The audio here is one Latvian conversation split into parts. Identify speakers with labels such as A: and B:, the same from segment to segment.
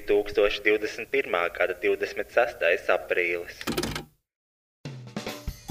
A: 2021. gada 26. aprīlis.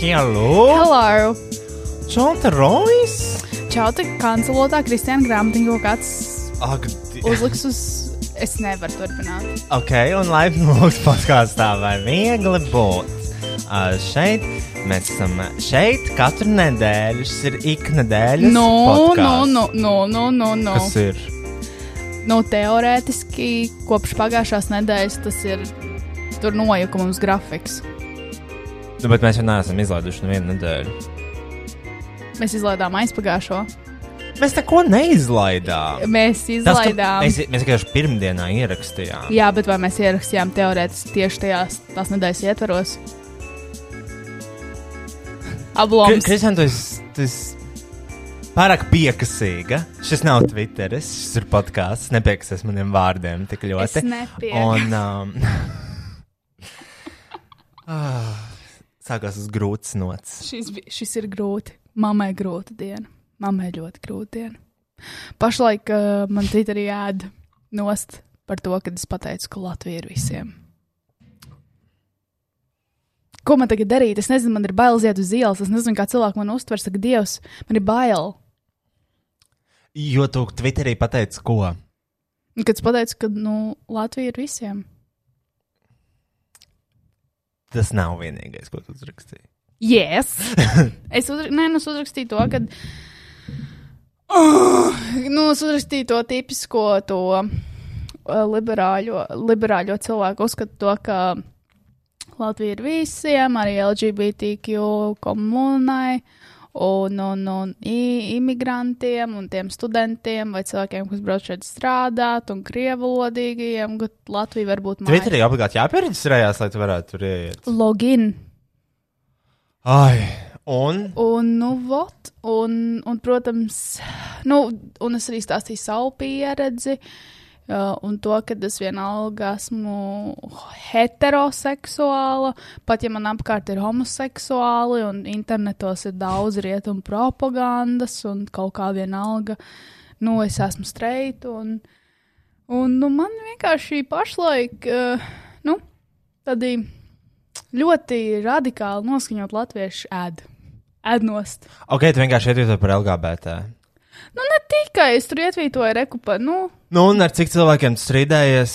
B: Hello!
C: Hello!
B: Čonta Rojas!
C: Čau, tik kancelotā Kristiāna grāmatiņa kaut kāds
B: Ak,
C: uzliks uz... Es nevaru turpināt.
B: Ok, un laipni lūgts podkāstā, vai viegli būt. Uh, šeit mēs esam šeit katru nedēļu. Šis ir iknedēļas
C: No, no,
B: podcasts.
C: no, no, no, no, no.
B: Kas ir?
C: Nu, teorētiski kopš pagājušās nedēļas tas ir tur nojuka mums grafiks.
B: Nu, bet mēs jau neesam izlaiduši nevienu nedēļu.
C: Mēs izlaidām aizpagājušo.
B: Mēs neko neizlaidām.
C: Mēs
B: Tas, ka
C: izlaidām.
B: mēs, mēs vienkārši pirmdienā ierakstījām.
C: Jā, bet vai mēs ierakstījām teorētiski tieši tajās tās nedēļas ietvaros? Abloms.
B: Kristian, tu esi tu esi pārāk piekasīga. Šis nav Twitteris, šis ir podkāsts. Nepiekasies maniem vārdiem tik
C: Es
B: ļoti.
C: nepiekrītu.
B: Un, um, ah, sākās uz grūts nots.
C: Šis, bi- šis ir grūti. Mamai grūta diena. Mamai ļoti grūta diena. Pašlaik uh, man Twitterī ēd nost par to, kad es pateicu, ka Latvija ir visiem. Ko man tagad darīt? Es nezinu, man ir bailes iet uz ielas. Es nezinu, kā cilvēki man uztver, saka, Dievs, man ir bail.
B: Jo tu Twitterī pateici, ko?
C: Un Kad es pateicu, ka nu, Latvija ir visiem.
B: Tas nav vienīgais, ko tu uzrakstīji.
C: Yes. es, uzra... Nē, nu, es uzrakstīju to, kad. Uh, nu, es uzrakstīju to tipisko to uh, liberāļo, liberāļo cilvēku uzskatu, to, ka Latvija ir visiem, arī LGBTQ komunai. Un, un, un i- imigrantiem, un tiem studentiem, vai cilvēkiem, kas brauc šeit strādāt, un krievulodīgiem, ka Latvija var būt māja.
B: Twitterī obligāti jāpiereģistrējās, lai tu varētu tur ieiet.
C: Login,
B: Ai, un
C: Un, nu, vot, un, un, protams, nu, un es arī stāstīju savu pieredzi. Uh, un to, ka es vienalga esmu heteroseksuāla, pat ja man apkārt ir homoseksuāli, un internetos ir daudz rietumu propagandas, un kaut kā vienalga, nu, es esmu streita, un, un nu, man vienkārši pašlaik, uh, nu, tādi ļoti radikāli noskaņot latviešu ēdu. Ednost.
B: Ok, tu vienkārši ietver par LGBT.
C: Nu, ne tikai es tur ietvītoju rekupa. Nu,
B: Nu, un ar cik cilvēkiem tu strīdējies?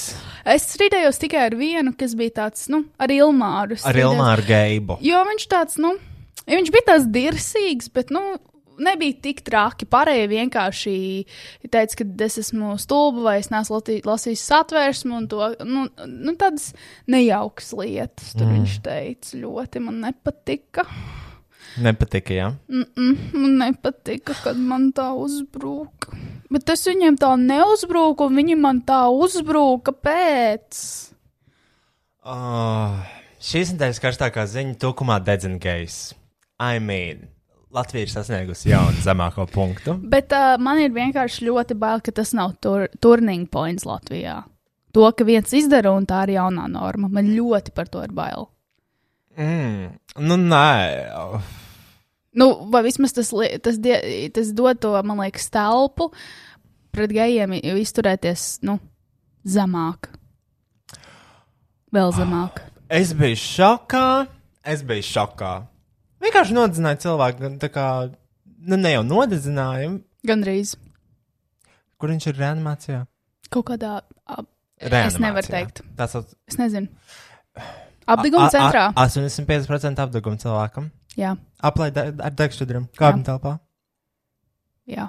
C: es strīdējos tikai ar vienu, kas bija tāds, nu, ar Ilmāru.
B: Ar
C: strīdējos.
B: Ilmāru Geibu.
C: Jo viņš tāds, nu, ja viņš bija tāds dirsīgs, bet, nu, nebija tik traki. Pārējie vienkārši teica, ka es esmu stulba vai es neesmu lati- lasījis satvērsmu un to, nu, nu tādas nejaukas lietas. Tur mm. viņš teica, ļoti man nepatika.
B: Nepatika, jā.
C: Mm -mm, man nepatika, kad man tā uzbruka. Bet es viņiem tā neuzbruku, un viņi man tā uzbruka pēc.
B: Oh, šīs nedēļas karstākā ziņa tukumā dedzina gejs. I mean, Latvija ir sasniegusi jaunu zemāko punktu.
C: Bet uh, man ir vienkārši ļoti bail, ka tas nav tur, turning points Latvijā. To, ka viens izdara un tā ir jaunā norma. Man ļoti par to ir bail.
B: Mm. Nu, nē,
C: Nu, vai vismaz tas, li- tas, die, tas dod to, man liekas, telpu pret gejiem i- izturēties nu, zemāk. Vēl zemāk.
B: es biju šokā. Es biju šokā. Vienkārši nodezināju cilvēku, tā kā nu, ne jau nodezināju,
C: Gan drīz.
B: kur viņš ir reanimācijā.
C: Kaut kādā. ap- Es
B: Reanimācijā.
C: nevaru teikt.
B: Tas sauc-
C: Es nezinu. Apgūmu centrā.
B: A- a- 85% apgūmu cilvēkam.
C: Jā,
B: Aplaid ar degšķudriem, kāpņu telpā.
C: jā.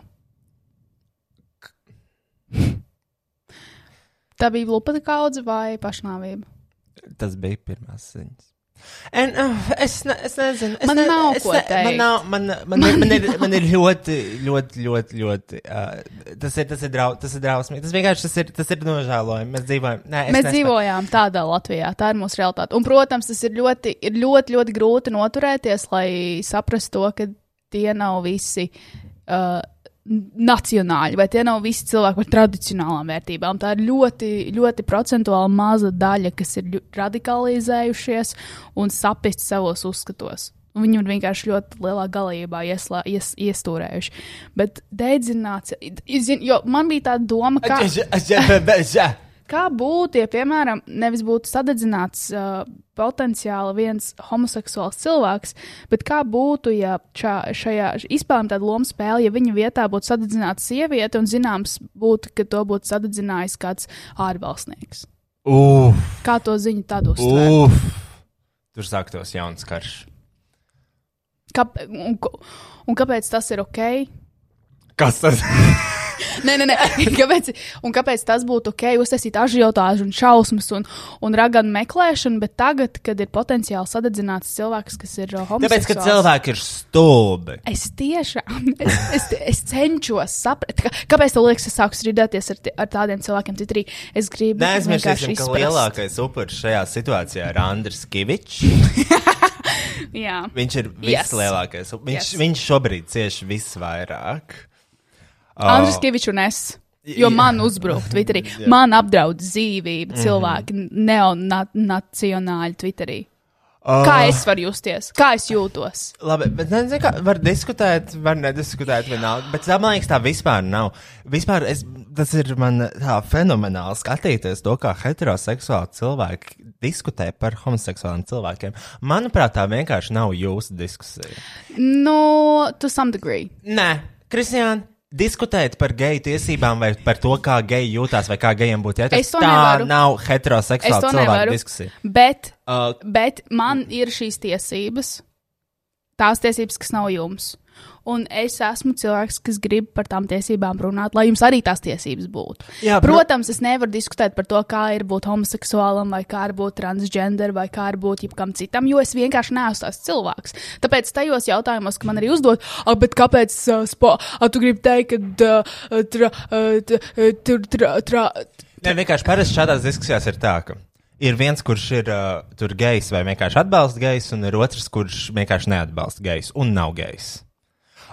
C: Tā bija lupata kaudze vai pašnāvība?
B: Tas bija pirmās ziņas. En, uh, es, ne, es nezinu, es
C: Man
B: ne,
C: nav
B: es
C: ko
B: ne, Man,
C: teikt.
B: nav, man, man, man, man, ir, man ir ļoti, ļoti, ļoti. ļoti uh, tas ir, tas ir, drau, tas ir drausmīgi. Tas vienkārši tas ir, tas ir nožēlojami. Mēs dzīvojam. Nē, es
C: Mēs
B: nespēju.
C: dzīvojām tādā Latvijā, tā ir mūsu realitāte. Un, protams, tas ir ļoti, ir ļoti, ļoti grūti noturēties, lai saprastu to, ka tie nav visi uh, nacionāļi, vai tie nav visi cilvēki ar tradicionālām vērtībām. Tā ir ļoti, ļoti procentuāli maza daļa, kas ir ļu- radikalizējušies un sapist savos uzskatos. Un Viņi ir vienkārši ļoti lielā galībā ieslā, ies, iestūrējuši. Bet dedzināt, jo man bija tā doma, ka.
B: Es- es- es- es-
C: Kā būtu, ja, piemēram, nevis būtu sadedzināts uh, potenciāli viens homoseksuāls cilvēks, bet kā būtu, ja šā, šajā izpēlēm tāda loma spēle, ja viņa vietā būtu sadedzināta sieviete un zināms būtu, ka to būtu sadedzinājis kāds ārvalstnieks?
B: Uf,
C: Kā to ziņu tad uztvert?
B: uf. Tur sāktos jauns karš.
C: Kāp un, ko- un kāpēc tas ir ok?
B: Kas tas
C: Nē, nē, nē. Kāpēc, un kāpēc tas būtu ok? Uztaisīt ažiotāžu, un šausmas un, un raganu meklēšanu, bet tagad, kad ir potenciāli sadedzināts cilvēks, kas ir uh, homoseksuāls.
B: Tāpēc, ka cilvēki ir stulbi.
C: Es tiešām es, es, es cenšos saprast, kā, kāpēc man liekas, es sāku strīdēties ar, ti- ar tādiem cilvēkiem. Citri es gribu
B: Neaizmirsīsim, ka
C: vienkārši izprast.
B: lielākais upuris šajā situācijā ir Andris Kavičs.
C: Jā,
B: Viņš ir
C: Yes.
B: vislielākais. Yes. Viņš,
C: Yes.
B: yes. viņš šobrīd cieši visvairāk.
C: Andris Kavičs un es. Jo
B: Jā. Mhm.
C: man uzbruka Twitterī. Man apdraud dzīvību cilvēki, mm -hmm. neonacionāļi Twitterī.
B: Oh.
C: Kā es varu justies? Kā es jūtos?
B: Labi, bet nezinu, kā var diskutēt, var nediskutēt vienalga. Bet tā, man liekas, tā vispār nav. Vispār es, tas ir man tā fenomenāli skatīties to, kā heteroseksuāli cilvēki diskutē par homoseksuāliem cilvēkiem. Manuprāt, tā vienkārši nav jūsu diskusija.
C: No, Nu, to some degree.
B: Nē, Kristiāna, diskutēt par geju tiesībām vai par to, kā geji jūtas vai kā gejiem būtu
C: Es
B: jāatcerās.
C: to
B: Tā
C: nevaru.
B: nav
C: Es to
B: heteroseksuāla cilvēka
C: nevaru.
B: diskusija.
C: Bet,
B: Uh,
C: bet man
B: Mhm.
C: ir šīs tiesības, tās tiesības, kas nav jums. Un es esmu cilvēks, kas grib par tām tiesībām runāt, lai jums arī tās tiesības būtu.
B: Jā, bet- nu-
C: Protams, es nevaru diskutēt par to, kā ir būt homoseksuālam, vai kā ir būt transgender, vai kā ir būt jebkam citam, jo es vienkārši neesmu tās cilvēks. Tāpēc tajos jautājumos, ka man arī uzdod, ah, bet kāpēc uh, spo, ah, tu gribi teikt, ka uh, tra, uh, tra, uh, tur tra, tra,
B: Nē, vienkārši parasti šādās diskusijās ir tā, ka ir viens, kurš ir uh, tur gejs vai vienkārši atbalsta gejs, un ir otrs, kurš vienkārši neatbalsta gejs un nav gejs.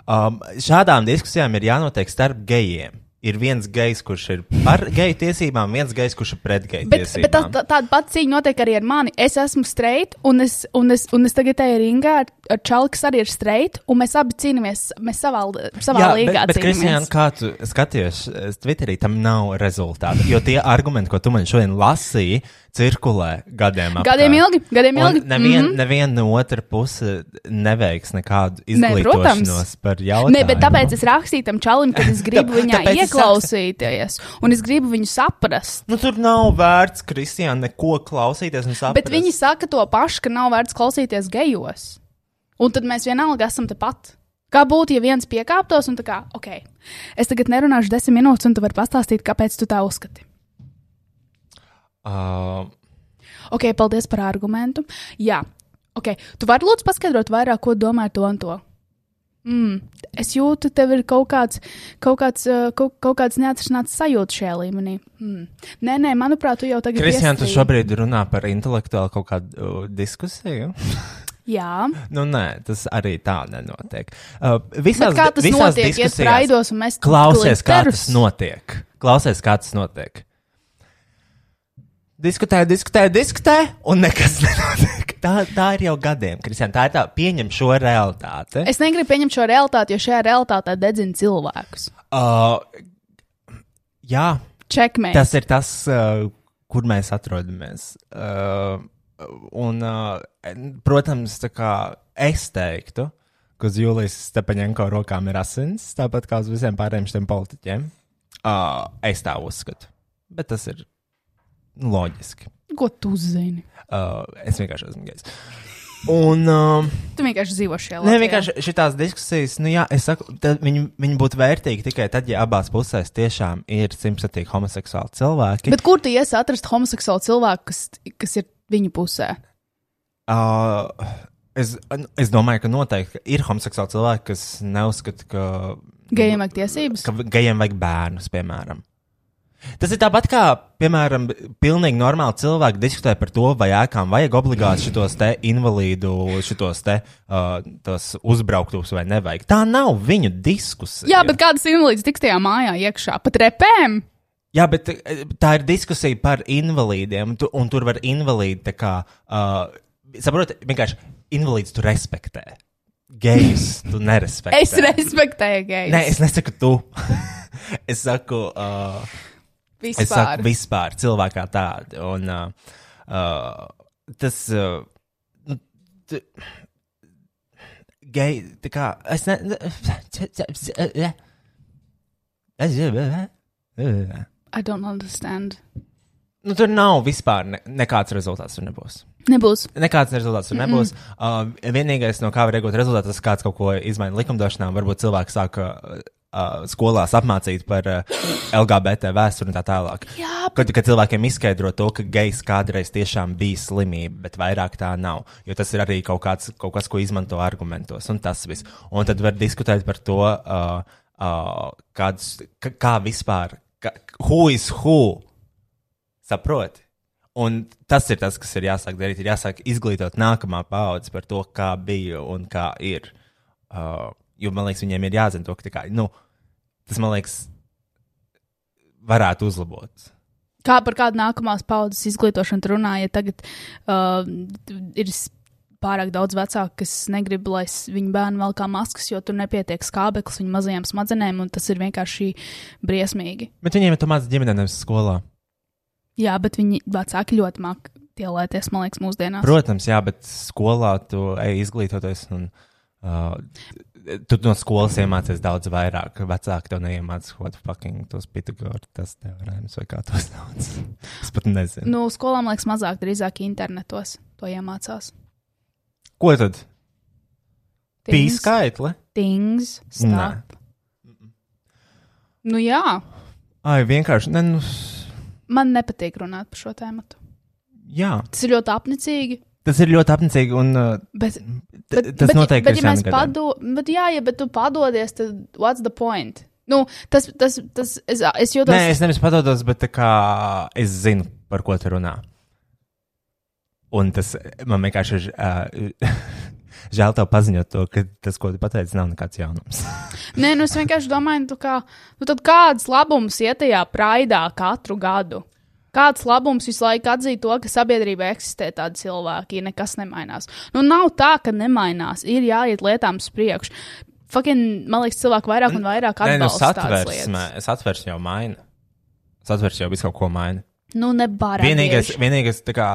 B: Um, šādām diskusijām ir jānotiek starp gejiem. ir viens gejs, kurš ir par geju tiesībām, viens gejs, kurš ir pret geju
C: Bet, bet tā,
B: tiesībām.
C: tā- tāda pati cīņa notiek arī ar mani. Es esmu streit, un es, un es, un es tagad eju ringā ar, ar čalu, kas arī ir streit, un mēs abi cīnāmies mēs savā, savā
B: bet,
C: līgā.
B: bet Kristiāna,
C: cīnamies.
B: kā tu skaties, Twitterī tam nav rezultātu. Jo tie argumenti, ko tu man šodien lasīji, cirkulē gadiem ilgi.
C: Gadiem ilgi, gadiem
B: Un
C: ilgi.
B: Neviena mm
C: mhm.
B: -hmm. no otra puse neveiks nekādu
C: Nē, protams.
B: izglītošanos par jautājumu.
C: Nē, bet tāpēc es rakstīju tam čalim, ka es gribu viņā
B: tāpēc es
C: ieklausīties, un es gribu viņu saprast.
B: Nu, tur nav vērts, Kristija, neko klausīties. un saprast.
C: Bet viņi saka to pašu, ka nav vērts klausīties gejos. Un tad mēs vienalga esam tepat. Kā būtu, ja viens piekāptos un tā kā, ok, es tagad nerunāšu desmit minūtes, un tu vari pastāstīt, kāpēc tu tā uzskati.
B: Uh,
C: Ok, paldies par argumentu. Jā, ok. Tu vari lūdzu paskaidrot vairāk, ko domā to un to. Mm. Es jūtu, tev ir kaut kāds, kaut kāds, eh, kaut, kaut kāds neatrasināts sajūta šajā līmenī. Mm. Nē, nē, manuprāt, tu jau tagad
B: Kristija, tu
C: iestrīdi.
B: šobrīd runā par intelektuālu kaut kādu uh, diskusiju.
C: Jā,
B: nu, nē, tas arī tā nenotiek. Uh,
C: bet
B: visās,
C: kā tas
B: visās
C: notiek? Iet
B: diskusijās-
C: raidos un mēs
B: Klausies, kā tas notiek. Klausies, kā tas notiek. Diskutēja, diskutēja, diskutēja, un nekas nenotiek. Tā, tā ir jau gadiem, Kristija. Tā ir tā, pieņem šo realitāti.
C: Es negribu pieņemt šo realitāti, jo šajā realitātē dedzina cilvēkus.
B: Uh, jā,
C: Čekmē.
B: tas ir tas, uh, kur mēs atrodamies. Uh, un, uh, protams, tā kā es teiktu, ka uz Jūlijas Stepaņenko rokām ir asins, tāpat kā uz visiem pārējiem šiem politiķiem. Uh, es tā uzskatu. Bet tas ir nu, loģiski.
C: Ko tu zini?
B: Uh, es vienkārši esmu gejs. Un. Uh,
C: Tu vienkārši dzīvo šajā
B: Nē,
C: Latvijā.
B: vienkārši šīs diskusijas, nu, jā, es saku, tad viņi, viņi būtu vērtīgi tikai tad, ja abās pusēs tiešām ir simtprocentīgi homoseksuāli cilvēki.
C: Bet kur tu iesi atrast homoseksuālu cilvēku, kas, kas ir viņa pusē?
B: Uh, es, nu, es domāju, ka noteikti ir homoseksuāli cilvēki, kas neuzskata, ka,
C: Gejiem vajag tiesības?
B: ka gejiem vajag bērnus, piemēram. Tas ir tāpat kā, piemēram, pilnīgi normāli cilvēki diskutē par to, vai ēkām vajag obligāti šitos te invalīdu, šitos te uh, tos uzbrauktos vai nevajag. Tā nav viņu diskusija.
C: Jā, bet kādas invalīdas tiks tajā mājā iekšā? Pat repēm?
B: Jā, bet eh, tā ir diskusija par invalīdiem, tu, un tur var invalīdi tā kā. Uh, Saprotiet, vienkārši invalīds tu respektē. Gejs tu nerespektē.
C: Es respektēju gejus.
B: Nē, es nesaku tu. es saku, uh, es saku
C: vispār.
B: vispār cilvēkā tādu. Un uh, uh, tas. Uh, nu, tu, Gei, tā kā es nezinu, es nezinu,
C: I don't understand.
B: Nu, tur nav vispār ne, nekāds rezultāts. Tur nebūs.
C: Nebūs.
B: Nekāds rezultāts tur nebūs. Mm -mm. Uh, vienīgais, no kā var iegūt rezultātu, tas kāds kaut ko izmaina likumdošanā. Varbūt cilvēks sāk uh, uh, skolās apmācīt par uh, LGBT vēsturi un tā tālāk.
C: Jā,
B: Kad, kad cilvēkiem izskaidro to, ka gejs kādreiz tiešām bija slimība, bet vairāk tā nav. Jo tas ir arī kaut, kāds, kaut kas, ko izmanto argumentos, un tas viss. Un tad var diskutēt par to, uh, uh, kāds, ka- kā vispār, ka, who is who. Saproti? Un tas ir tas, kas ir jāsāk darīt. Ir jāsāk izglītot nākamā paudze par to, kā bija un kā ir. Uh, jo man liekas, viņiem ir jāzina to, ka tā kā, nu, tas, man liekas, varētu uzlabot.
C: kā par kādu nākamās paudzes izglītošanu tu runā, ja tagad uh, ir s- pārāk daudz vecāku, kas negrib, lai s- viņu bērni velkā maskas, jo tur nepietiek skābeklis viņu mazajām smadzenēm, un tas ir vienkārši briesmīgi.
B: Bet viņiem ir tomēr ģimenē, nevis skolā.
C: Jā, bet viņi vecāki ļoti māk tielēties, man liekas, mūsdienās.
B: Protams, jā, bet skolā tu ej izglītoties. Un, uh, Tu no skolas iemācies daudz vairāk. Vecāki tev neiemācīja, ko tu fucking tos Pitagora tas teorēmas vai kā tos sauc. Es pat nezinu.
C: Nu, skolām liekas mazāk, drīzāk internetos to iemācās.
B: Ko tad? Bija
C: Things,
B: skaitli.
C: Things, stuff.
B: Nē.
C: Nu jā,
B: Ai, vienkārši. Ne, nu,
C: man nepatīk runāt par šo tēmu.
B: jā,
C: Tas ir ļoti apnicīgi,
B: tas ir ļoti apnicīgi. Un, uh,
C: bet
B: t- tas
C: bet,
B: noteikti
C: bet, ja mēs padomājam, bet jā, ja bet tu padodies, tad what's the point? Nu, tas, tas, tas, es, es jūtos.
B: Nē, es nevis padodos, bet tā kā, es zinu, par ko tu runā. Un tas man vienkārši ir. Uh, Žēl tev paziņot to, ka tas, ko tu pateici, nav nekāds jaunums.
C: Nē, nu es vienkārši domāju, nu, kā, nu tad kāds labums iet tajā praidā katru gadu? Kāds labums visu laiku atzīt to, ka sabiedrībā eksistē tādi cilvēki, ja nekas nemainās? Nu, nav tā, ka nemainās, ir jāiet lietām uz priekšu. Fucking, man liekas, cilvēki vairāk un vairāk atbalsta tādas
B: nu, satversme,
C: lietas.
B: satversme jau maina. Satversme jau visu kaut ko maina.
C: Nu, nebarā.
B: Vienīgais, vienīgais tā kā,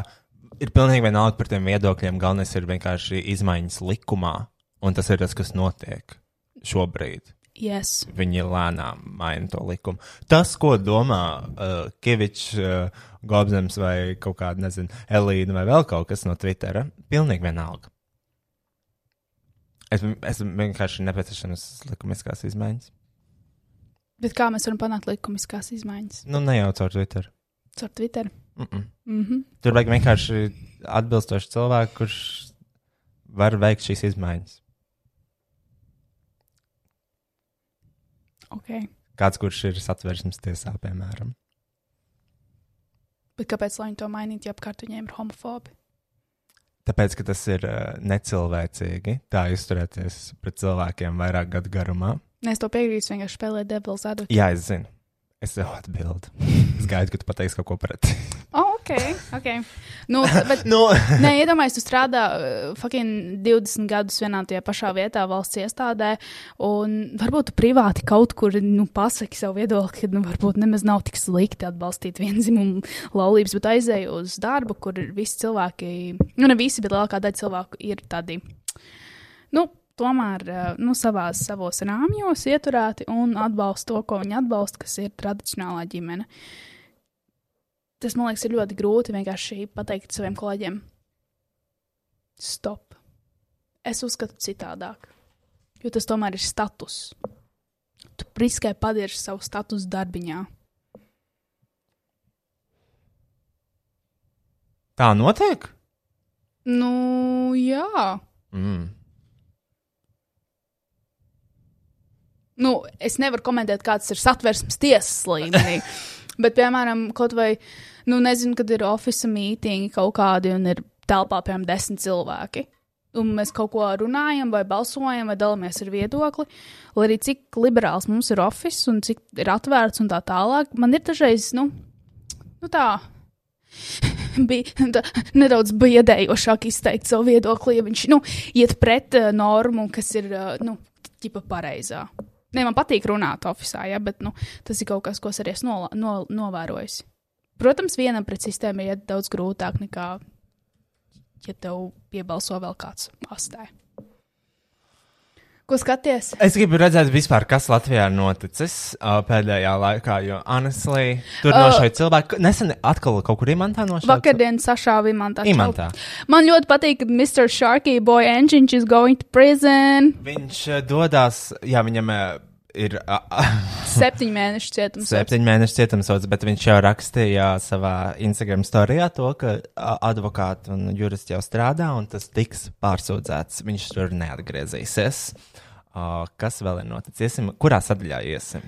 B: ir pilnīgi vienalga par tiem viedokļiem. Galvenais ir vienkārši izmaiņas likumā, un tas ir tas, kas notiek šobrīd.
C: Yes.
B: Viņi lēnām maina to likumu. Tas, ko domā uh, Kevičs, uh, Gobsams vai kaut kāda, nezinu, Elīna vai vēl kaut kas no Twittera, pilnīgi vienalga. Es, es vienkārši nepieciešams likumiskās izmaiņas.
C: Bet kā mēs varam panākt likumiskās izmaiņas?
B: Nu, ne jau caur Twitteru.
C: Caur Twitter.
B: Mm -mm.
C: Mm -hmm.
B: Tur vajag vienkārši atbilstošu cilvēku, kurš var veikt šīs izmaiņas.
C: okay.
B: Kāds, kurš ir satversmes tiesā, piemēram.
C: Bet kāpēc lai viņi to mainītu, ja apkārt viņiem ir homofobi?
B: Tāpēc, ka tas ir ā, necilvēcīgi, tā izturēties pret cilvēkiem vairāk gadu garumā.
C: Nē, es to piekrītu, vienkārši spēlēju Devil's Advocate.
B: Jā, es zinu. Es tev atbildu. Es gaidu, ka tu pateiksi kaut ko pretī.
C: Oh, ok, ok. Nu, bet,
B: nu,
C: Nē, iedomājieties, tu strādā uh, fucking 20 gadus vienā tajā pašā vietā, valsts iestādē, un varbūt tu privāti kaut kur nu, pasaki savu viedokli, ka nu, varbūt nemaz nav tik slikti atbalstīt vienzimumu laulības, bet aizēju uz darbu, kur ir visi cilvēki, nu ne visi, bet lielākā daļa cilvēku ir tādi. Nu, Tomēr uh, nu, savā savos rāmjos ieturēti un atbalsta to, ko viņi atbalsta, kas ir tradicionālā ģimene. Tas man liekas, ir ļoti grūti vienkārši pateikt saviem kolēģiem, stop. Es uzskatu citādāk, jo tas tomēr ir status. Tu riskai padirst savu status darbiņā.
B: tā notiek?
C: Nu, jā.
B: Mm.
C: Nu, es nevaru komentēt, kāds ir satversmes tiesas līmenī. Bet, piemēram, kaut vai, nu, nezinu, kad ir oficiāla mītīņa kaut kādi un ir telpā, piemēram, desmit cilvēki. Un mēs kaut ko runājam, vai balsojam, vai dalāmies ar viedokli. Lai arī cik liberāls mums ir oficiāls un cik ir atvērts un tā tālāk, man ir dažreiz, nu, nu tā. Bija tā, nedaudz biedējošāk izteikt savu viedokli, ja viņš nu, iet pret uh, normu, kas ir uh, nu, ģipa pareizā. Nē, man patīk runāt oficiālā, ja, bet nu, tas ir kaut kas, ko es arī esmu nola- no, novērojis. Protams, vienam pret sistēmu ir iet daudz grūtāk nekā, ja tev piebalso vēl kāds astē. Ko skaties?
B: Es gribu redzēt, vispār, kas Latvijā ir noticis uh, pēdējā laikā, jo, honestly, tur uh, no
C: Uh,
B: šeit cilvēki nesen atkal kaut kur imantā no šeit.
C: Vakardien sašāva imantā. čalu.
B: Imantā.
C: Man ļoti patīk, ka Mr. Sharky boy engine is going to prison.
B: Viņš eh, dodas, jā, viņam eh, ir uh,
C: Septiņu mēnešu cietums.
B: septiņu mēnešu cietumsots, bet viņš jau rakstīja savā Instagram storijā to, ka a, advokāti un juristi jau strādā un tas tiks pārsūdzēts. Viņš tur neatgriezīsies. Uh, Kas vēl ir noticis? Iesim, kurā sadaļā iesim?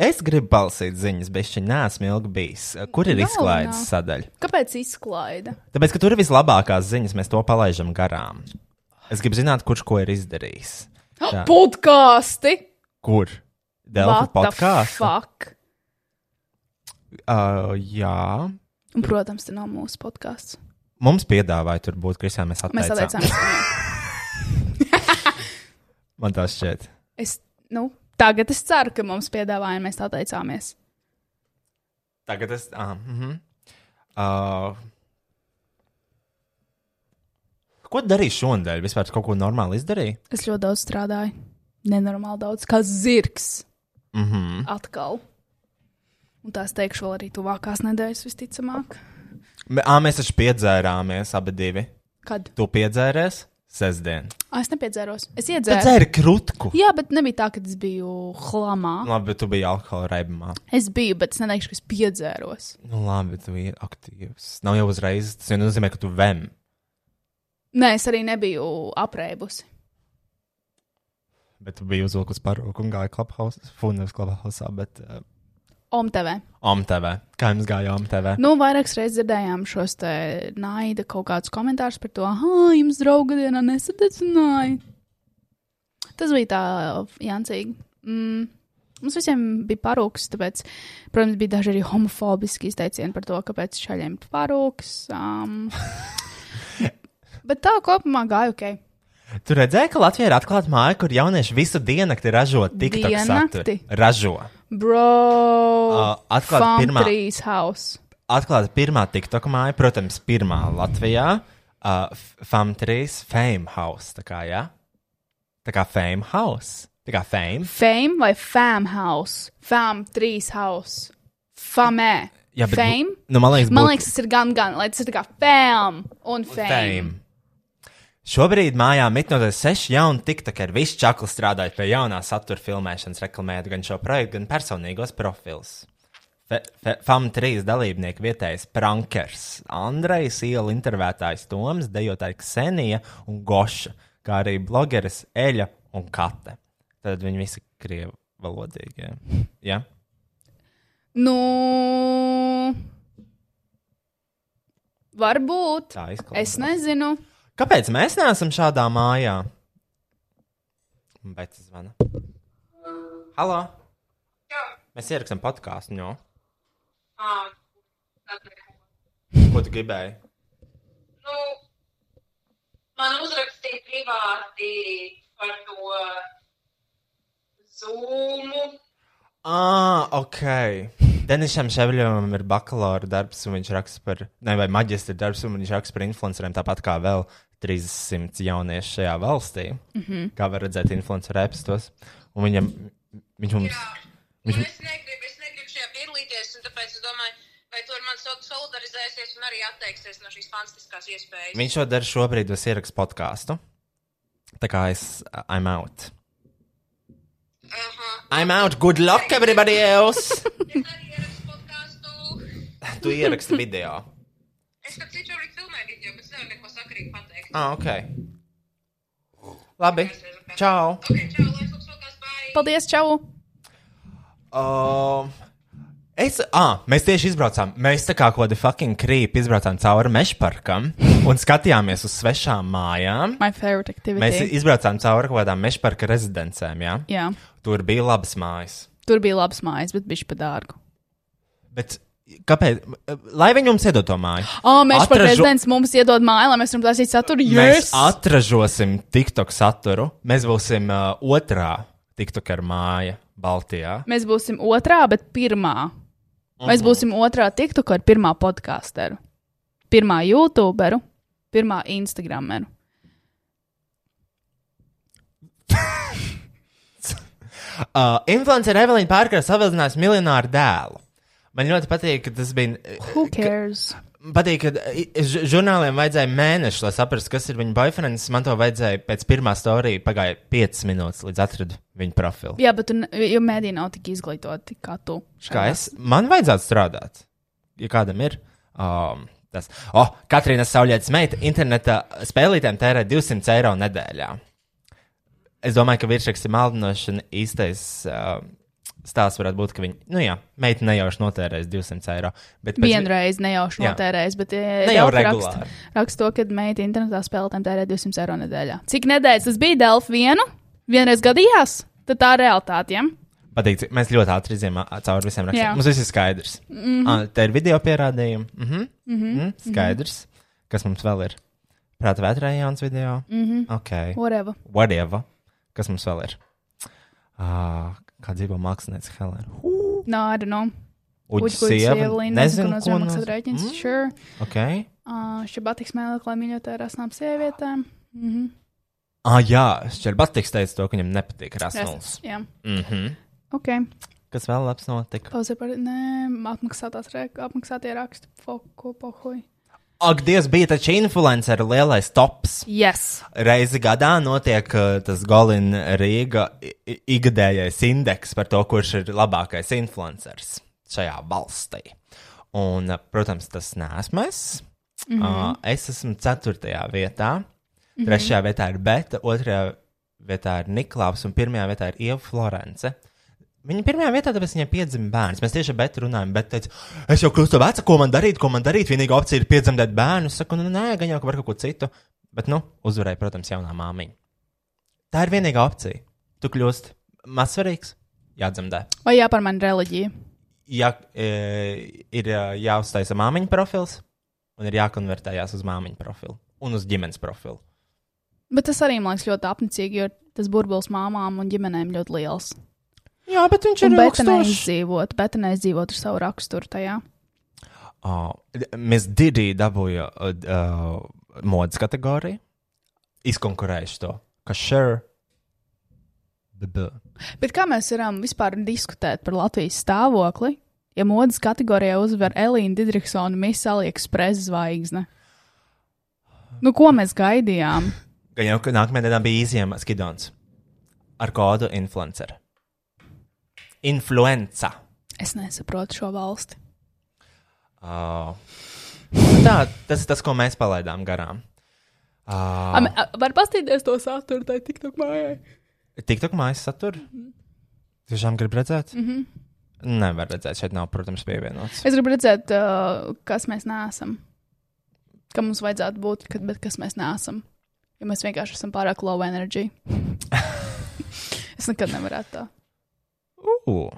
B: Es gribu balsīt ziņas, bet šī nesmu ilgi bijis. Kur ir
C: Nav,
B: izklaides
C: nav.
B: sadaļa?
C: Kāpēc izklaida?
B: Tāpēc, ka tur ir vislabākās ziņas, mēs to palaidām garām. Es gribu zināt, kurš ko ir izdarījis. Tā.
C: Oh, Podkāsti!
B: Kur? Delfa podkāstā.
C: Fuck!
B: Uh, jā.
C: Un, protams, tas nav mūsu podkāsts.
B: Mums piedāvāja tur būt, Kristija, mēs
C: Mēs
B: atteicām.
C: atteicāmies.
B: Man tas šķiet.
C: Es, nu, tagad es ceru, ka mums piedāvāja, mēs atteicāmies.
B: Tagad es. Ah, mm -hmm. uh, ko darīju šonadēļ? Vispār kaut ko normālu izdarīju?
C: Es ļoti daudz strādāju. Nenormāli daudz, kā zirgs.
B: Mm -hmm.
C: Atkal. Un tās teikšu vēl arī tuvākās nedēļas, visticamāk.
B: Ā, mēs taču piedzērāmies abi divi.
C: Kad?
B: Tu piedzēries sestdien.
C: A, es nepiedzēros. Es
B: Tu
C: iedzēru.
B: dzēri krutku.
C: Jā, bet nebija tā, ka es biju hlamā.
B: Labi, bet tu biji alkohola raibumā.
C: Es biju, bet es neteikšu, ka es piedzēros.
B: Nu, labi, tu biji aktīvs. Nav jau uzreiz. Tas jau nozīmē, ka tu vem.
C: Nē, es arī nebiju apreibusi.
B: Bet tu biji uzvilkus parūku un gāja klubhausā, funnels klubhausā, bet uh,
C: OMTV.
B: OMTV. Kā jums gāja OMTV?
C: Nu, vairākas reizes dzirdējām šos te naida kaut kādus komentārus par to, ah, jums draugu dienā nesadedzināja. Tas bija tā jāncīgi. Mm. Mums visiem bija parūks, tāpēc, protams, bija daži arī homofobiski izteicieni par to, kāpēc šaļiem ir parūks. Um. Bet tā kopumā gāja ok.
B: Tu redzēji, ka Latvijā ir atklāta māja, kur jaunieši visu diennakti ražo tik tādu saturu.
C: Diennakti?
B: Ražo.
C: Bro,
B: Uh, atklāt pirmā.
C: trīs house.
B: Atklāta pirmā TikTok māja, protams, pirmā Latvijā. Uh, FAM3, Fame House. Tā kā, ja? tā kā Fame House. Tā kā Fame.
C: Fame vai fam house? Fam trīs house. Famē.
B: Jā, bet
C: fame?
B: bu- Nu, man liekas,
C: Man
B: būtu-
C: liekas, tas ir gan, gan, lai tas ir tā kā fam un fame.
B: Fame. Šobrīd mājā mitnoties seši jauni tiktokeri. Visi čakli strādāja pie jaunā satura filmēšanas, reklamējot gan šo projektu, gan personīgos profilus. Fe- fe- FAM3 dalībnieki vietējais prankers, Andrejs Iela intervētājs Toms, dejotāja Ksenija un Goša, kā arī blogeris Eļa un Kate. Tad viņi visi krievu valodīgie. Ja?
C: Nu, varbūt.
B: Tā izklausās.
C: Es nezinu.
B: Kāpēc mēs neesam šādā mājā? Bet tas zvana. Halo! Mēs ierakstām podkāstu, no ko tu gribēji?
D: nu, man uzrakstīja privāti par to zūmu.
B: Ah, ok. Denišam Ševļovam ir bakalaura darbs, un viņš raksta par, ne, vai maģistra darbs, un viņš raksta par influenceriem, tāpat kā vēl 300 jauniešu šajā valstī. Mm -hmm. Kā var redzēt, influenceru apstos. Un viņam, viņš mums.
D: Nu, es, negribu, es negribu šajā piedalīties, un tāpēc es domāju, vai tu ar mani sol- solidarizēsies un arī atteiksies no šīs fantastiskās iespējas.
B: Viņš to dara šobrīd, es ierakstu podkāstu. Tā kā es. I'm out.
D: Aha.
B: I'm out. Good luck, everybody else!
D: Es arī ierakstu podkāstu.
B: tu ieraksti video.
D: Es tam citu arī filmēju video, bet es nevaru neko sakarīgi pateikt.
B: Ah, ok. Labi. Čau.
D: Ok, čau, lai jums labs vakars, bye!
C: Paldies, čau!
B: Um, es. Ah, mēs tieši izbraucām. Mēs tā kā kaut kādi fucking krīpi izbraucām cauri meža parkam un skatījāmies uz svešām mājām.
C: My favorite activity.
B: Mēs izbraucām cauri kaut kādām meža parka rezidencēm. Jā?
C: Jā,
B: Tur bija labas mājas.
C: tur bija labs mājas, bet bija par dārgu.
B: Bet kāpēc? Lai viņi mums iedod to māju.
C: O, mēs par
B: Atražu-
C: prezidents mums iedod māju, lai mēs varam prasīt saturu.
B: Mēs
C: Yes!
B: atražosim TikTok saturu. Mēs būsim uh, otrā TikTok ar māju Baltijā.
C: Mēs būsim otrā, bet pirmā. Mēs būsim otrā tiktuka ar pirmā podkāsteru, pirmā youtuberu, pirmā instagrameru.
B: Uh, Influencer Evelīna Pārkara savilzinās miljonāru dēlu. Man ļoti patīk, ka tas bija. uh,
C: Who cares?
B: Patīk, ka uh, i- ž- žurnāliem vajadzēja mēnešu, lai saprastu, kas ir viņa boyfriends. Man to vajadzēja pēc pirmā storija. Pagāja 5 minūtes, līdz atradu viņa profilu.
C: Jā, bet tu ne- jo mēdī nav tik izglītoti kā tu.
B: Kā es? Man vajadzētu strādāt. Ja kādam ir. Um, tas. O, oh, Katrīna Saulietas meita interneta spēlītēm tērē 200 eiro nedēļā. Es domāju, ka virsraksts ir maldinošs un īstais. Um, Stāsts varētu būt, ka viņa, nu jā, meita nejauši notērēs 200 eiro. Bet pēc-
C: Vienreiz nejauši
B: Jā.
C: notērējis, bet eh,
B: Ne jau
C: raksta,
B: regulāri.
C: raksta to, ka meita internetā spēlētājiem tērē 200 eiro nedēļā. Cik nedēļas tas bija? Delfi vienu? Vienreiz gadījās? Tad tā ir realitāte. Ja?
B: Patīk, cik- mēs ļoti ātri izjām cauri visiem rakstiem.
C: Jā. Mhm.
B: Mums viss ir skaidrs. Mm -hmm. Tā ir video pierādījumi. Mm -hmm. Mm -hmm. Skaidrs. Kas mums vēl ir? Prāta vētrā jauns video.
C: Mhm.
B: Mm -hmm. okay.
C: Whatever.
B: Whatever. Kas mums vēl ir? Uh, kā dzīvo mākslinieci Helēna?
C: No, I don't know.
B: Uģis
C: Uģis,
B: sieva.
C: nezinu, ko
B: noz-
C: nozīmē rēķins. Mm? Sure.
B: Ok.
C: Uh, Šabatiks mēlēklā mīļotā ar asnām sievietēm. Mhm.
B: Ah, jā, Šķerbatiks teica to, ka viņam nepatīk rasnums.
C: Jā,
B: Mm -hmm.
C: ok.
B: Kas vēl labs notika?
C: Pauzē par, nē, apmaksātās rēk, apmaksātie raksti. Foku, pohoj.
B: Ak, Dievs, bija taču influenceru lielais tops.
C: Yes.
B: Reizi gadā notiek uh, tas Golina Rīga i- i- ikgadējais indeks par to, kurš ir labākais influenceris šajā valstī. Un, uh, protams, tas neesmu es. Mm -hmm. Es esmu 4. vietā, 3. Mm -hmm. vietā ir Beta, 2. vietā ir Niklaus un 1. vietā ir Ieva Florence. Viņa pirmajā vietā, tāpēc viņai piedzima bērns. Mēs tieši ar Betu runājam, bet teica, es jau kļūstu veca, ko man darīt, ko man darīt. Vienīgā opcija ir piedzemdēt bērnu. Es saku, nu, nē, gan jau ka var kaut ko citu. Bet, nu, uzvarēja, protams, jaunā māmiņa. Tā ir vienīgā opcija. Tu kļūsti mazsvarīgs, jādzemdē.
C: Vai jāpārmēna reliģija?
B: Jā, e, ir e, jāuztaisa māmiņa profils un ir jākonvertējās uz māmiņa profilu un uz ģimenes profilu.
C: Bet tas arī man liekas ļoti apnicīgi, jo tas burbulis māmām un ģimenēm ļoti liels.
B: Jā, bet viņš
C: Un
B: ir
C: Beta
B: ilgstošs.
C: neizdzīvot, Beta neizdzīvot ar savu raksturu tajā.
B: Oh, mēs Digi dabūja uh, uh, modes kategoriju. Izkonkurējuši to. Ka sure. BB.
C: Bet kā mēs varam vispār diskutēt par Latvijas stāvokli, ja modes kategorijā uzvar Elīna Digriksona Misa Aliexpress zvaigzne? Nu, ko mēs gaidījām?
B: Gan jau, ka nākamajā dienā bija izjēma skidons. Ar kodu influencer. Influenza.
C: Es nesaprotu šo valsti.
B: Oh. Nu Tā, tas ir tas, ko mēs palaidām garām. Uh,
C: Am- a- Var pastīties to saturu tajā tiktok Mhm. mājā.
B: TikTok mājas saturu? Tiešām grib redzēt? Mm -hmm. Nevar redzēt, šeit nav, protams, pievienots.
C: Mhm. Es gribu redzēt, uh, kas mēs neesam. Kam mums vajadzētu būt, kad, bet kas mēs neesam. Jo mēs vienkārši esam pārāk low energy. es nekad nevarētu tā.
B: Ugh!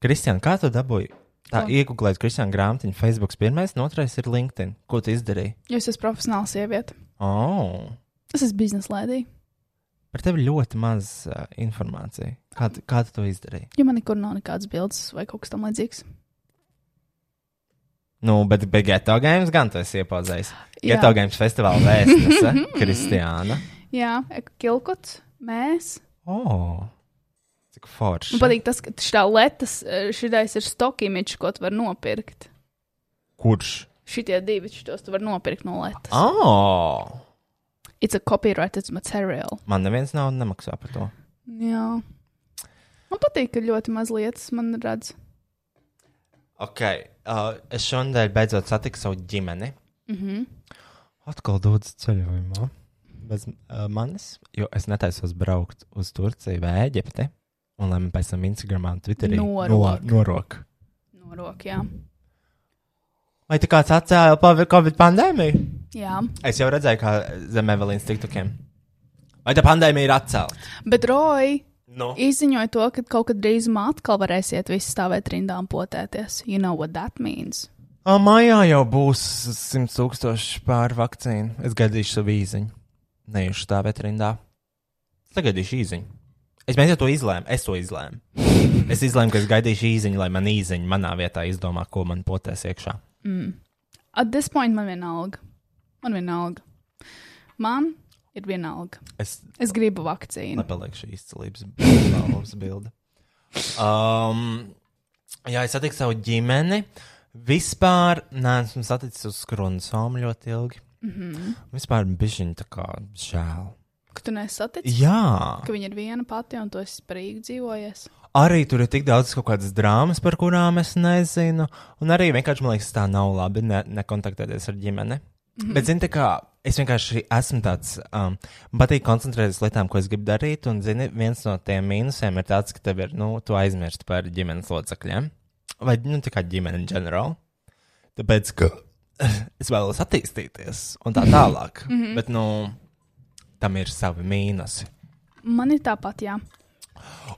B: Kristian, kā tu dabūji? Tā
C: Ko?
B: iegūlēt Kristiāna grāmatiņu, Facebook pirmais, un otrais ir LinkedIn. Ko tu izdarīji?
C: Jo es esmu profesionāla sieviete.
B: Oh,
C: Es esmu biznesa lēdī,
B: par tevi ļoti maz uh, informācijas. Kā, tu- kā tu to izdarīji?
C: jo man nekur nav nekādas bildes vai kaut kas tamlīdzīgs.
B: Nu, bet, bet Geto Games gan tu esi iepaudzējis.
C: Jā.
B: Geto Games festivāla vēstnese, Kristiāna.
C: Jā, Kilkots, mēs.
B: Oh, cik forši.
C: Man patīk tas, ka šī lietas, šitais ir stokimiņš, ko tu vari nopirkt.
B: Kurš?
C: Šitie divi, šitos tu vari nopirkt no
B: Ah.
C: lietas.
B: Oh,
C: It's a copyrighted material.
B: man neviens nav nemaksā par to.
C: Jā. Man patīk, ka ļoti maz lietas man redz.
B: Ok, uh, es šonadēļ beidzot satiku savu ģimeni.
C: Mhm.
B: Atkal dodas ceļojumā. Bez uh, manis, jo es netaisos braukt uz Turciju vai Eģipti. Un lai man pēc tam Instagramā un Twitterī
C: Norok.
B: norok.
C: No rokām.
B: Vai tu kāds atcēla pavi- Covid pandēmiju?
C: Jā.
B: Es jau redzēju, kā zem Evelīnas tiktukiem. Vai tā pandēmija ir Nu. atcelta?
C: Bet Roja
B: No.
C: izziņoja to, ka kaut kad drīzumā atkal varēsiet visi stāvēt rindā un potēties. You know what that means?
B: A, mājā jau būs 100 tūkstoši pāri vakcīnu. Es gaidīšu savu īziņu. Neiešu stāvēt rindā. Sagaidīšu īziņu. Es mēģināju to izlēmu. Es to izlēmu. Es izlēmu, ka es gaidīšu īziņu, lai man īziņa manā vietā izdomā, ko man potēs iekšā.
C: Mm. At this point man vienalga. Man vienalga. Man ir vienalga.
B: Es
C: Es gribu vakcīnu.
B: nepalieku šī izcēlības balvas bilde. Um, jā, es satiku savu ģimeni. Vispār neesmu saticis uz skrunu somu ļoti ilgi. Mm -hmm. Vispār bišķiņ tā kā žēl.
C: Mhm. Ka tu nesatici,
B: Jā.
C: ka viņa ir viena pati un tu esi sprīgi dzīvojies.
B: arī tur ir tik daudz kaut kādas drāmas, par kurām es nezinu. Un arī vienkārši man liekas, tā nav labi ne, nekontaktēties ar ģimeni. Mm -hmm. Bet, zini, tā kā es vienkārši esmu tāds, um, man patīk koncentrēties uz lietām, ko es gribu darīt. Un, zini, viens no tiem mīnusiem ir tas, ka tev ir, nu, tu aizmirsti par ģimenes locekļiem. Vai, nu, tā kā ģimene in general. Tāpēc, ka es vēlos attīstīties un tā tālāk. Mm -hmm. Bet, nu, tam ir savi mīnusi.
C: Man ir tāpat, jā.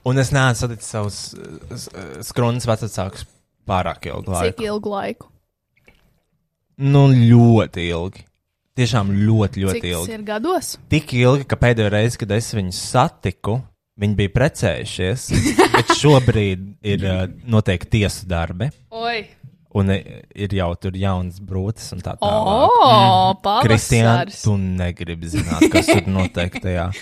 B: Un es neesmu saticis savus uh, s- uh, skronas vecākus pārāk ilgu
C: Cik
B: laiku.
C: ilgu laiku?
B: Nu, ļoti ilgi. Tiešām ļoti,
C: Cik
B: ļoti
C: tas
B: ilgi.
C: ir gados?
B: Tik ilgi, ka pēdējo reizi, kad es viņus satiku, viņi bija precējušies. bet šobrīd ir uh, noteikti tiesu darbi,
C: Oi!
B: un uh, ir jau tur jauns brūcis un tā tālāk.
C: O,
B: Kristiāna,
C: pavasars!
B: Mm. tu negribi zināt, kas tur notiek tajā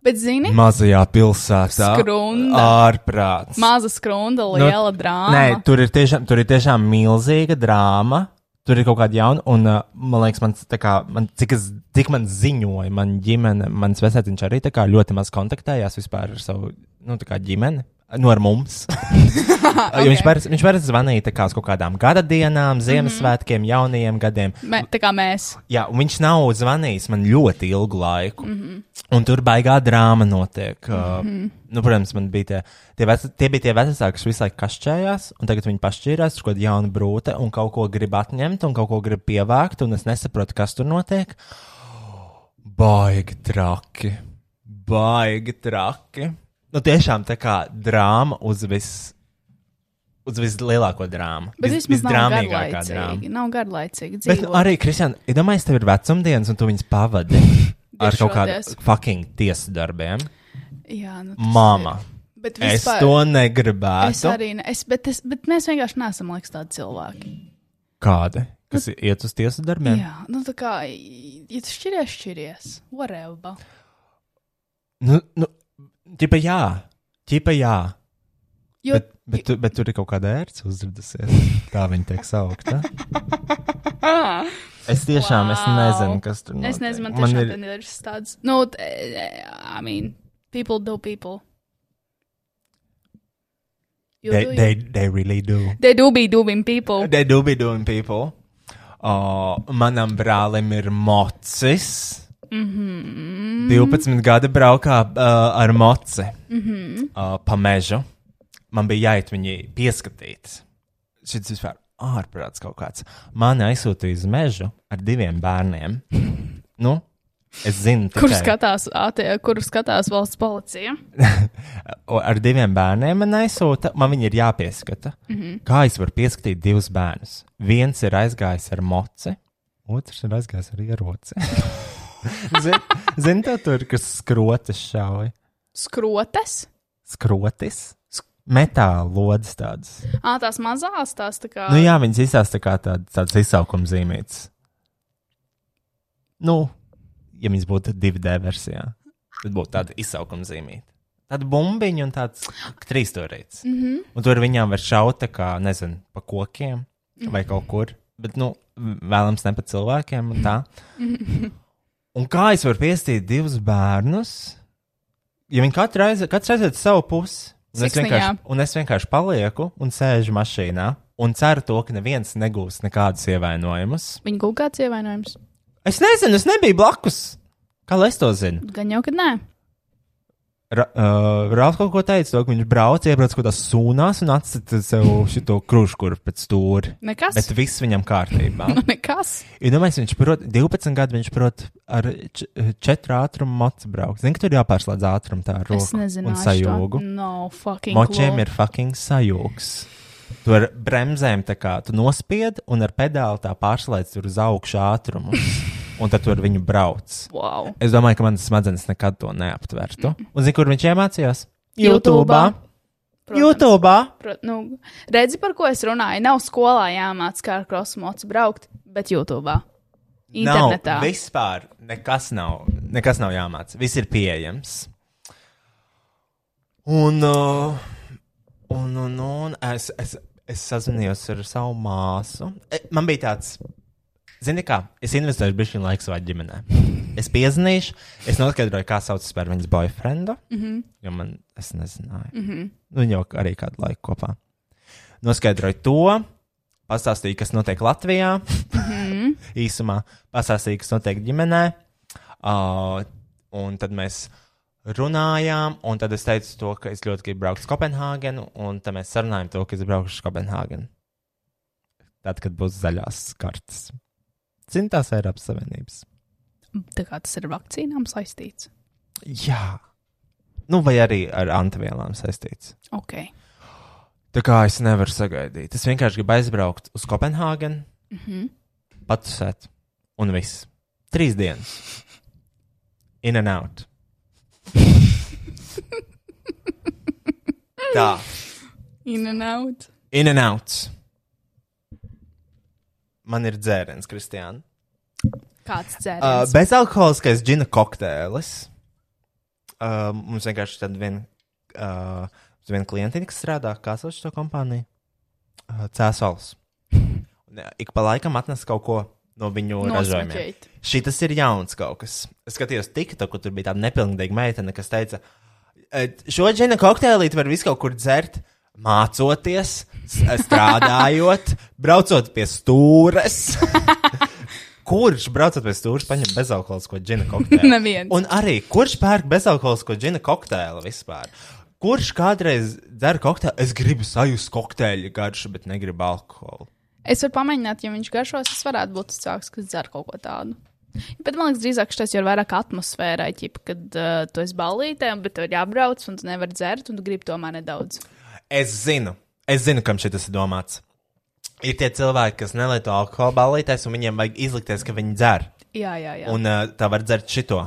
C: Bet
B: Mm.
C: zini,
B: mazajā pilsētā.
C: Skrunda.
B: Ārprāts.
C: maza skrunda, liela drāma.
B: Nu, Nē, tur ir, tiešām, tur ir tiešām milzīga drāma. Tur ir kaut kāda jauna, un uh, man liekas, man, tā kā, man, cik, es, cik man ziņoja, man ģimene, mans vecētiņš arī tā kā ļoti maz kontaktējās vispār ar savu nu, tā kā ģimeni, Nu, ar mums. okay. Viņš parasti- viņš parasti zvanīja tā kā uz kaut kādām gada dienām, Ziemassvētkiem, mm -hmm. jaunajiem gadiem.
C: Mē, tā kā mēs.
B: Jā, un viņš nav zvanījis man ļoti ilgu laiku. Mm -hmm. Un tur baigā drāma notiek. Mm
C: Mhm.
B: -hmm. nu, protams, man bija tie, tie, vec, tie bija tie vecāki, kas visu laiku kašķējās, un tagad viņi pašķīrās, tur kaut kāda jauna brūce, un kaut ko grib atņemt, un kaut ko grib pievākt, un es nesaprotu, kas tur notiek. Baigi traki, baigi traki. Nu, tiešām tā kā drāma uz vis. Uz vislielāko drāmu.
C: Bet
B: Vis-
C: vismaz nav
B: visdrāmīgākā drāma.
C: garlaicīgi. Nav garlaicīgi.
B: Bet nu,
C: dzīvot.
B: arī, Kristian, iedomājieties, tev ir vecumdienas, un tu viņas pavadi ar kaut
C: Diršoties.
B: kādiem fucking tiesu darbiem.
C: Jā, nu, tas ir-
B: Māma,
C: Bet
B: es
C: vispār-
B: to
C: Es
B: negribētu.
C: arī ne, es, bet, es, bet mēs vienkārši neesam liekas, tādi cilvēki.
B: Kādi? Kas iet uz tiesu
C: Jā,
B: darbiem?
C: Jā nu tā kā, ja tu šķiries, šķiries. Whatever.
B: Nu, nu, ķipa jā, ķipa jā.
C: Jo,
B: Bet, bet, tu, bet tur ir kaut kāda ērts uzrādusies. Tā viņa tiek saukta. Es tiešām wow. es
C: Wow.
B: nezinu, kas tur notiek.
C: Ah! es nezinu, man
B: man
C: tiešām
B: ir.
C: ir... ir tāds, nu, t- I mean, people do people. You
B: They,
C: do,
B: they,
C: you.
B: they really do.
C: they do be doing people.
B: They do be doing people. Uh, manam brālim ir mocis. Mm -hmm. 12 gadi braukā uh, ar moci mm -hmm. uh, pa mežu. Man bija jāiet viņai pieskatīt. Šis vispār ārprāts kaut kāds. Mani aizsūtīja uz mežu ar diviem bērniem. nu, es zinu,
C: Kur
B: tikai-
C: skatās, atie, kur skatās valsts policija?
B: O, ar diviem bērniem man aizsūta, man viņi ir jāpieskata. Mm -hmm. Kā es varu pieskatīt divus bērnus? Viens ir aizgājis ar moci, otrs ir aizgājis ar ieroci. Zini, zin, tā tur ir kas skrotas šauj.
C: Skrotes?
B: Skrotis? Metāla lodes tādas.
C: Ā, tās mazās, tās tā kā.
B: Nu jā, viņas izsās tā kā tād, tāds izsaukuma zīmīts. Nu, ja viņas būtu 2D versijā, tad būtu tāda izsaukuma zīmīta. Tāda bumbiņa un tāds trīsstūrīts.
C: Mm -hmm.
B: Un tur viņām var šaut, tā kā, nezinu, pa kokiem vai kaut kur. Bet, nu, vēlams, ne pa cilvēkiem un tā. Un kā es varu piestīt divus bērnus, ja viņi katru reizi aiziet uz savu pusi? Un es,
C: Siksniņā.
B: vienkārši, un es vienkārši palieku un sēžu mašīnā un ceru to, ka neviens negūs nekādus ievainojumus.
C: Viņa kaut kāds ievainojums.
B: Es nezinu, es nebiju blakus. Kā lai es to zinu?
C: Gan jau, ka nē.
B: Ra uh, Rāvs kaut ko teica, to, ka viņš brauc, iebrauc kaut kādā sūnās un atsita sev šo kruškuru pēc stūri.
C: Nekas.
B: Bet viss viņam kārtībā.
C: Nu, nekas.
B: Iedomājieties, viņš prot 12 gadu, viņš prot ar 4 ātrumu mocu braukt. Zini, ka tur jāpārslēdz ātrums tā ar
C: Es
B: roku
C: nezinu,
B: un sajūgu.
C: No fucking.
B: Močiem
C: clue.
B: ir fucking sajūgs. Tu ar bremzēm tā kā tu nospied un ar pedāli tā pārslēdz tur uz augšu ātrumu. un tad tu ar viņu brauc.
C: Wow.
B: Es domāju, ka manas smadzenes nekad to neaptvertu.
C: Mm.
B: Un zini, kur viņš iemācījās?
C: YouTube'ā. Protams.
B: YouTube!
C: Pro, nu, redzi, par ko es runāju. Nav skolā jāmācās kā ar krosmocu braukt, bet YouTube. Internetā.
B: Nav, vispār nekas nav, nekas nav jāmācās. Viss ir pieejams. Un, uh, un, un, un es, es, es sazinājos ar savu māsu. E, Man bija tāds, zini, kā es investēju bišķiņu laiku savā ģimenē. Es piezinīšu, es noskaidroju, kā saucas par viņas boyfriendu. Mm -hmm. Jo man, es nezināju. Mm -hmm. Nu, viņi jau arī kādu laiku kopā. Noskaidroju to, pastāstīju, kas notiek Latvijā īsumā pastāstīja, kas notiek ģimenē. Uh, un tad mēs runājām, un tad es teicu, to, ka es ļoti gribu braukt uz Kopenhāgenu, un tad mēs sarunājām to, ka es braukšu uz Kopenhāgenu. Tad, kad būs zaļās kartes. Zini, tās Eiropas Savienības.
C: Tā kā tas ir ar vakcīnām saistīts.
B: Jā. Nu, vai arī ar antivielām saistīts.
C: Ok.
B: Tā kā es nevaru sagaidīt. Es vienkārši gribu aizbraukt uz Kopenhāgenu, mm
C: Mhm.
B: -hmm. patusēt, un viss. Trīs dienas. In and out. Tā,
C: In and out.
B: in and out. Man ir dzēriens, Kristiāna.
C: Kāds
B: Uh,
C: dzēriens? Uh,
B: bezalkoholiskais džina kokteilis. Uh, mums vienkārši tāda viena uh, mums viena klientiņa, kas strādā kā sauc šo kompāniju, uh, Cēsals. Un, uh, Ik pa laikam atnes kaut ko no viņu ražojumiem.
C: Nosmaķēt.
B: Šī tas ir jauns kaut kas. Es skatījos TikTok, kur tur bija tāda nepilngadīga meitene, kas teica, et šo džina kokteili var visu kaut kur dzert. Mācoties, s- e, strādājot, braucot pie stūres. kurš braucot pie stūres, paņem bezalkoholisko džina kokteili?
C: Neviens.
B: Un arī, kurš pērk bezalkoholisko džina kokteili vispār? Kurš kādreiz dzer kokteili? Es gribu sajust kokteļa garšu, bet negribu alkoholu.
C: Es varu pamēģināt, ja viņš garšos, es varētu būt tas cilvēks, kas dzer kaut ko tādu. Bet man liekas, drīzāk tas ir vairāk atmosfērai, ķip, kad uh, tu esi ballītē, bet tev ir jābrauc un tu nevari dzert, un tu gribi tomēr nedaudz.
B: Es zinu, es zinu, kam šis ir domāts. Ir tie cilvēki, kas nelieto alkohola balītēs, un viņiem vajag izlikties, ka viņi dzer.
C: Jā, jā, jā.
B: Un uh, tā var dzert šito.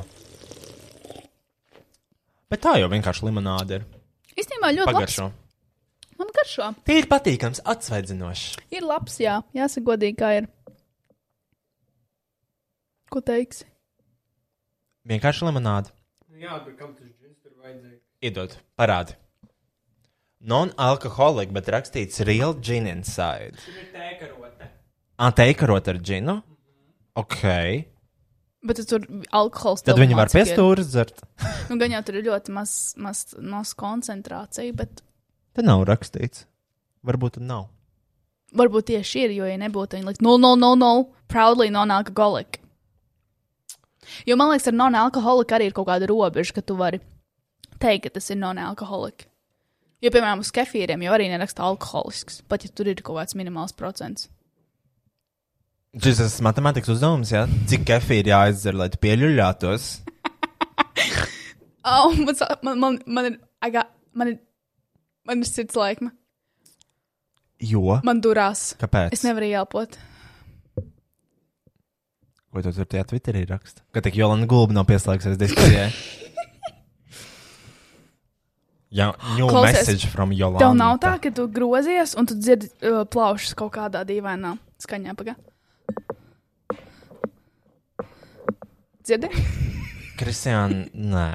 B: Bet tā jau vienkārši limonāde ir.
C: Īstenībā ļoti Nu, labs.
B: Pagaršo.
C: Man garšo.
B: Tīri patīkams, atsvaidzinošs.
C: Ir labs, jā. Jāsaka, godīgi, kā ir. Ko teiksi?
B: Vienkārši limonāde.
E: Jā, bet kam tas džins tur vajadzēja?
B: Iedod, parādi. Non-alkoholic, bet rakstīts real gin inside.
E: Tur ir tēkarote.
B: Anteikarot ar džinu? Ok.
C: Bet tu tur alkohols.
B: Tad
C: tev
B: viņi var
C: mācīgi ir.
B: piestūri dzert.
C: Nu, gan jau tur ir ļoti maz, maz, maz koncentrācija, bet
B: Te nav rakstīts. Varbūt tur nav.
C: varbūt tieši ir, jo, ja nebūtu, viņi likt, no, no, no, no, proudly non-alkoholic. Jo man liekas, ar non-alkoholic arī ir kaut kāda robeža, ka tu vari teikt, ka tas ir non-alkoholic. Jo, piemēram, uz kefīriem jau arī neraksta alkoholisks, pat ja tur ir kaut kāds minimāls procents.
B: Šis ir matemātikas uzdevums, jā. Cik kefīra jāizdzer, lai tu pieļuļātos?
C: Oh, man, sa- man, man, man ir, I got, man ir, man ir sirds laikma.
B: Jo.
C: Man durās.
B: Kāpēc?
C: Es nevaru ielpot.
B: Ko tu tur tajā Twitterī raksta? Ka tik Jolanda Gulba nav pieslēgsies diskusijai. Jā, new
C: Klausies,
B: message from Jolanda.
C: Tev nav tā, ka tu grozies un tu dzirdi uh, plaušas kaut kādā dīvainā skaņā. Paga. Dzirdi?
B: Kristiāna, nē.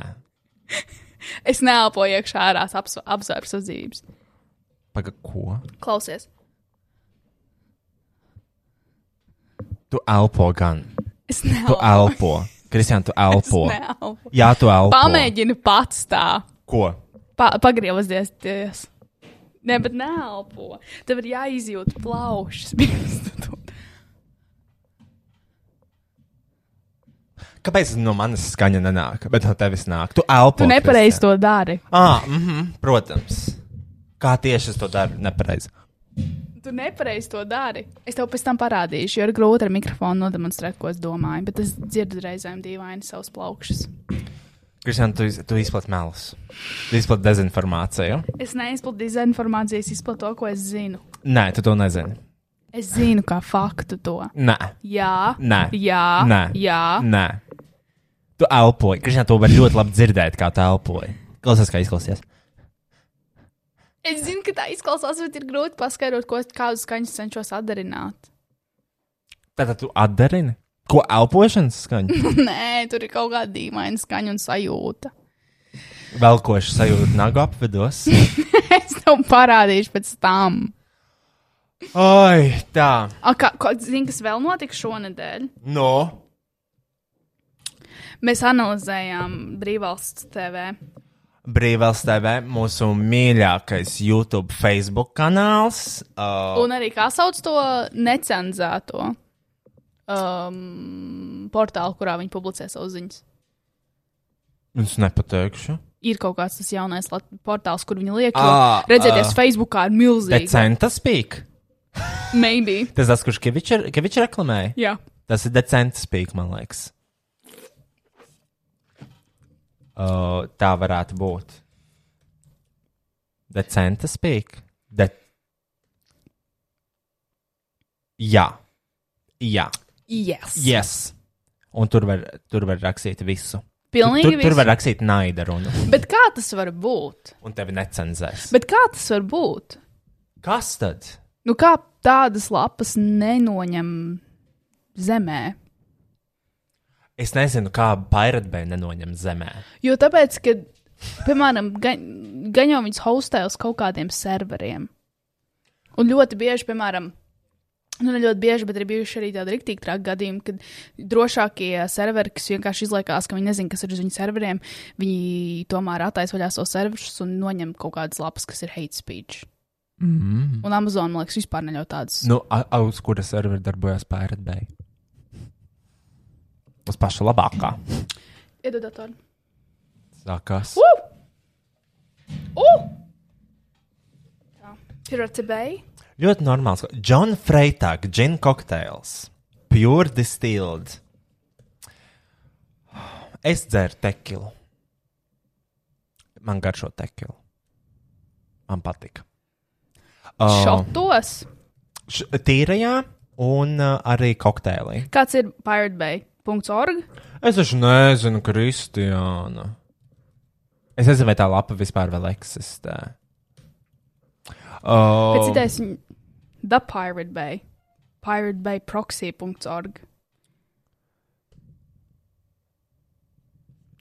C: Es neelpoju iekšā ārā apsvērts uzdzības.
B: Paga, ko?
C: Klausies.
B: Tu elpo gan.
C: Es
B: Tu
C: neelpoju.
B: elpo. Kristiāna, tu
C: Es
B: elpo.
C: neelpoju.
B: Jā, tu elpo.
C: Pamēģini pats tā.
B: Ko?
C: Pa, pagriezties. ties. Nē, bet neelpo. Tev ir jāizjūt plaušas. pirms tu to
B: Kāpēc no manas skaņa nenāk, bet no tevis nāk? Tu elpo.
C: Tu nepareizi
B: Kristiāna.
C: to dari.
B: Ah, mm -hmm, protams. Kā tieši es to daru? Nepareizi.
C: Tu nepareizi to dari. Es tev pēc tam parādīšu, jo ir grūti ar mikrofonu nodemonstrēt, ko es domāju. Bet es dzirdu reizēm dīvaini savus plaukšus.
B: Kristiāna, tu, iz- tu izplati melus. Tu izplati dezinformāciju.
C: Es neizplatīju dezinformāciju, es izplatīju to, ko es zinu.
B: Nē, tu to nezini.
C: Es zinu, kā faktu to.
B: Nē,
C: Jā,
B: Nē.
C: jā,
B: Nē.
C: jā.
B: nē. Tu elpoji. Kristiāna, to var ļoti labi dzirdēt, kā tu elpoji. Klausies, kā izklausies.
C: Es zinu, ka tā izklausās, bet ir grūti paskaidrot, ko es kādu skaņu cenšos atdarināt.
B: Tātad tu atdarini. Ko elpošanas skaņa?
C: Nē, tur ir kaut kāda dīvaina skaņa un sajūta.
B: Velkoši sajūta nagu apvidos.
C: Es tev parādīšu pēc tam.
B: Ai, tā.
C: A, kā, kā, zini, kas vēl notika šonadēļ?
B: No.
C: Mēs analizējām brīvvalsts TV.
B: Brīvels TV, mūsu mīļākais YouTube, Facebook kanāls. Uh,
C: Un arī kā sauc to necenzēto um, portālu, kurā viņi publicē savus ziņas.
B: es nepateikšu.
C: Ir kaut kāds tas jaunais lat- portāls, kur viņi liek, jo
B: Ā,
C: redzēties
B: ā.
C: Facebookā ir milzīgi.
B: Decenta spīk.
C: Maybe.
B: Tas tas, kurš Kevičs reklamēja.
C: Jā.
B: Tas ir decents spīk, man liekas. Uh, tā varētu būt. Decenta spīk. De... Jā. Jā.
C: Yes.
B: Yes. Un tur var, tur var rakstīt visu.
C: Pilnīgi
B: tur, tur, tur var
C: viss.
B: rakstīt naida runu.
C: Bet kā tas var būt?
B: Un tevi necenzēs.
C: Bet kā tas var būt?
B: Kas tad?
C: Nu kā tādas lapas nenoņem zemē?
B: Es nezinu, kā Pirate Bay nenoņem zemē.
C: Jo tāpēc, ka, piemēram, gan gan jau viņas hostē uz kaut kādiem serveriem. Un ļoti bieži, piemēram, Nu, ne ļoti bieži, bet ir bijuši arī tādi rīktīgi traki gadījumi, kad drošākie serveri, kas vienkārši izliekās, ka viņi nezina, kas ir uz viņu serveriem, viņi tomēr attaisno vaļā savus serverus un noņem kaut kādas lapas, kas ir hate speech. Mm. Un Amazon, man liekas, vispār neļauj tādas.
B: Nu, a- a- uz kura servera darbojas Pirate Bay? Uz paša labākā.
C: Iedod datoru.
B: Sākās.
C: Uh! Pirate Bay.
B: Ļoti normāls. John Freitag, gin cocktails. Pure distilled. Es dzeru tekilu. Man garšo tekilu. Man patika.
C: Oh.
B: Uh,
C: Šotos.
B: š- tīrajā un uh, arī kokteilī.
C: Kāds ir Pirate Bay? .org.
B: Es taču nezinu, Kristiāna. Es nezinu, vai tā lapa vispār vēl eksistē.
C: Pēc
B: Oh,
C: idejas viņ- The Pirate Bay. Pirate Bay proxy.org.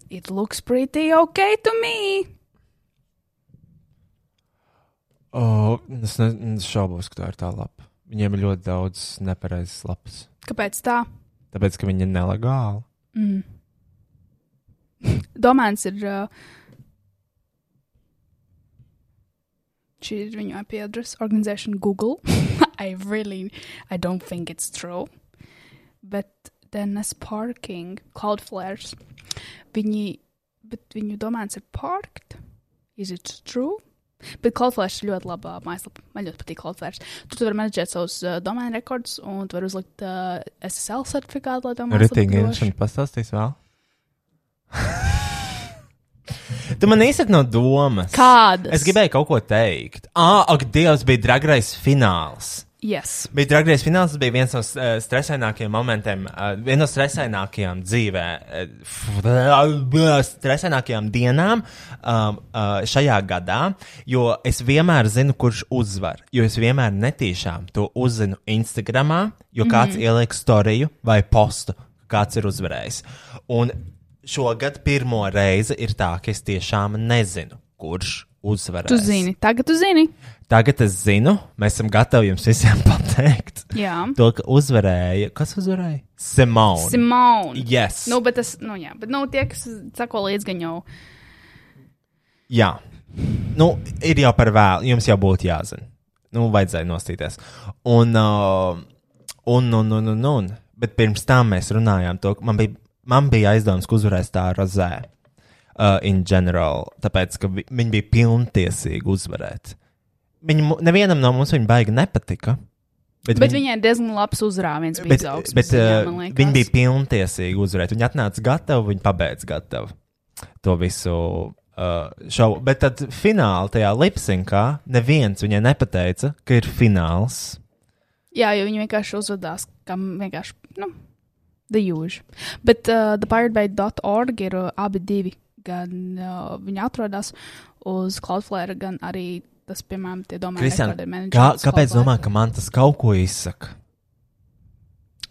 C: It looks pretty okay to me.
B: oh, es ne- es šaubos, ka tā ir tā lapa. Viņiem ir ļoti daudz nepareizas lapas.
C: Kāpēc tā?
B: Tāpēc, ka viņi ir nelegāli.
C: Mm. Domāns ir. Uh, šī ir viņu IP adrese, organization Google. I really, I don't think it's true. Bet DNS parking, Cloudflares. Viņi, bet viņu domāns ir parked. Is it true? Bet Cloudflares ir ļoti laba mājaslapa. Man ļoti patīk Cloudflares. Tur tu vari managēt savus uh, domēnu rekordus un tu vari uzlikt uh, SSL certifikātu, lai domātu.
B: Ritīgi, interesanti. Pastāstīs vēl. tu man īsti no domas.
C: Kādas?
B: Es gribēju kaut ko teikt. Ah, ak, Dievs, bija dragrais fināls.
C: Yes.
B: Bija dragrais fināls, tas bija viens no uh, stresainākajiem momentiem, uh, viena no stresainākajām dzīvē, uh, stresainākajām dienām um, uh, šajā gadā, jo es vienmēr zinu, kurš uzvar. Jo es vienmēr netīšām to uzzinu Instagramā, jo kāds
C: Mhm.
B: mm -hmm. ieliek storiju vai postu, kāds ir uzvarējis. Un šogad pirmo reizi ir tā, ka es tiešām nezinu, kurš uzvarēs.
C: Tu zini, tagad tu zini.
B: Tagad es zinu, mēs esam gatavi jums visiem pateikt
C: Jā,
B: to, ka uzvarēja. Kas uzvarēja? Simona. Sim
C: Simona.
B: yes.
C: Nu, bet tas, nu, jā, bet nu, tie, kas sako līdzi, gan jau.
B: Jā, nu, ir jau par vēlu. Jums jau būtu jāzina. Nu, vajadzēja nostīties. Un, uh, un, un, un, un, un. Bet pirms tam mēs runājām, to, ka man bija, man bija aizdoms, ka uzvarēs tā rozē. Uh, in general, tāpēc, ka vi- viņi bija pilntiesīgi uzvarēt. Viņi, mu- nevienam no mums viņa baigi nepatika.
C: Bet viņai diezgan labs uzrāviens bija
B: Bet,
C: izaugsmes.
B: bet
C: viņai,
B: uh,
C: man liekas.
B: viņi bija pilntiesīgi uzvarēt. Viņi atnāca gatavi, viņi pabeidza gatavu to visu uh, šovu. Bet tad finālā tajā lipsinkā neviens viņai nepateica, ka ir fināls.
C: Jā, jo viņi vienkārši uzvedās, kam vienkārši, nu, the usual. Bet uh, thepiratebay.org ir uh, abi divi, gan uh, viņi atrodas uz Cloudflare, gan arī tas, piemēram, tie domāti,
B: Kristiāna, Kā, kāpēc domā, ka man tas kaut ko izsaka?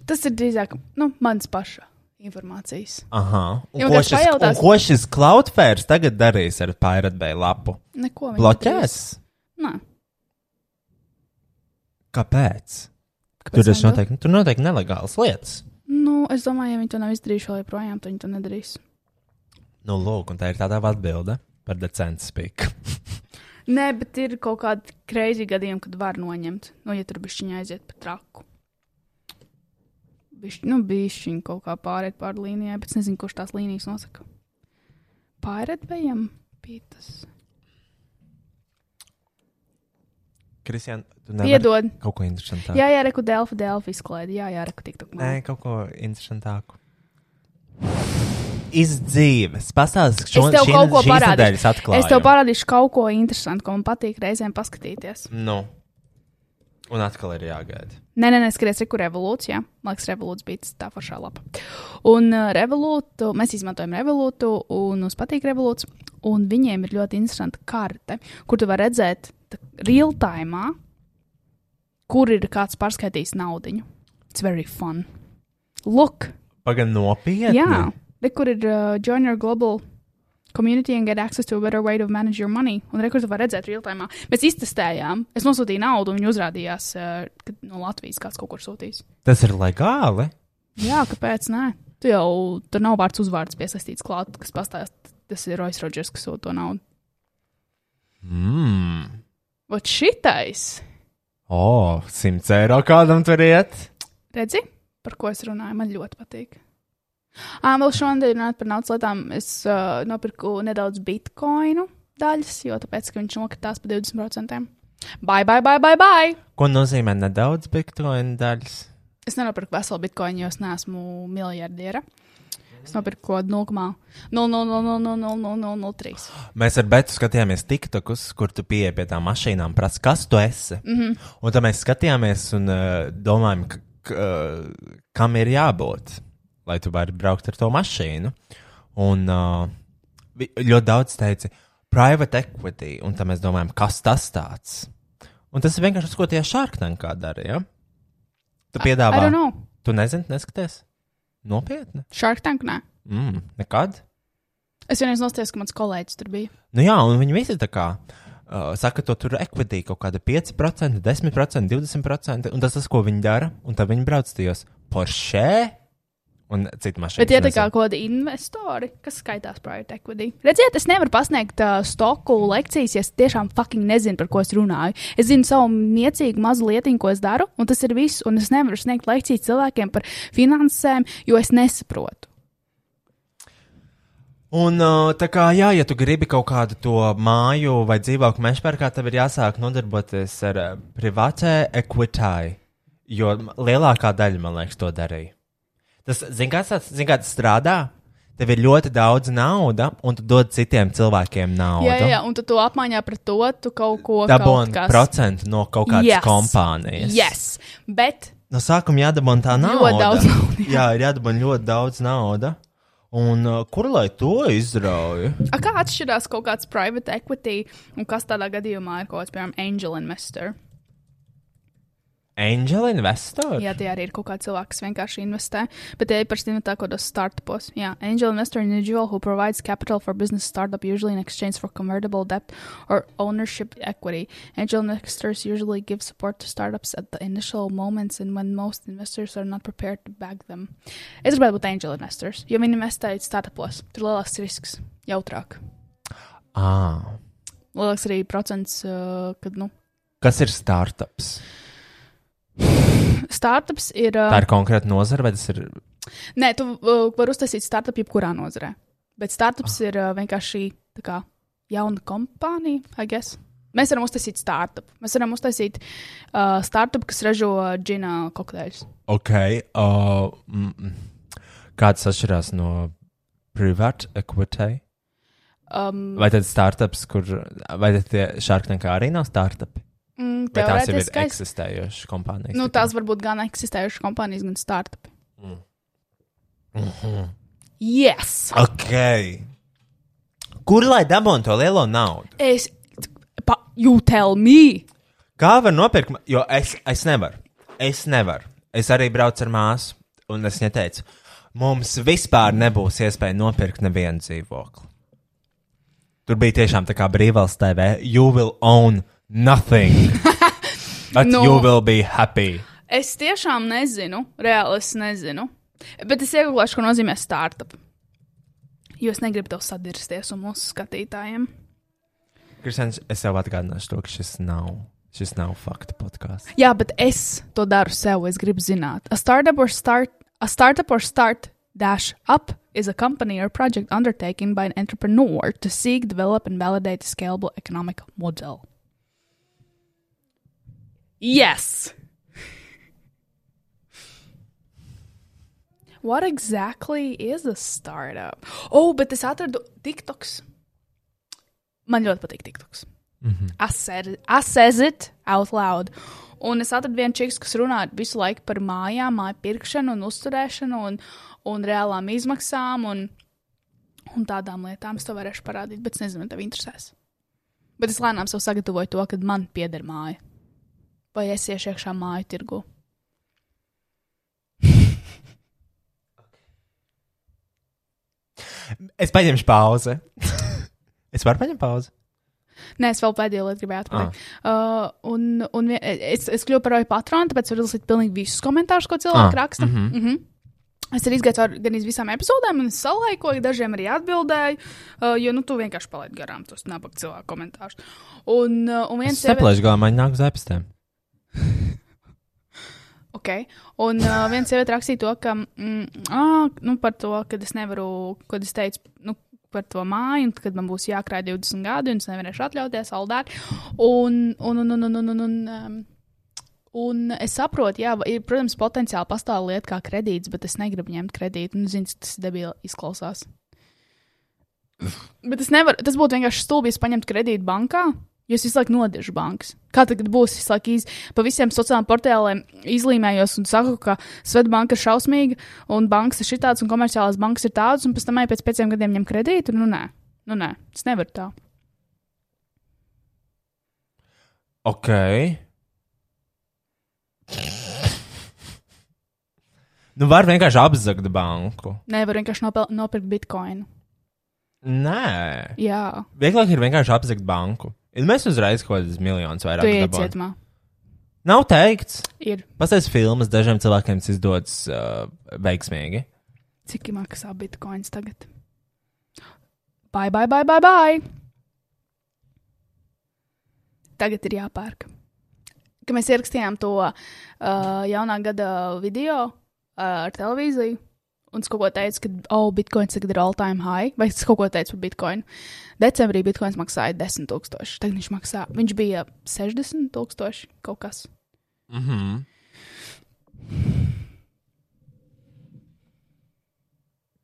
C: Tas ir drīzāk, nu, mans paša informācijas.
B: Aha. Un
C: Jo,
B: ko,
C: kad
B: šis,
C: pajautās-
B: un ko šis Cloudflare tagad darīs ar Pirate Bay lapu?
C: Neko viņi
B: Bloķēs?
C: Nē.
B: Kāpēc?
C: kāpēc
B: Tur
C: viņi
B: tas
C: to-
B: noteikti, tur noteikti nelegāls lietas.
C: Nu, es domāju, ja viņi to nav izdarījuši vēl joprojām, tad viņi to nedarīs.
B: Nu, lūk, un tā ir tāda atbilde par decentu spīku.
C: Nē, bet ir kaut kādi kreizi gadījumi, kad var noņemt. Nu, ja tur bišķiņa aiziet pa traku. Bišķi, nu, bišķiņa kaut kā pāriet pāri līnijai, bet es nezinu, kurš tās līnijas nosaka. Pāriet vējam pītas.
B: Kristian, tu nevari
C: Piedod.
B: kaut ko interesantāku.
C: Jā, jā, reku Delfa, Delfa izklaide. Jā, jā, reku tiktu.
B: Nē, kaut ko interesantāku. Izdzīves. Pastāstiet,
C: Es tev kaut ko parādīšu.
B: atklāju.
C: Es tev parādīšu kaut ko interesantu, ko man patīk reizēm paskatīties.
B: Nu. Un atkal ir jāgaida.
C: Nē, nē, nē, skaties, kur revolūcija. Man liekas, revolūcija bija tas tā foršā lapa. Un uh, revolūtu, mēs izmantojam revolūtu, un mums patīk revolūts. Un viņiem ir ļoti interesanta karte, kur tu vari redzēt tā real time, kur ir kāds pārskaitījis naudu. It's very fun. Look,
B: Pagaidām, nopietni.
C: jā, re, kur ir uh, Junior Global community and get access to a better way to manage your money. Un rekur tu var redzēt real time. Mēs iztestējām. Es nosūtīju naudu, un viņi uzrādījās, eh, ka no Latvijas kāds kaut kur sūtīs.
B: Tas ir legāli.
C: Jā, kāpēc nē? Tu jau tur nav vārds uzvārds piesaistīts klāt, kas pastāsta, tas ir Roisas Rodžers, kas sūta to naudu.
B: Mmm,
C: Vot šitais,
B: oh, 100 eiro kādam tur iet.
C: redzi, par ko es runāju, man ļoti patīk. Ā, vēl šodien runājot par naudas lietām, es uh, nopirku nedaudz bitkoinu daļas, jo tāpēc, ka viņš nokritās pa 20%. Bye, bye, bye, bye, bye!
B: Ko nozīmē nedaudz bitkoinu daļas?
C: Es nenopirku veselu bitkoinu, jo es neesmu miljardiera. Es nopirku kaut kādu 0,003.
B: Mēs ar Betu skatījāmies TikTokus, kur tu pieeji pie tām mašīnām, prasa, kas tu esi. Mm
C: Mhm.
B: -hmm. Un tad mēs skatījāmies un uh, domājam, ka, ka, uh, kam ir jābūt, lai tu varētu braukt ar to mašīnu. Un uh, vi- ļoti daudz teica, private equity, un tad mēs domājam, kas tas tāds. Un tas ir vienkārši tas, ko tie šārktankā dara. Ja? Tu
C: I don't
B: piedāvā.
C: know.
B: Tu nezini, neskaties? Nopietni?
C: Shark Tank, nē.
B: Mm, nekad?
C: Es vienreiz nostājos, ka mans kolēģis tur bija.
B: Nu jā, un viņi visi tā kā uh, saka, to tur ekvitī kaut kāda 5%, 10%, 20%, un tas tas, ko viņi dara, un tad viņi brauc tajos Porsche un citu mašīnu.
C: Bet tie ir tā kā kaut kādi investori, kas skaitās private equity. Redziet, es nevaru pasniegt uh, stoku lekcijas, ja es tiešām fucking nezinu, par ko es runāju. Es zinu savu niecīgu mazu lietiņu, ko es daru, un tas ir viss. Un es nevaru sniegt lekcijas cilvēkiem par finansēm, jo es nesaprotu.
B: Un uh, tā kā, jā, ja tu gribi kaut kādu to māju vai dzīvokli mežparkā, tad ir jāsāk nodarboties ar uh, privātē ekvitāju, jo m- lielākā daļa, man liekas, to darīja. Tas, zini, kāds tas zin, kā tas strādā? Tev ir ļoti daudz nauda, un tu dod citiem cilvēkiem naudu.
C: Jā, jā, jā, un tu to apmaiņā par to tu kaut ko
B: dabūjām
C: kaut kas-
B: procentu no kaut kādas
C: Yes.
B: yes. kompānijas.
C: Yes. Bet
B: No sākuma jādabūna tā nauda.
C: Ļoti daudz naudas,
B: jā.
C: jā.
B: jā, ir jādabūna ļoti daudz naudas. Un uh, kur lai to izrauj?
C: a, kā atšķirās kaut kāds private equity un kas tādā gadījumā ir kaut kāds, piemēram, angel investor?
B: Angel investor?
C: Jā, tie arī ir kaut kādi cilvēki, kas vienkārši investē. Bet tie parasti investē kaut kādos startupos. Jā, angel investor an individual who provides capital for business startup usually in exchange for convertible debt or ownership equity. Angel investors usually give support to startups at the initial moments and when most investors are not prepared to back them. Es gribētu būt angel investors, jo viņi investē startupos. Tur lielāks risks, jautrāk.
B: Ah,
C: Lielāks arī procents, uh, kad, nu,
B: kas ir startups?
C: startups ir. Uh,
B: Tā ir konkrēta nozara, vai tas ir
C: Nē, tu uh, vari uztaisīt startup jebkurā nozarē. Bet startups
B: Ah.
C: ir uh, vienkārši tā kā jauna kompānija, I guess. Mēs varam uztaisīt startup. Mēs varam uztaisīt uh, startup, kas ražo džina kokteļus.
B: ok? Uh, mm, mm. Kāds atšķirās no privāta equity?
C: Um,
B: Vai tad startups, kur vai tad tie šārktankā arī nav startupi?
C: mm,
B: Vai tās jau ir
C: teorētiskais-
B: eksistējošas kompānijas? Tā
C: Nu,
B: kā-
C: tās var būt gan eksistējušas kompānijas, gan startupi.
B: Mm. Mm-hmm.
C: Yes!
B: Ok. Kur lai dabūtu to lielo naudu?
C: Es, pa, you tell me!
B: Kā var nopirkt? ma- Jo es, es nevaru. Es nevaru. Es arī braucu ar māsu, un es viņai teicu, mums vispār nebūs iespēja nopirkt nevienu dzīvokli. Tur bija tiešām tā kā brīvāls TV. You will own nothing. But
C: Nu.
B: no. you will be happy.
C: Es tiešām nezinu, reāli es nezinu. Bet es iegūšu, ko nozīmē startup. Jo es negribu tev sadirsties un mūsu skatītājiem.
B: Kristians, es tev atgādināšu to, ka šis nav, šis nav faktu podkāsts.
C: Jā, bet es to daru sev, es gribu zināt. A startup or start, a startup or start dash up is a company or project undertaken by an entrepreneur to seek, develop and validate a scalable economic model. Yes. What exactly is a startup? Oh, bet es atradu TikToks. Man ļoti patīk TikToks. I said it- I says it out loud. Un es atradu vienu čiks, kas runā visu laiku par mājām, māju pirkšanu, un uzturēšanu un, un reālām izmaksām un, un tādām lietām. Es to varēšu parādīt, bet es nezinu, vai tev interesēs. Bet es lēnām sev sagatavoju to, kad man pieder māja. Vai es iešu iekšā māju tirgu?
B: Es paņemšu pauzi. Es varu paņemt pauzi.
C: Nē, es vēl pēdējo lietu gribēju pateikt.
B: Ah.
C: Uh, un un vien, es, es kļuvu par roju patronu, tāpēc varu lasīt pilnīgi visus komentārus, ko cilvēki
B: Ah,
C: ah, raksta. Mm -hmm. Mm -hmm. Es arī gāju cauri gan visām epizodēm, un es salaikoju, dažiem arī atbildēju, uh, jo nu, tu vienkārši palaidi garām tos nabaga cilvēku komentārus. Un, uh, un
B: Es
C: viens
B: saplēšu galā, man nāk uz apstēm.
C: Okay. Un uh, viens sieviete rakstīja to, ka mm, ah, nu, par to, ka es nevaru, kad es teicu nu, par to māju, un kad man būs jākrāj 20 gadi, un es nevarēšu atļauties saldēt. Un, un, un, un, un, un, un, un, um, un es saprotu, jā, ir, protams, potenciāli pastāv lieta kā kredīts, bet es negribu ņemt kredītu. Un, zini, cik tas debīli izklausās. Bet es nevaru, tas būtu vienkārši stulbi, ja es paņemtu kredītu bankā. Jo es visu laiku nodežu bankas. Kā tagad būs? Es laiku iz... pa visiem sociālajiem portāliem izlīmējos un saku, ka Svetbanka ir šausmīga, un bankas ir šitāds, un komerciālās bankas ir tādas, un pēc tam ej pēc pieciem gadiem ņem kredītu. Nu, nē, nu, nē, es nevaru tā.
B: Ok. nu, var vienkārši apzagt banku.
C: Nevaru vienkārši nopel... nopirkt bitkoinu.
B: Nē,
C: Jā,
B: vieglāk ir vienkārši apzagt banku. Ir Mēs uzreiz kaut kādus miljonus vairāk
C: tu ej
B: dabūjām.
C: cietumā.
B: Nav teikts,
C: Ir
B: pastāstiet filmas, dažiem cilvēkiem tas izdodas uh, veiksmīgi.
C: cik ir maksā bitkoins tagad? Bye, bye, bye, bye, bye. Tagad ir jāpērk. Kad mēs ierakstījām to uh, jaunā gada video uh, ar televīziju, un es kaut ko teicu, ka, oh, bitkoins tagad ir all time high, vai es kaut ko teicu par bitkoinu. Decembrī bitkoins maksāja 10,000, tagad viņš maksā, viņš bija 60,000 kaut kas.
B: Mhm.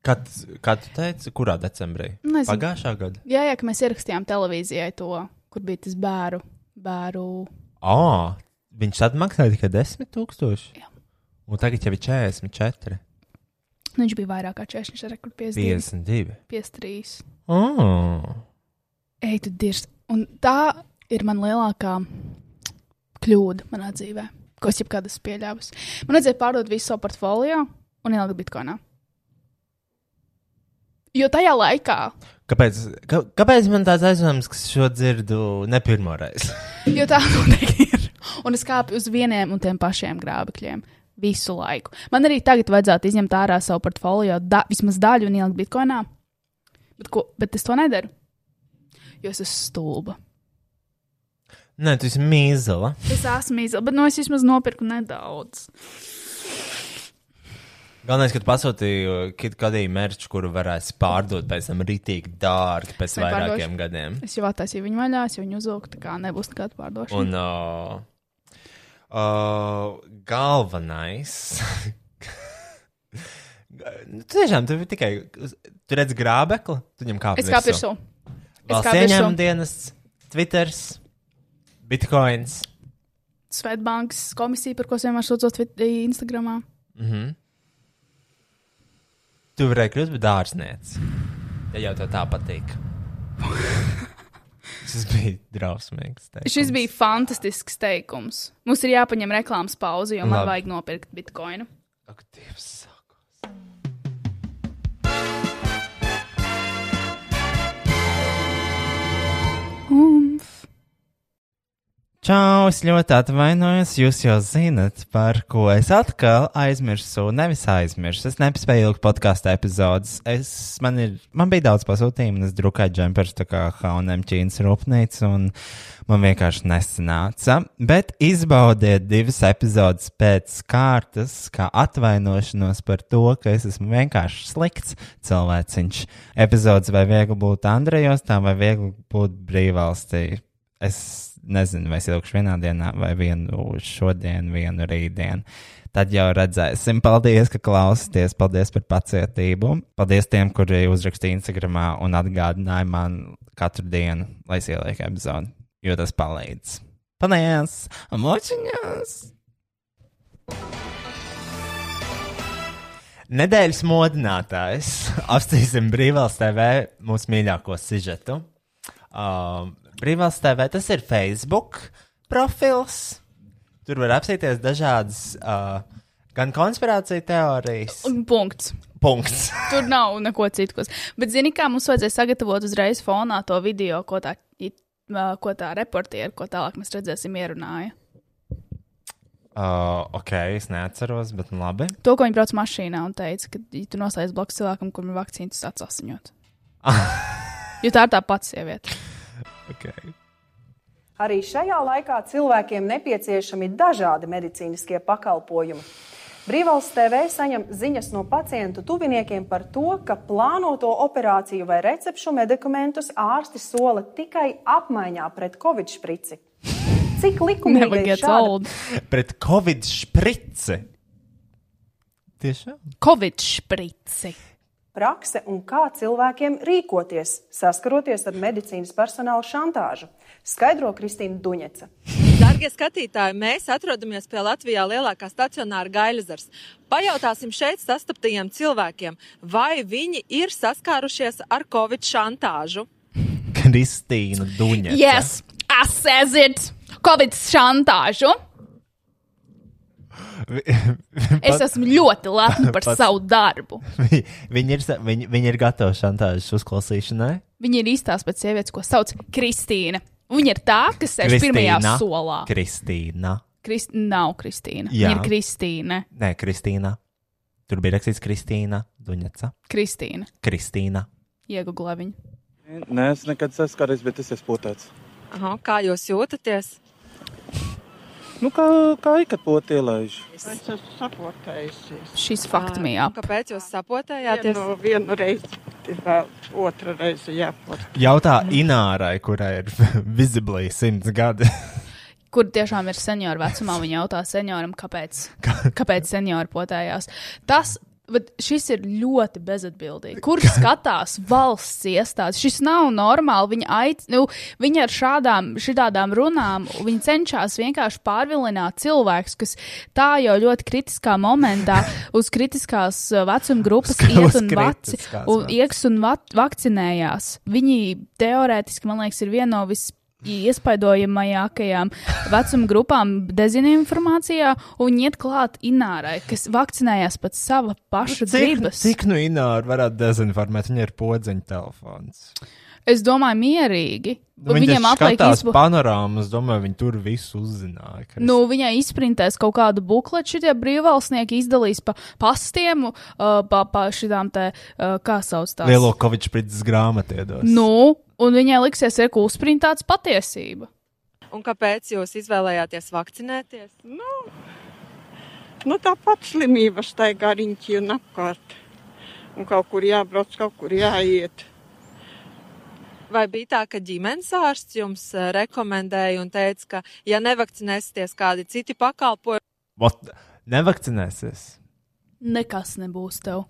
B: Kad, kad tu teici, kurā decembrī?
C: Nezinu.
B: Pagājušā gada.
C: Jā, jā, ka mēs ierakstījām televīzijai to, kur bija tas bērnu. bērnu.
B: Oh, viņš tad maksāja tikai 10,000.
C: Jā.
B: Un tagad jau ir 44,
C: Nu, viņš bija vairāk kā 40, viņš ir rekord 50,
B: 52.
C: 53.
B: Oh.
C: Ej, tu dirzi. Un tā ir man lielākā kļūda manā dzīvē, ko es jebkad esmu pieļāvusi. Man vajadzēja pārdot visu savu portfolio un ielikt bitkoinā. Jo tajā laikā,
B: Kāpēc, kā, kāpēc man tāds aizdoms, ka es šo dzirdu ne pirmo reizi?
C: jo tā noteikti ir, un es kāpu uz vieniem un tiem pašiem grābekļiem visu laiku. Man arī tagad vajadzētu izņemt ārā savu portfolio, da, vismaz daļu un ielikt bitkoinā. Bet, ko, bet es to nedaru, jo es esmu stulba.
B: Nē, tu esi mīzela.
C: Es esmu izsmeļs, bet nu, es vismaz nopirku nedaudz.
B: Galvenais, ka tu pasūtīji kit kādī mērķi, kuru varēsi pārdot pēc tam rītīgi dārgi pēc
C: nepārdošu.
B: vairākiem gadiem.
C: Es jau attaisīju viņu vaļā, es jau viņu uzvilku, tā kā nebūs nekāda pārdošana.
B: Un uh, uh, galvenais. Nu, Tu tiešām tu tikai uz- tu redz grābekli, tu ņem kāpnes.
C: Es kā piršu. Es kā
B: Valsts ieņēmuma
C: piršu
B: dienas, Twitter, Bitcoins.
C: Svetbankas komisiju, par ko es vienmēr sūdzos Twit- Instagramā. Mhm.
B: Tu varēji kļūt par dārznieci. Ja jau tev tā patīk. Tas bija drausmīgs. teikums.
C: Šis bija fantastisks teikums. Mums ir jāpaņem reklāmas pauze, jo man
B: Labi.
C: vajag nopirkt bitkoinu.
B: Ak, Dievs, saka.
C: Umf.
B: Čau, es ļoti atvainojos. Jūs jau zinat, par ko es atkal aizmirsu. Nevis aizmirsu, es nespēju ilgi podkāstu epizodes. Es, man, ir, man bija daudz pasūtījumu, un es drukāju džempers tā kā Haunam Čīnas rūpnīca, un man vienkārši nesanāca. Bet izbaudiet divas epizodes pēc kārtas, kā atvainošanos par to, ka es esmu vienkārši slikts cilvēciņš. Epizodes vai viegli būt Andrejos, tā vai viegli būt brīvvalstī. Es nezinu, vai es ilgšu vienā dienā, vai vienu šodien, vienu rītdienu. Tad jau redzēsim. Paldies, ka klausāties. Paldies par pacietību. Paldies tiem, kuri uzrakstīja Instagram un atgādināja man katru dienu, lai es ielieku epizodi, jo tas palīdz. Paldies! Močiņās! Nedēļas modinātājs apstāsim brīvās TV mūsu mīļāko sižetu. Um, Brīvās TV tas ir Facebook profils. Tur var apsīties dažādas uh, gan konspirācijas teorijas,
C: Un punkts.
B: Punkts.
C: Tur nav neko citu. Kas... Bet, zini, kā mums vajadzēja sagatavot uzreiz fonā to video, ko tā, it- ā, ko tā reportiera, ko tālāk mēs redzēsim, ierunāja.
B: Uh, ok, es neatceros, bet nu labi.
C: To, ko viņi brauc mašīnā un teica, ka, ja tu noslēdz blakus cilvēkam, kuram ir vakcīna, tas atsasiņot. jo tā ir tā pati sieviete.
B: Okay.
F: Arī šajā laikā cilvēkiem nepieciešami dažādi medicīniskie pakalpojumi. Brīvvalsts TV saņem ziņas no pacientu tuviniekiem par to, ka plānoto operāciju vai recepšu medikamentus ārsti sola tikai apmaiņā pret covid šprici. Cik
C: Never
F: likumīgi ir
C: gets
F: šāda
C: old.
B: Pret covid šprici. Tiešām?
C: Covid šprici.
F: prakse un kā cilvēkiem rīkoties, saskaroties ar medicīnas personāla šantāžu, skaidro Kristīna Duņeca.
G: Darbie skatītāji, mēs atrodamies pie Latvijā lielākā stacionāra gailzars. Pajautāsim šeit sastaptajiem cilvēkiem, vai viņi ir saskārušies ar covid šantāžu.
B: Kristīna Duņa.
C: Yes, I says it. Covid šantāžu. Es esmu ļoti lepna par
B: Pats-
C: savu darbu.
B: Vi- Viņi ir, sa- viņi, viņi ir gatavi šantāžas uzklausīšanai.
C: Viņa ir īstās pēc sievietes, ko sauc Kristīna. Viņa ir tā, kas sēž pirmajā
B: Kristīna.
C: solā.
B: Kristīna.
C: Krist... Nav Kristīna.
B: Jā.
C: Viņa ir Kristīna.
B: Nē, Kristīna. Tur bija rakstīts Kristīna Duņeca.
C: Kristīna.
B: Kristīna.
C: Iegūlē viņu.
H: Nē, es nekad saskaros, bet es esmu potēts.
G: Aha, kā jūs jūtaties?
H: Nu, kā, kā ik kad potē laiž.
I: Es esmu sapotējusies.
C: Šis fakts
G: Ā,
C: mījā.
G: Ah, un Kāpēc jūs sapotējāties?
I: Vienu, vienu reizi, vēl otru reizi jāpot.
B: Jautā Inārai, kurai ir visibly simts gadi.
C: Kur tiešām ir senioru vecumā, viņa jautā senioram, kāpēc, kāpēc seniori potējās. Tas, bet šis ir ļoti bezatbildīgi. Kur skatās valsts iestādes? Šis nav normāli. Viņa, aic, nu, viņa ar šādām, šādām runām viņa cenšas vienkārši pārvilināt cilvēkus, kas tā jau ļoti kritiskā momentā uz kritiskās eh, vecuma grupas
B: Uz
C: iet un, vaci,
B: kritiskās
C: un
B: vecuma.
C: ieks un vac- vakcinējās. Viņi teorētiski, man liekas, ir viena no vis. Iespaidojamajākajām vecuma grupām dezinformācijā, un viņi iet klāt Inārai, kas vakcinējās pēc sava paša
B: Cik,
C: gribas.
B: cik nu Ināra varētu dezinformēt? Viņa ir podziņa telefons.
C: Es domāju, mierīgi.
B: Nu, viņa
C: Viņiem
B: Viņam
C: atliek
B: atliekās
C: izbu...
B: izbu... panorāmas, domāju, viņi tur visu uzzināja. Kristi.
C: Nu, viņai izprintēs kaut kādu bukletu, šitie brīvvalsnieki izdalīs pa pastiem, uh, pa, pa šitām te, uh, kā sauc tās.
B: Lielo Kovičs pritis grāmatu iedos.
C: Nu, un viņai liksies, ir, ka uzprintēts patiesība.
G: Un kāpēc jūs izvēlējāties vakcinēties?
I: Nu, tāpat slimība staigā riņķi un apkārt. Un kaut kur jābrauc, kaut kur jāiet.
G: Vai bija tā, ka ģimenes ārsts jums eh, rekomendēja un teica, ka, ja nevakcinēsieties, kādi citi pakalpojumi
B: What? Nevakcinēsies.
C: Nekas nebūs tev.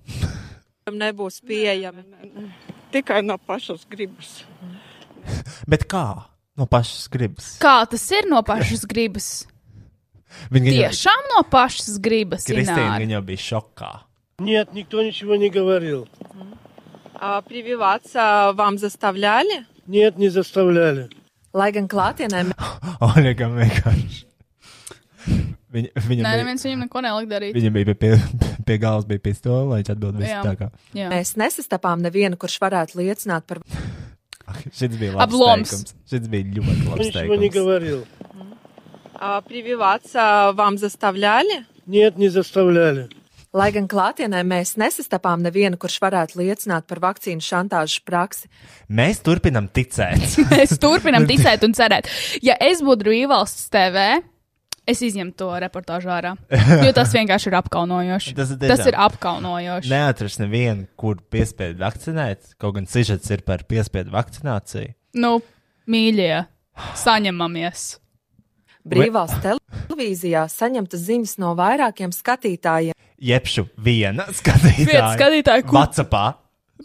G: nebūs pieejami?
I: Tikai no pašas gribas.
B: Bet kā? No pašas gribas.
C: Kā tas ir no pašas gribas?
B: Viņa gan jau-
C: Tiešām no pašas gribas.
B: Kristīna
C: Ināra.
B: gan jau bija šokā.
H: Нет, никто ничего не говорил.
G: А прививаться вам заставляли?
H: Нет, не заставляли.
G: Lai gan klātienē
B: Oļegam vienkārši. Viņa, viņam,
C: Nē,
B: bija,
C: neviens viņam neko nelikt darīt.
B: viņam bija pie, pie, pie galvas bija pistole, lai viņš atbild visu
C: Jā.
B: tā kā.
C: Jā.
G: mēs nesastapām nevienu, kurš varētu liecināt par
B: Ak, Šis bija labs
C: Aploms.
B: teikums. Šis bija ļoti
H: Никто
B: labs
H: ничего не
B: teikums.
H: говорил.
G: А прививаться вам заставляли?
H: Нет, не заставляли.
G: Lai gan klātienē mēs nesastapām nevienu, kurš varētu liecināt par vakcīnu šantāžu praksi.
B: Mēs turpinam ticēt.
C: Mēs turpinām ticēt un cerēt. Ja es būtu brīvvalsts TV, es izņemtu to reportāžu ārā. Jo tas vienkārši ir apkaunojoši.
B: Tas ir tiešām.
C: tas ir apkaunojoši.
B: Neatrast nevienu, kur piespiedu vakcinēt, kaut gan sižets ir par piespiedu vakcināciju.
C: Nu, mīļie, saņemamies.
G: Brīvās televīzijā saņemtas ziņas no vairākiem skatītājiem.
B: Jebšu viena skatītāja.
C: Viena skatītāja, kur-
B: Vatsapā.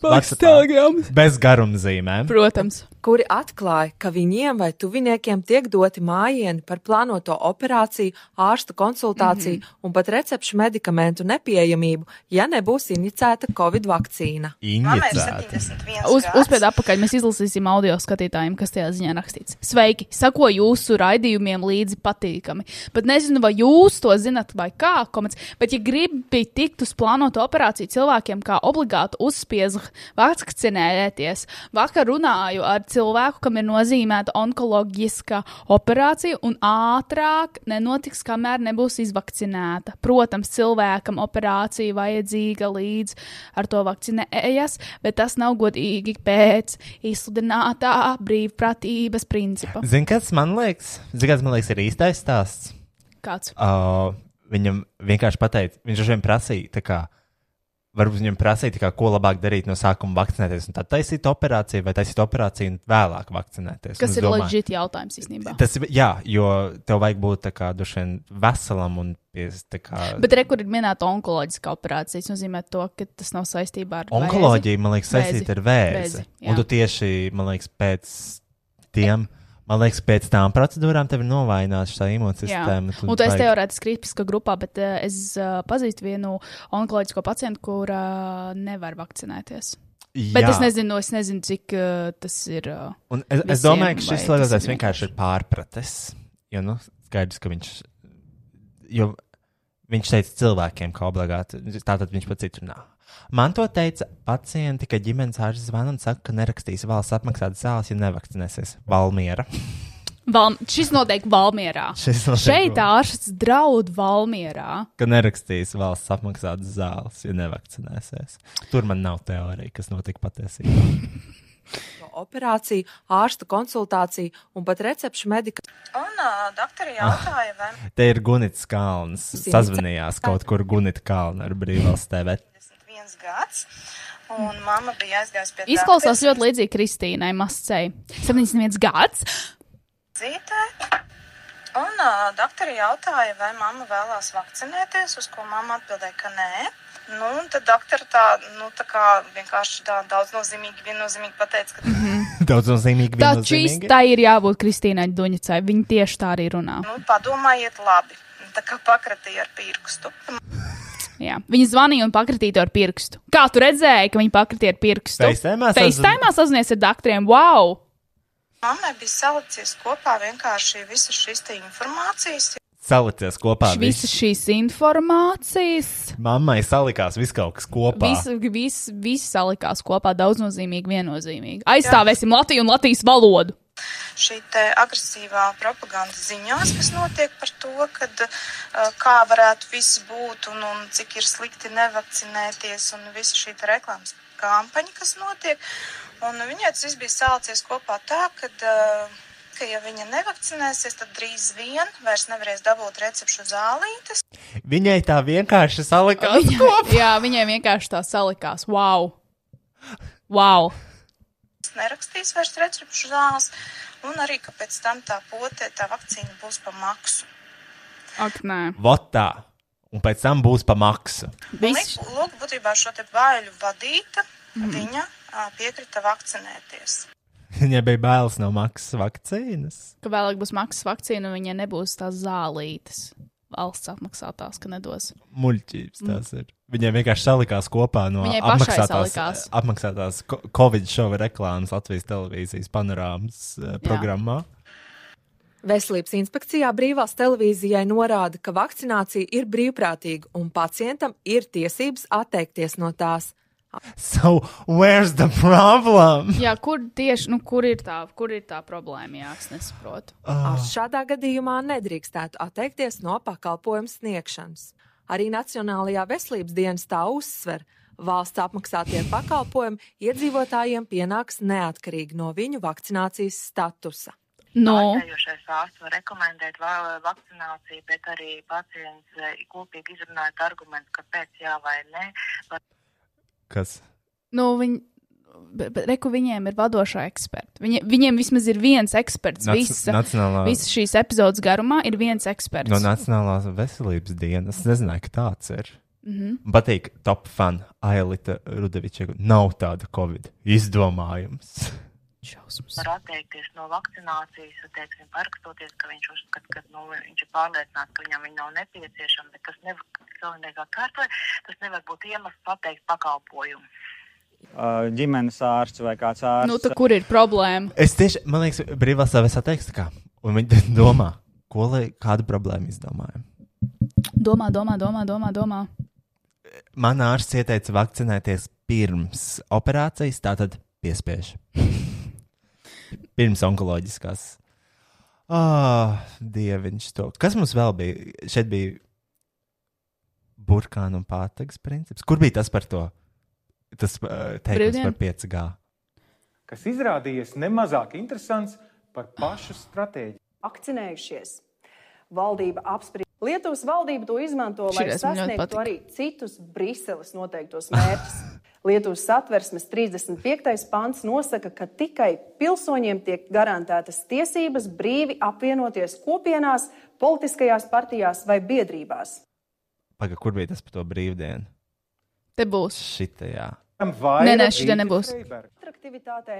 B: Vatsapā.
C: Telegrams.
B: Bez garumzīmēm.
C: Protams.
G: kuri atklāja, ka viņiem vai tuviniekiem tiek doti mājieni par plānoto operāciju, ārsta konsultāciju mm -hmm. un pat recepšu medikamentu nepieejamību, ja nebūs inicēta Covid vakcīna.
C: Uz, uzspied apakaļ, mēs izlasīsim audio skatītājiem, kas tajā ziņā rakstīts. Sveiki, sako jūsu raidījumiem līdzi patīkami. Bet nezinu, vai jūs to zinat vai kā, komats, bet ja gribi tikt uz plānotu operāciju cilvēkiem, kā obligāti uzspiež vakcinēties, vakar runāju ar cilvēku, kam ir nozīmēta onkoloģiska operācija un ātrāk nenotiks, kamēr nebūs izvakcinēta. Protams, cilvēkam operācija vajadzīga līdz ar to vakcinējas, bet tas nav godīgi pēc izsludinātā brīvprātības principa.
B: Zini, kas man liekas, Zini, kas man liekas, ir īstais stāsts.
C: Kāds?
B: Uh, viņam vienkārši pateica, viņš viņam prasīja, tā kā, varbūt viņam prasīja, tā kā, ko labāk darīt no sākuma vakcinēties, un tad taisīt operāciju, vai taisīt operāciju un vēlāk vakcinēties. Un
C: Kas
B: es
C: ir
B: domāju,
C: loģiski jautājums īstenībā?
B: Tas ir, jā, jo tev vajag būt tā kā droši vien veselam un pies- tā kā.
C: Bet rekur ir minēta onkoloģiska operācija. Tas nozīmē, to, ka tas nav saistībā ar
B: Onkoloģija, man liekas, saistīta ar vēzi.
C: Vēzi,
B: un tu tieši, man liekas, pēc tiem, man liekas, pēc tām procedūrām tev ir novājināta šī
C: sistēmu.
B: imūnsistēma.
C: Un tas ir teorētiski kritiskā grupā, bet uh, es uh, pazīstu vienu onkoloģisko pacientu, kur uh, nevar vakcinēties. Bet
B: Jā.
C: es nezinu, es nezinu, cik uh, tas ir. Uh,
B: Un es, es
C: visiem,
B: domāju, ka šis
C: vai tas
B: lietotājs vienkārši ir pārpratis. Jo nu, skaidrs, ka viņš. Jo viņš teica cilvēkiem, ka obligāti. Tātad viņš pats citrunā. Man to teica pacienti, ka ģimenes ārsts zvana un saka, ka nerakstīs valsts apmaksātas zāles, ja nevakcinēsies. Valmiera.
C: Val, šis noteikti Valmjerā.
B: Šis notiek
C: Šeit ārsts draud Valmjerā.
B: ka nerakstīs valsts apmaksātas zāles, ja nevakcinēsies. Tur man nav teorija, kas notika patiesībā.
G: Operāciju, ārsta konsultāciju un pat recepšu medikamentu.
J: Un uh, doktori jautāja, vai
B: Te ir Gunits Kalns. Sazvanījās kaut kur Gunita Kalna ar brīvvalsts TV.
J: viens gads, un mamma bija aizgājusi pie
C: Izklausās ļoti līdzīgi Kristīnai Mascei. 71 gads.
J: Zītē. Un uh, doktori jautāja, vai mamma vēlās vakcinēties, uz ko mamma atbildēja, ka nē. Nu, un tad doktori tā, nu, tā kā vienkārši tā daudznozīmīgi, viennozīmīgi pateica, ka
B: Daudz nozīmīgi.
C: Tā
B: viennozīmīgi.
C: čīsta ir jābūt Kristīnai Duņicai. Viņa tieši tā arī runā.
J: nu, padomājiet labi. Un Tā kā pakratīja ar pirkstu.
C: Jā. Viņa zvanīja un pakritīja ar pirkstu. Kā tu redzēji, ka viņa pakritīja ar pirkstu?
B: FaceTime'ā sazvan-
C: FaceTime'ā sazinies ar doktoriem. Wow!
J: Mammai bija salicies kopā vienkārši visas šīs te informācijas.
B: Salicies kopā. Viss.
C: Visas šīs informācijas,
B: Mammai salikās viss kaut kas kopā.
C: viss vis, vis salikās kopā daudznozīmīgi, viennozīmīgi. Aizstāvēsim Latviju un Latvijas valodu.
J: šī te agresīvā propaganda ziņās, kas notiek par to, kad, eh, kā varētu viss būt un, un cik ir slikti nevakcinēties un visa šī te reklāmas kampaņa, kas notiek. Un viņai tas viss bija sācies kopā tā, kad, eh, ka, ja viņa nevakcinēsies, tad drīz vien vairs nevarēs dabūt recepšu zālītes.
B: Viņai tā vienkārši salikās.
C: Viņai, jā, viņai vienkārši tā salikās. Wow! Wow!
J: Nerakstīs vairs recepšu zāles, un arī, ka pēc tam tā potē tā vakcīna būs pa maksu.
C: Ak, nē.
B: Votā. Un pēc tam būs pa maksu.
J: Viss. Lūk, būtībā šo te bāļu vadīta, mm.
B: Mhm.
J: viņa ā, piekrita vakcinēties.
B: Viņai bija bailes no maksas vakcīnas.
C: Ka vēlāk būs maksas vakcīna, un viņai nebūs tās zālītes. Valsts apmaksātās, ka nedos.
B: Muļķības tās
C: Mm.
B: ir. Viņai vienkārši salikās kopā no
C: Viņai pašai
B: apmaksātās, eh,
C: salikās.
B: apmaksātās ko- Covid šova reklāmas Latvijas televīzijas panorāmas eh, programmā.
G: Veselības inspekcijā brīvās televīzijai norāda, ka vakcinācija ir brīvprātīga un pacientam ir tiesības atteikties no tās.
B: So, where's the problem?
C: Jā, kur tieši, nu, kur ir tā, kur ir tā problēma? Jā, es nesaprotu.
G: Ārsts šādā gadījumā nedrīkstētu atteikties no pakalpojumu sniegšanas. Arī Nacionālajā veselības dienestā uzsver, valsts apmaksātie pakalpojumi iedzīvotājiem pienāks neatkarīgi no viņu vakcinācijas statusa.
C: No.
K: Ārstējošais ārsts var rekomendēt va- vakcināciju, bet arī pacients eh, kopīgi izrunājot argumentu, kāpēc jā vai nē. Var-
B: Kas?
C: Nu, viņi, bet, bet reku viņiem ir vadošā eksperta. Viņi, viņiem vismaz ir viens eksperts.
B: Nac-
C: Visa,
B: nacionālā-
C: Visas šīs epizodes garumā ir viens eksperts.
B: No Nacionālās veselības dienas. Es nezināju, ka tāds ir.
C: Mhm.
B: Man Patīk, top fan Ailita Rudeviča. Nav tāda Covid izdomājums.
K: var atteikties no vakcinācijas, teiksim, parakstoties, ka viņš uzskata, ka nu, viņš ir pārliecināts, ka viņam viņa nav nepieciešama, bet tas nevar, kas kārtē, tas nevar būt iemesls atteikt pakalpojumu.
H: Ā, ģimenes ārsts vai kāds ārsts.
C: Nu, tad kur ir problēma?
B: Es tieši, man liekas, brīvā savas atteiks, kā. Un viņi domā, ko lai kādu problēmu izdomājam.
C: Domā, domā, domā, domā. domā.
B: Man ārsts ieteica vakcinēties pirms operācijas, tātad piespiež. pirms onkoloģiskās. Ah, dieviņš to. Kas mums vēl bija? Šeit bija burkāna un pātagas princips. Kur bija tas par to? Tas ā, teikums
H: Brīvdien?
B: par 5G.
H: kas izrādījies nemazāk interesants par pašu stratēģiju.
F: vakcinējušies. Valdība apspriež. Lietuvas valdība to izmanto, lai
H: Šī reize man ļoti
F: sasniegtu
H: patika.
F: arī citus Briseles noteiktos mērķus. Lietuvas satversmes 35. pants nosaka, ka tikai pilsoņiem tiek garantētas tiesības brīvi apvienoties kopienās, politiskajās partijās vai biedrībās.
B: Pagaid, kur bija tas par to brīvdienu?
C: Te būs.
B: Šitajā.
C: Nē, nē, šī nebūs.
F: Atraktivitātē,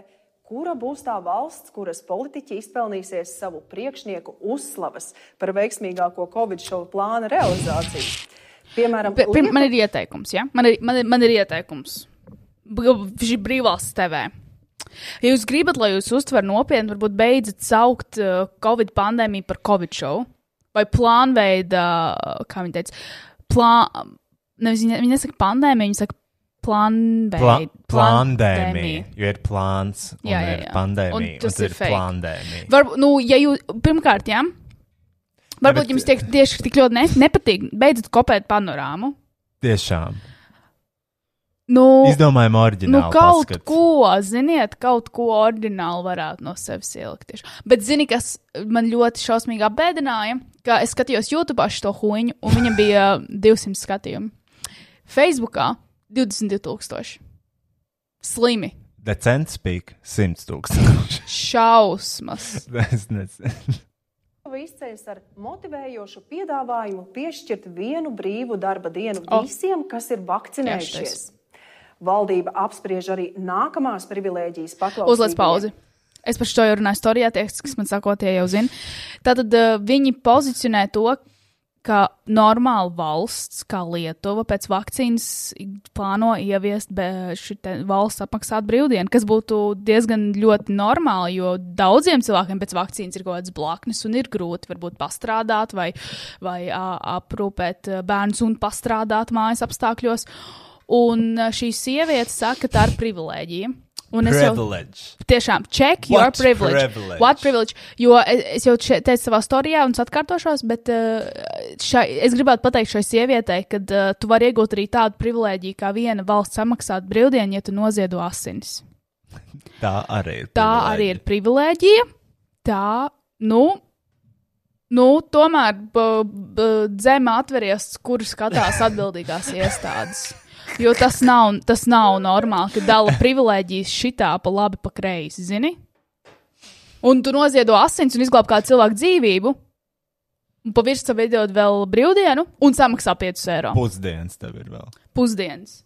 F: kura būs tā valsts, kuras politiķi izpelnīsies savu priekšnieku uzslavas par veiksmīgāko Covid šovu plāna realizāciju? Piemēram,
C: Pe- pirm- Man
F: Lietu-
C: ir ieteikums, ja? Man ir, man ir, man ir ieteikums. Br- šī Brīvās TV. Ja jūs gribat, lai jūs uztver nopietni, varbūt beidzat saukt uh, Covid pandēmiju par Covid šovu vai plānveida, uh, kā viņi teica, plā... Nevis, viņi, viņi nesaka pandēmija, viņi saka plānveida.
B: Pla plandēmija. Jo ir plāns, un jā, jā, jā. ir
C: Un
B: pandēmija. Un
C: tas
B: tas
C: ir
B: ir
C: fake.
B: plandēmija.
C: Varbūt, nu, ja jūs, pirmkārt, jā, varbūt
B: bet-
C: jums tiek tieši tik ļoti ne, nepatīk, beidzat kopēt panorāmu.
B: Tiešām.
C: Nu,
B: Izdomājam
C: Nu,
B: oriģinālu.
C: kaut
B: paskatu.
C: ko, ziniet, kaut ko ordināli varētu no sevis ielikt. tieši. Bet, zini, kas man ļoti šausmīgi apbēdināja, ka es skatījos YouTube šo huņu, un viņam bija 200 skatījumi. Facebookā 22,000. Slimi,
B: Decents pīk 100 tūkstoši.
C: šausmas.
B: es nezinu.
F: Lietuvai izceļas ar motivējošu piedāvājumu piešķirt vienu brīvu darba dienu
C: O.
F: visiem, kas ir vakcinējušies.
C: Tieši
F: Valdība apspriež arī nākamās privilēģijas paklausību.
C: Uzliec pauzi. Es par šo jau runāju storijā, tie, kas man sako, tie jau zina. Tātad eh, viņi pozicionē to, ka normāla valsts, kā Lietuva, pēc vakcīnas plāno ieviest šī valsts apmaksātu brīvdienu, kas būtu diezgan ļoti normāli, jo daudziem cilvēkiem pēc vakcīnas ir kaut kādas blaknes un ir grūti varbūt pastrādāt vai, vai ā, aprūpēt ā, bērnus un pastrādāt mājas apstākļos. Un ā, šī sieviete saka, ka tā ir privilēģija. Un es jau,
B: Privilege.
C: Tiešām, check your
B: What
C: privilege.
B: privilege?
C: What privilege? Jo es, es jau še- teicu savā storijā, un es atkārtošos, bet eh, šai, es gribētu pateikt šai sievietei, ka eh, tu vari iegūt arī tādu privilēģiju, kā viena valsts samaksāt brīvdienu, ja tu noziedo asinis.
B: Tā arī ir.
C: Tā arī ir privilēģija. Tā, nu, nu tomēr b- b- dzemē atveries, kur skatās atbildīgās iestādes. Jo tas nav, tas nav normāli, ka dala privilēģijas šitā pa labi, pa kreisi, zini? Un tu noziedo asins un izglāb kādu cilvēku dzīvību, un pavisam veidot vēl brīvdienu, un samaksā 5 eiro.
B: Pusdienas tev ir vēl.
C: Pusdienas.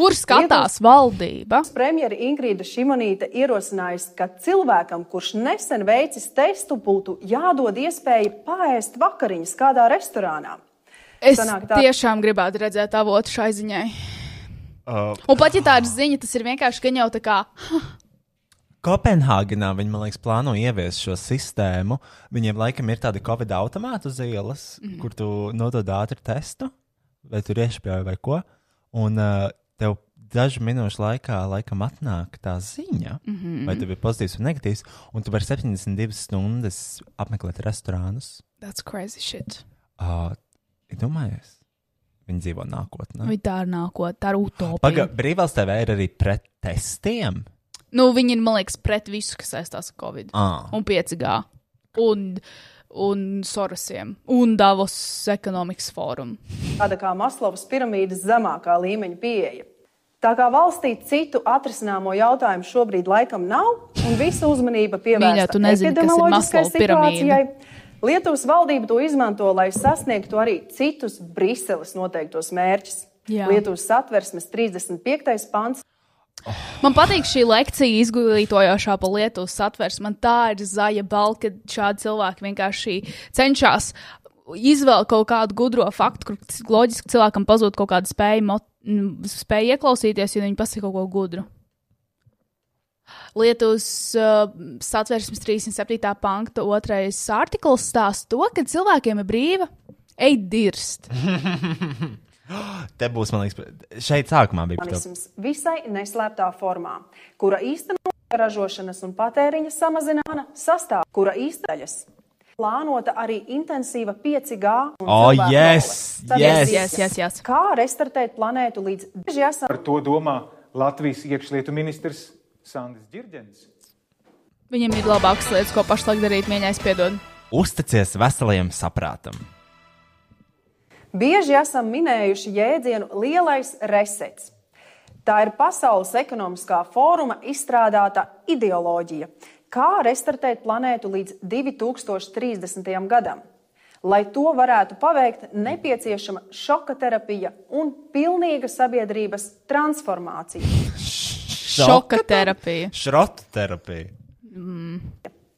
C: Kur skatās valdība?
F: Premjera Ingrīda Šimonīta ierosinājusi, ka cilvēkam, kurš nesen veicis testu, būtu jādod iespēja paēst vakariņas kādā restorānā.
C: Es
F: Sanāk tā-
C: tiešām gribētu redzēt avotu šai ziņai.
B: Uh,
C: Un pat ja tā ir ziņa, tas ir vienkārši ka viņa jau tā kā.
B: Kopenhāgenā viņi, man liekas, plāno ieviest šo sistēmu. Viņiem laikam ir tādi covid automāti uz ielas, mm
C: Mhm.
B: -hmm. kur tu nodod ātri testu, vai tu iešpjauji vai ko. Un uh, tev dažu minūšu laikā laikam atnāk tā ziņa, mm
C: Mhm.
B: -hmm. vai tev ir pozitīvs vai negatīvs, un tu vari 72 stundas apmeklēt restorānus.
C: That's crazy shit.
B: Uh, Domājies, viņi dzīvo nākotnē.
C: Vai tā ir nākotne, tā ir utopija.
B: Ah. Paga, brīvās TV ir arī pret testiem.
C: Nu, viņi ir, man liekas, pret visu, kas saistās ar Covid.
B: Ā.
C: Un 5G. Un, un Sorosiem. Un Davos ekonomikas fórumu.
F: tāda kā Maslovas piramīdas zemākā līmeņa pieeja. Tā kā valstī citu atrisināmo jautājumu šobrīd laikam nav, un visa uzmanība
C: Mīļā, tu
F: pievērsta
C: nezini, kas ir
F: epidemioloģiskai
C: Maslova piramīda.
F: situācijai, Lietuvas valdība to izmanto, lai sasniegtu arī citus Briseles noteiktos mērķus.
C: Jā.
F: Lietuvas satversmes 35. pants
C: Man patīk šī lekcija, izglītojošā par Lietuvas satversmi. Man tā ir zaļa balva, ka šādi cilvēki vienkārši cenšas izvēlēt kaut kādu gudro faktu, kur loģiski cilvēkam pazūd kaut kāda spēja, mot- n- spēja ieklausīties, jo viņi pasaka kaut ko gudru. Lietuvas uh, satversmes 37. panta otrais artikls stāsta to, ka cilvēkiem ir brīva eid dirst.
B: Te būs, man liekas, šeit sākumā bija par to.
F: mehānisms visai neslēptā formā, kura īstenota ražošanas un patēriņa samazināšana sastāv, kura īstaļas. Plānota arī intensīva 5G. un
B: Oh, yes,
F: cilvēku nole.
B: yes.
F: Sabiedrības.
B: Yes, yes,
F: Kā restartēt planētu līdz daži esam
L: Par to domā Latvijas iekšlietu ministrs Sandis Girģens.
C: Viņiem ir labākas lietas, ko pašlaik darīt, mīļais, piedod.
B: Uzticies veselajam saprātam.
F: bieži esam minējuši jēdzienu lielais resets. Tā ir Pasaules ekonomiskā fóruma izstrādāta ideoloģija, kā restartēt planētu līdz 2030. gadam. Lai to varētu paveikt, nepieciešama šoka terapija un pilnīga sabiedrības transformācija.
C: Šoka terapija.
B: Šrotu terapija.
C: Mm.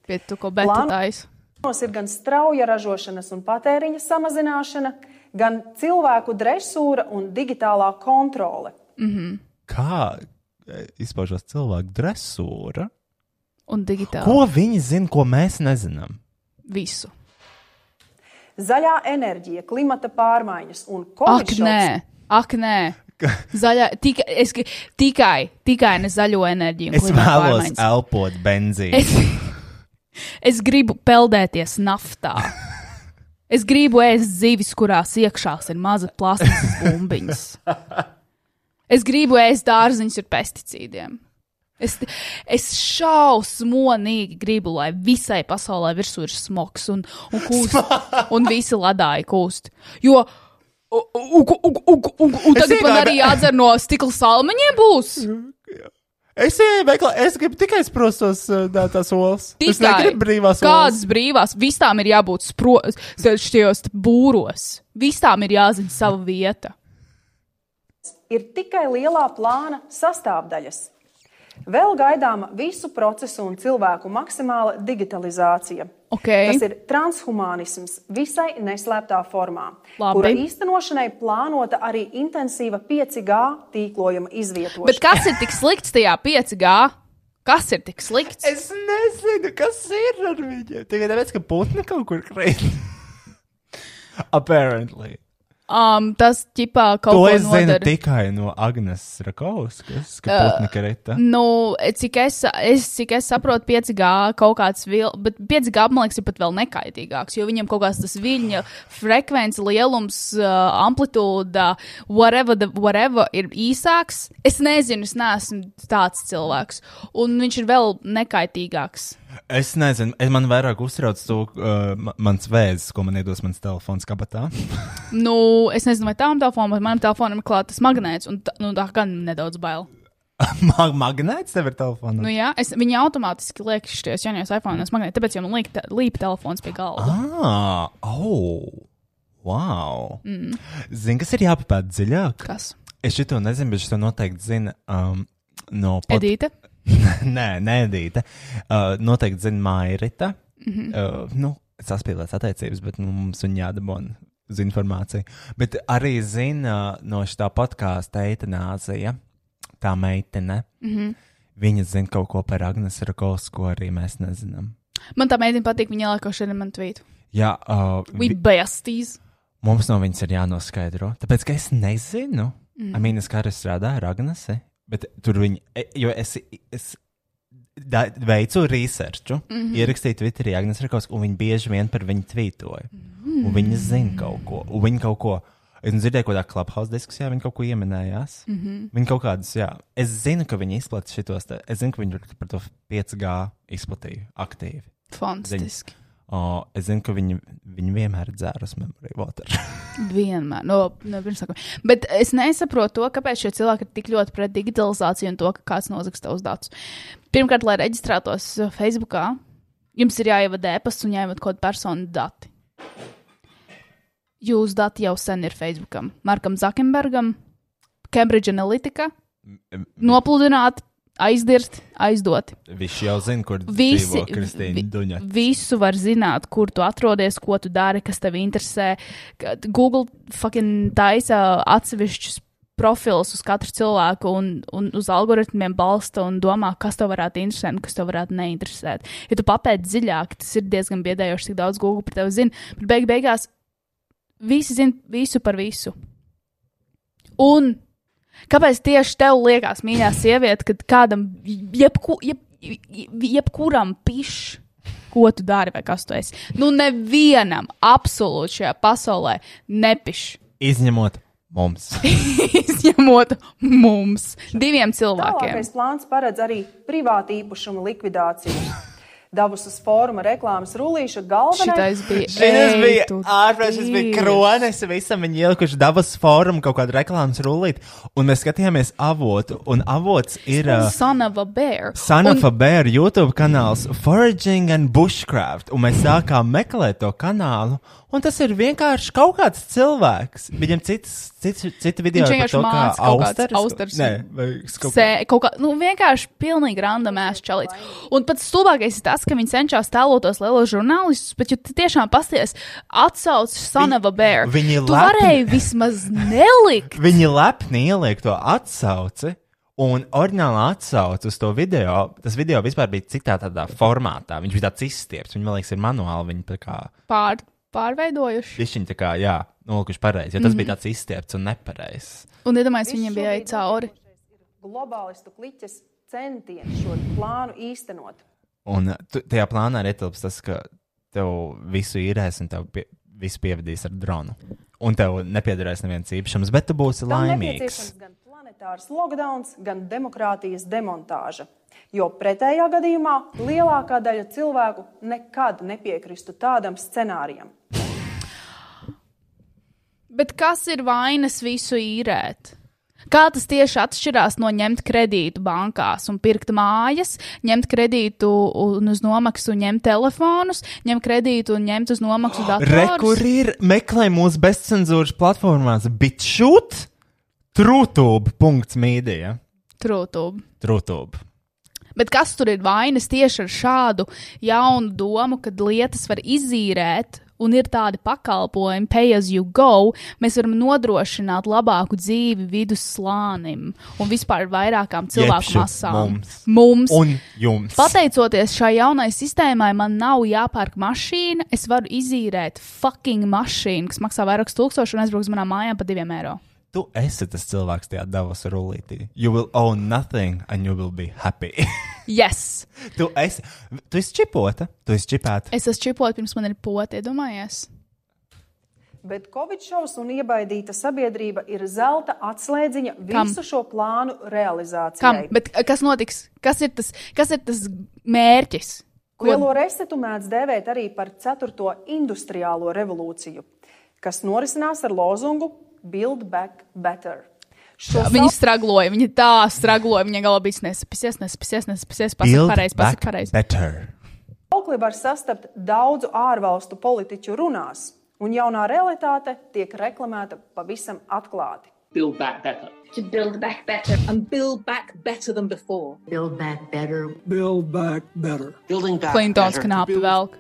C: Pie tu ko beta
F: Plāno-
C: taisa.
F: Mums ir gan strauja ražošanas un patēriņa samazināšana, gan cilvēku dresūra un digitālā kontrole.
C: Mm -hmm.
B: Kā eh, izpaužas cilvēku dresūra?
C: Un digitāli.
B: Ko viņi zina, ko mēs nezinām?
C: Visu.
F: Zaļā enerģija, klimata pārmaiņas un
C: Ak,
F: covid
C: nē, ak, nē. Zaļā, tika, es, gri- tikai, tikai ne zaļo enerģiju. un
B: Es
C: klimata
B: vēlos
C: pārmaiņas.
B: elpot benzīnu.
C: Es, es gribu peldēties naftā. Es gribu ēst zivis, kurās iekšā ir maza plasmas bumbiņas. Es gribu ēst dārziņus ar pesticīdiem. Es, es šausmonīgi gribu, lai visai pasaulē virsū ir smogs un, un kūst, un visi ledāji kūst. Jo, u- u- u- u- u- u- un
B: Es
C: tagad man
B: iegāju-
C: arī jādzer no stikla salmaņiem būs.
B: Es ienāku veikalā, es gribu tikai sprostos uh, tās olas. Es
C: Tikai
B: negribu brīvās
C: Kādas brīvās? Visām ir jābūt spro- šajos būros. Visām ir jāzina sava vieta.
F: ir tikai lielā plāna sastāvdaļas. Vēl gaidāma visu procesu un cilvēku maksimāla digitalizācija.
C: Okay.
F: Tas ir transhumānisms visai neslēptā formā,
C: Labi.
F: kura īstenošanai plānota arī intensīva 5G tīklojuma izvietošana.
C: Bet kas ir tik slikts tajā 5G? Kas ir tik slikts?
B: Es nezinu, kas ir ar viņu. Tikai tāpēc, ka putni kaut kur krīt. Apparently.
C: Um, tas ķipā kaut
B: to
C: ko
B: es zinu
C: nodara.
B: tikai no Agnes Rakauskas, ka
C: Uh,
B: putni krita.
C: Nu, cik es, es, cik es saprotu, 5G kaut kāds vil, bet 5G man liekas, ir pat vēl nekaitīgāks, jo viņam kaut kāds tas viļņa frekvence, lielums, uh, amplitūda, whatever, the, whatever ir īsāks. Es nezinu, es neesmu tāds cilvēks, un viņš ir vēl nekaitīgāks.
B: Es nezinu, es man vairāk uztrauc to uh, ma- mans vēzis, ko man iedos mans telefons kabatā.
C: Nu, es nezinu, vai tam telefonam, vai manam telefonam ir klāts magnēts, un tā, nu, tā gan nedaudz bail.
B: Mag magnēts tev ir telefonā.
C: Nu, jā, es, viņi automātiski liek šajos jaunajos iPhone magnētos, tāpēc jau man liek, te, līp telefons pie galda.
B: Ah, oh, wow.
C: Mm.
B: Zini, kas ir jāpapēta dziļāk?
C: Kas?
B: Es šito nezinu, bet šito noteikti zina um, no pod-
C: Edīte?
B: nē, nē, Edīte. Uh, noteikti zina Mairita. Mm
C: Mhm.
B: -hmm. uh, nu, saspīlēts attiecības, bet nu, mums viņa jādabona uz informāciju. Bet arī zina no šitā podkāsta eitanāzija, tā meitene.
C: Mhm.
B: Viņa zina kaut ko par Agnes Rakos, ko arī mēs nezinām.
C: Man tā meitene patīk, viņa ielika šodien man tvītu.
B: Jā, uh,
C: We
B: vi-
C: bestīs.
B: Mums no viņas ir jānoskaidro. Tāpēc, ka es nezinu,
C: Mm.
B: mm. Amīnas kā arī strādāja ar Agnesi, bet tur viņa, e, jo es, es da, veicu researchu, mm
M: Mhm.
B: -hmm. ierakstīju Twitterī Agnes Rakos, un viņi bieži vien par viņu tvītoja. Mm. Un viņi zina kaut ko, un viņi kaut ko. Es dzirdēju, ka tā klubhouse diskusijā viņi kaut ko ieminējās. Mm
C: Mhm.
B: -hmm. Viņi kaut kādas, jā. Es zinu, ka viņi izplatīja šitos, te- es zinu, ka viņi par to 5G izplatīja aktīvi.
C: Fantastiski.
B: Ziņas. O, es zinu, ka viņi, viņi vienmēr ir dzērus memory water.
C: Vienmēr. No, no pirmsākuma. Bet es nesaprotu to, kāpēc šie cilvēki ir tik ļoti pret digitalizāciju un to, ka kāds nozags tavus datus. Pirmkārt, lai reģistrētos uh, Facebookā, jums ir jāievada e-pasta un jāievada kaut kāda persona dati. Jūsu dati jau sen ir Facebookam, Markam Zakenbergam, Cambridge Analytica, Nopludināt, aizdirst, aizdot.
B: Viņš jau zina, kur
C: Visi-
B: dzīvo Kristīna
C: vi-
B: Duņa.
C: Visu var zināt, kur tu atrodies, ko tu dari, kas tev interesē. Kad Google fucking taisa atsevišķus profilus uz katru cilvēku un, un uz algoritmiem balsta un domā, kas tev varētu interesēt un kas tev varētu neinteresēt. Ja tu papēti dziļāk, tas ir diezgan biedējoši, cik daudz Google par tevi zina. Bet beig beigās visi zina visu par visu. Un kāpēc tieši tev liekas, mīļā sieviete, kad kādam, jebku, jeb, jeb, jebkuram pišķi, ko tu dari vai kas tu esi? Nu, nevienam, absolūti šajā pasaulē nepišķi.
B: Izņemot mums.
C: Izņemot mums, diviem cilvēkiem.
F: Tālākais plāns paredz arī privātu īpašumu likvidāciju. Dabus uz fóruma reklāmas rullīša galvenais
C: Šitais bija
B: Šis bija ārpus, šis bija kronis. Visam viņi ielikuši dabas fórumu kaut kādu reklāmas rullīt. Un mēs skatījāmies avotu. Un avots ir. uh, ā,
C: Sanava Bear.
B: Sanfa Bēra YouTube kanāls Foraging and Bushcraft, un mēs sākām meklēt to kanālu, un tas ir vienkārši kaut kāds cilvēks. Viņam cits, cits, cita video
C: Viņš
B: ir par
C: vienkārši
B: to, kā
C: māca kaut
B: austeres-
C: kādas austeres.
B: Nē, vai kaut
C: Sē, kaut kā, nu, vienkārši pilnīgi randomēs čalīts. Un pats stulbākais ir tas, ka viņi cenšas tēlot tos lielos žurnālistus, bet, ja tu tiešām pasties atsaucis Sanava Bēr,
B: viņi
C: tu
B: lepni-
C: varēji vismaz nelikt.
B: Viņi lepni ieliek to atsauci. Un oriģināli atsauc uz to video. Tas video vispār bija citā tādā formātā. Viņš bija tāds izstieps. Viņa, man liekas, ir manuāli. Viņa tā kā
C: Pār, pārveidojuši.
B: višķiņa tā kā, jā, nolikuši pareizi. Jo tas mm
C: Mhm.
B: -hmm. bija tāds izstieps un nepareizs.
C: Un iedomājieties, viņiem bija jāiet cauri.
F: globālistu kliķes centieni šo plānu īstenot.
B: Un uh, tu, tajā plānā arī ietilps tas, ka tev visu īrēs un tev pie, visu pievadīs ar dronu. Un tev nepiedarēs neviens īpašums, bet tu būsi
F: Tam
B: laimīgs.
F: nepieciešams gan planetārs lockdown, gan demokrātijas demontāža. Jo pretējā gadījumā lielākā daļa cilvēku nekad nepiekristu tādam scenārijam.
C: Bet kas ir vainas visu īrēt? Kā tas tieši atšķirās no ņemt kredītu bankās un pirkt mājas, ņemt kredītu un uz nomaksu ņemt telefonus, ņemt kredītu un ņemt uz nomaksu datorus?
B: Rekur ir meklē mūsu bezcenzūras platformās BitChute, TruTube.media.
C: Trūtūb.
B: TruTube.
C: Bet kas tur ir vainas tieši ar šādu jaunu domu, kad lietas var izīrēt? Un ir tādi pakalpojumi, pay as you go. Mēs varam nodrošināt labāku dzīvi vidusslānim un vispār vairākām cilvēku
B: Jebšu
C: masām.
B: mums.
C: mums.
B: Un jums.
C: Pateicoties šai jaunai sistēmai, man nav jāpērk mašīna. Es varu izīrēt fucking mašīnu, kas maksā vairākus tūkstošus un aizbrauks manā mājā par diviem eiro.
B: Tu esi tas cilvēks tajā davas rullītī. You will own nothing and you will be happy.
C: Yes!
B: tu esi, tu esi čipota, tu esi čipēta.
C: Es esmu čipot, pirms man ir poti, iedomājies.
F: Bet Covid šovs un iebaidīta sabiedrība ir zelta atslēdziņa
C: Kam?
F: visu šo plānu
C: Kam?
F: realizācijai.
C: Bet uh, kas notiks? Kas ir tas, kas ir tas mērķis? Ko-
F: Lielo resetu mēdz dēvēt arī par 4. industriālo revolūciju, kas norisinās ar lozungu Build Back Better. Šo
C: Viņa stragloja, viņa tā stragloja, viņa galā bija nesapisies, nesapisies, nesapisies, pasaka
B: Build
C: pareizi, pasaka
B: back
C: pareizi.
B: Better.
F: Aukli var sastapt daudzu ārvalstu politiķu runās, un jaunā realitāte tiek reklamēta pavisam atklāti.
M: Build back better. To build back better. And build back better than before. Build back better. Build back better. Building back
C: Klintons knāpi velk.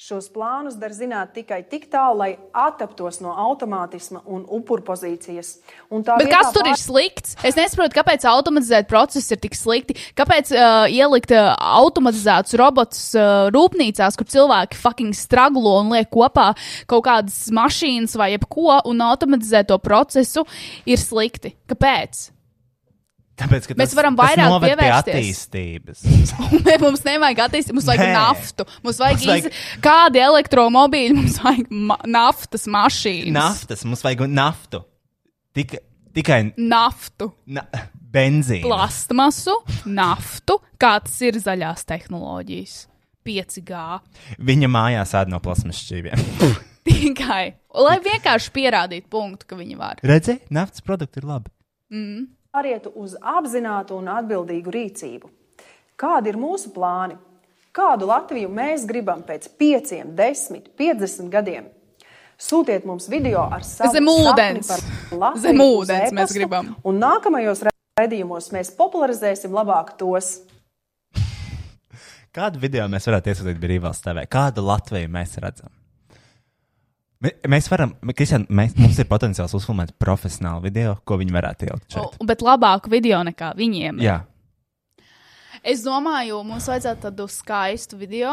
F: Šos plānus der zināt tikai tik tālu, lai attaptos no automātisma un upurpozīcijas. Un tā
C: Bet
F: vietā
C: kas tur ir
F: pār-
C: slikts? Es nesaprotu, kāpēc automatizēt procesu ir tik slikti. Kāpēc uh, ielikt uh, automatizētus robotus uh, rūpnīcās, kur cilvēki fucking straglo un liek kopā kaut kādas mašīnas vai jebko un automatizēt to procesu ir slikti? Kāpēc?
B: Tāpēc, ka
C: Mēs
B: tas,
C: varam
B: tas
C: vairāk
B: noved pie
C: pievērsties.
B: attīstības.
C: Nē, mums nevajag attīstīt, mums vajag
B: Nē.
C: Nē. naftu. Mums vajag,
B: Mums vajag-
C: vajag... Iz... kādu elektromobīļu, mums vajag ma naftas mašīnu.
B: Naftas, mums vajag naftu. Tik, tikai
C: Naftu,
B: na, benzīnu.
C: plastmasu, naftu, kāds ir zaļās tehnoloģijas. 5G.
B: Viņa mājās ēd no plasmas šķīviem.
C: Tikai. Lai vienkārši pierādītu punktu, ka viņi var.
B: Redzi, naftas produkti ir labi.
C: Mm.
F: pārietu uz apzinātu un atbildīgu rīcību. Kādi ir mūsu plāni? Kādu Latviju mēs gribam pēc 5, 10, 50 gadiem? Sūtiet mums video ar savu
C: Zem
F: sapni
C: ūdens.
F: par Latviju
C: Zem
F: uz
C: ūdens mēs
F: e-pasta,
C: gribam.
F: Un nākamajos raidījumos mēs popularizēsim labāk tos.
B: Kādu video mēs varētu iesūtīt brīvvalsts TV? Kādu Latviju mēs redzam? Me- Mēs varam, Kristian, mēs, mums ir potenciāls uzfilmēt profesionālu video, ko viņi varētu ielikt šeit.
C: U- Bet labāku video nekā viņiem.
B: Jā,
C: Es domāju, mums vajadzētu tādu skaistu video,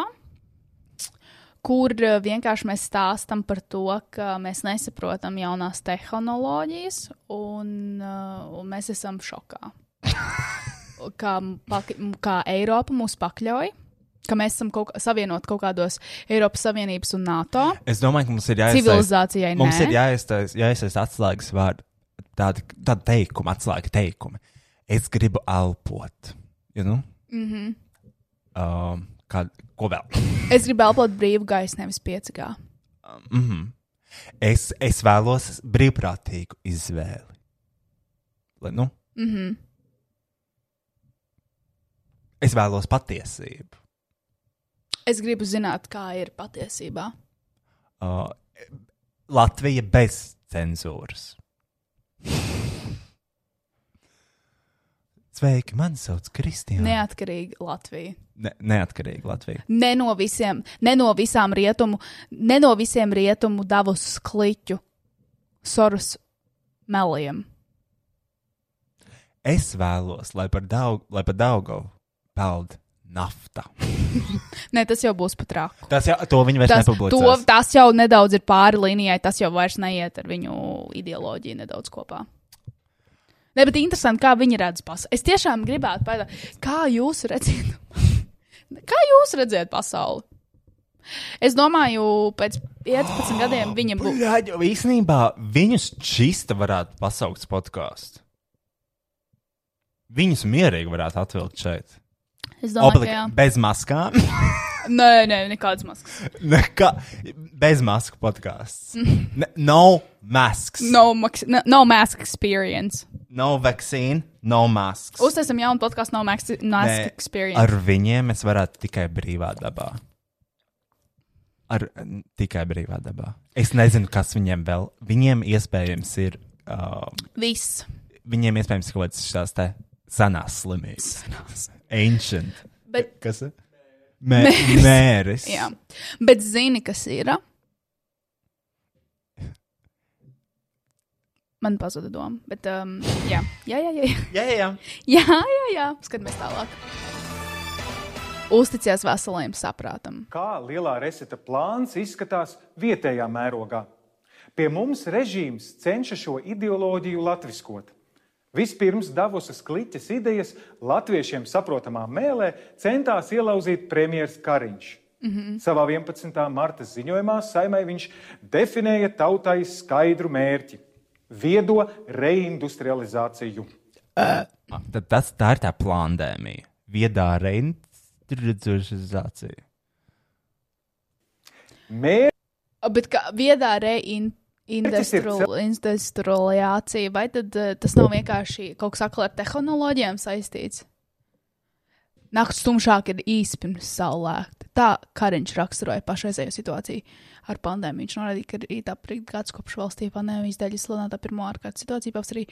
C: kur eh, vienkārši mēs stāstam par to, ka mēs nesaprotam jaunās tehnoloģijas un, eh, un mēs esam šokā. kā, m- pak, m- kā Eiropa mūs pakļauj, ka mēs esam kaut, savienot kaut kādos Eiropas Savienības un NATO.
B: es domāju, ka mums ir jāiesaist.
C: Civilizācijai
B: Mums
C: nē.
B: ir jāiesaist, jāiesaist atslēgas vārdu, tāda, tāda teikuma, atslēga teikuma. Es gribu elpot. You know?
C: Mm -hmm.
B: um, kā, ko vēl?
C: Es gribu elpot brīvu gaisu, nevis piecigā.
B: Mm -hmm. es, es vēlos brīvprātīgu izvēli. Lai, nu,
C: Mm -hmm.
B: es vēlos patiesību.
C: Es gribu zināt, kā ir patiesībā.
B: Uh, Latvija bez cenzūras. Sveiki, mani sauc Kristīna.
C: Neatkarīga Latvija.
B: Ne, neatkarīga Latvija.
C: Ne no visiem, ne no visām rietumu, ne no visiem rietumu davus kliķu sorus meliem.
B: Es vēlos, lai par Daugavu peld nafta.
C: Nē, tas jau būs pat rāk.
B: Tas jau to viņi vairs
C: Tas,
B: nepublicēs.
C: to, tas jau nedaudz ir pāri līnijai, tas jau vairs neiet ar viņu ideoloģiju nedaudz kopā. Nē, bet interesanti, kā viņi redz pasauli. Es tiešām gribētu pateikt, kā jūs redzat, kā jūs redzat pasauli. Es domāju, pēc 15 gadiem viņam būs.
B: Jā, jau īsnībā viņus čista varētu pasaukt podkāstu. Viņus mierīgi varētu atvilkt šeit.
C: Es domāju, ka
B: Obligāti
C: jā.
B: bez maskām.
C: Nē, nē, nekādas maskas.
B: Nekā, bez masku podkāsts.
C: Mm.
B: Ne- No masks.
C: No, maks- no, no mask experience.
B: No vaccine, no masks.
C: Uztaisim jaunu podkāstu, no mask, mask
B: Nē,
C: experience.
B: Ar viņiem es varētu tikai brīvā dabā. Ar n- tikai brīvā dabā. Es nezinu, kas viņiem vēl. Viņiem iespējams ir. Uh,
C: Viss.
B: Viņiem iespējams ir kaut kādas šīs tā senās slimības. Ancient.
C: Bet-
B: Kas ir? Mē, mēris.
C: Jā, bet zini, kas ir? Man pazuda doma. Bet, um, jā, jā, jā. Jā,
B: jā, jā.
C: jā, jā, jā. Skatāmies tālāk. Uzticies veselajam saprātam.
L: Kā lielā reseta plāns izskatās vietējā mērogā? Pie mums režīms cenšas šo ideoloģiju latviskot. Vispirms Davosas kliķes idejas latviešiem saprotamā mēlē centās ielauzīt premjerministrs Kariņš.
N: Mhm.
L: Savā 11. marta ziņojumā saimai viņš definēja tautai skaidru mērķi - viedo reindustrializāciju.
B: Ah, Tad tas tā ir tā plāndēmija. Viedā reindustrializācija.
L: Mērķis.
C: Bet kā viedā reindustrializācija, vai tad eh, tas nav vienkārši kaut kas akla ar tehnoloģijām saistīts? Nakts tumšāk ir īsi pirms saulēkta. Tā Kariņš raksturoja pašreizējo situāciju ar pandēmiju. Viņš norādīja, ka ir tā priekš gads kopš valstī pandēmijas dēļ izsludināta pirmo ārkārtas situācija, pēc arī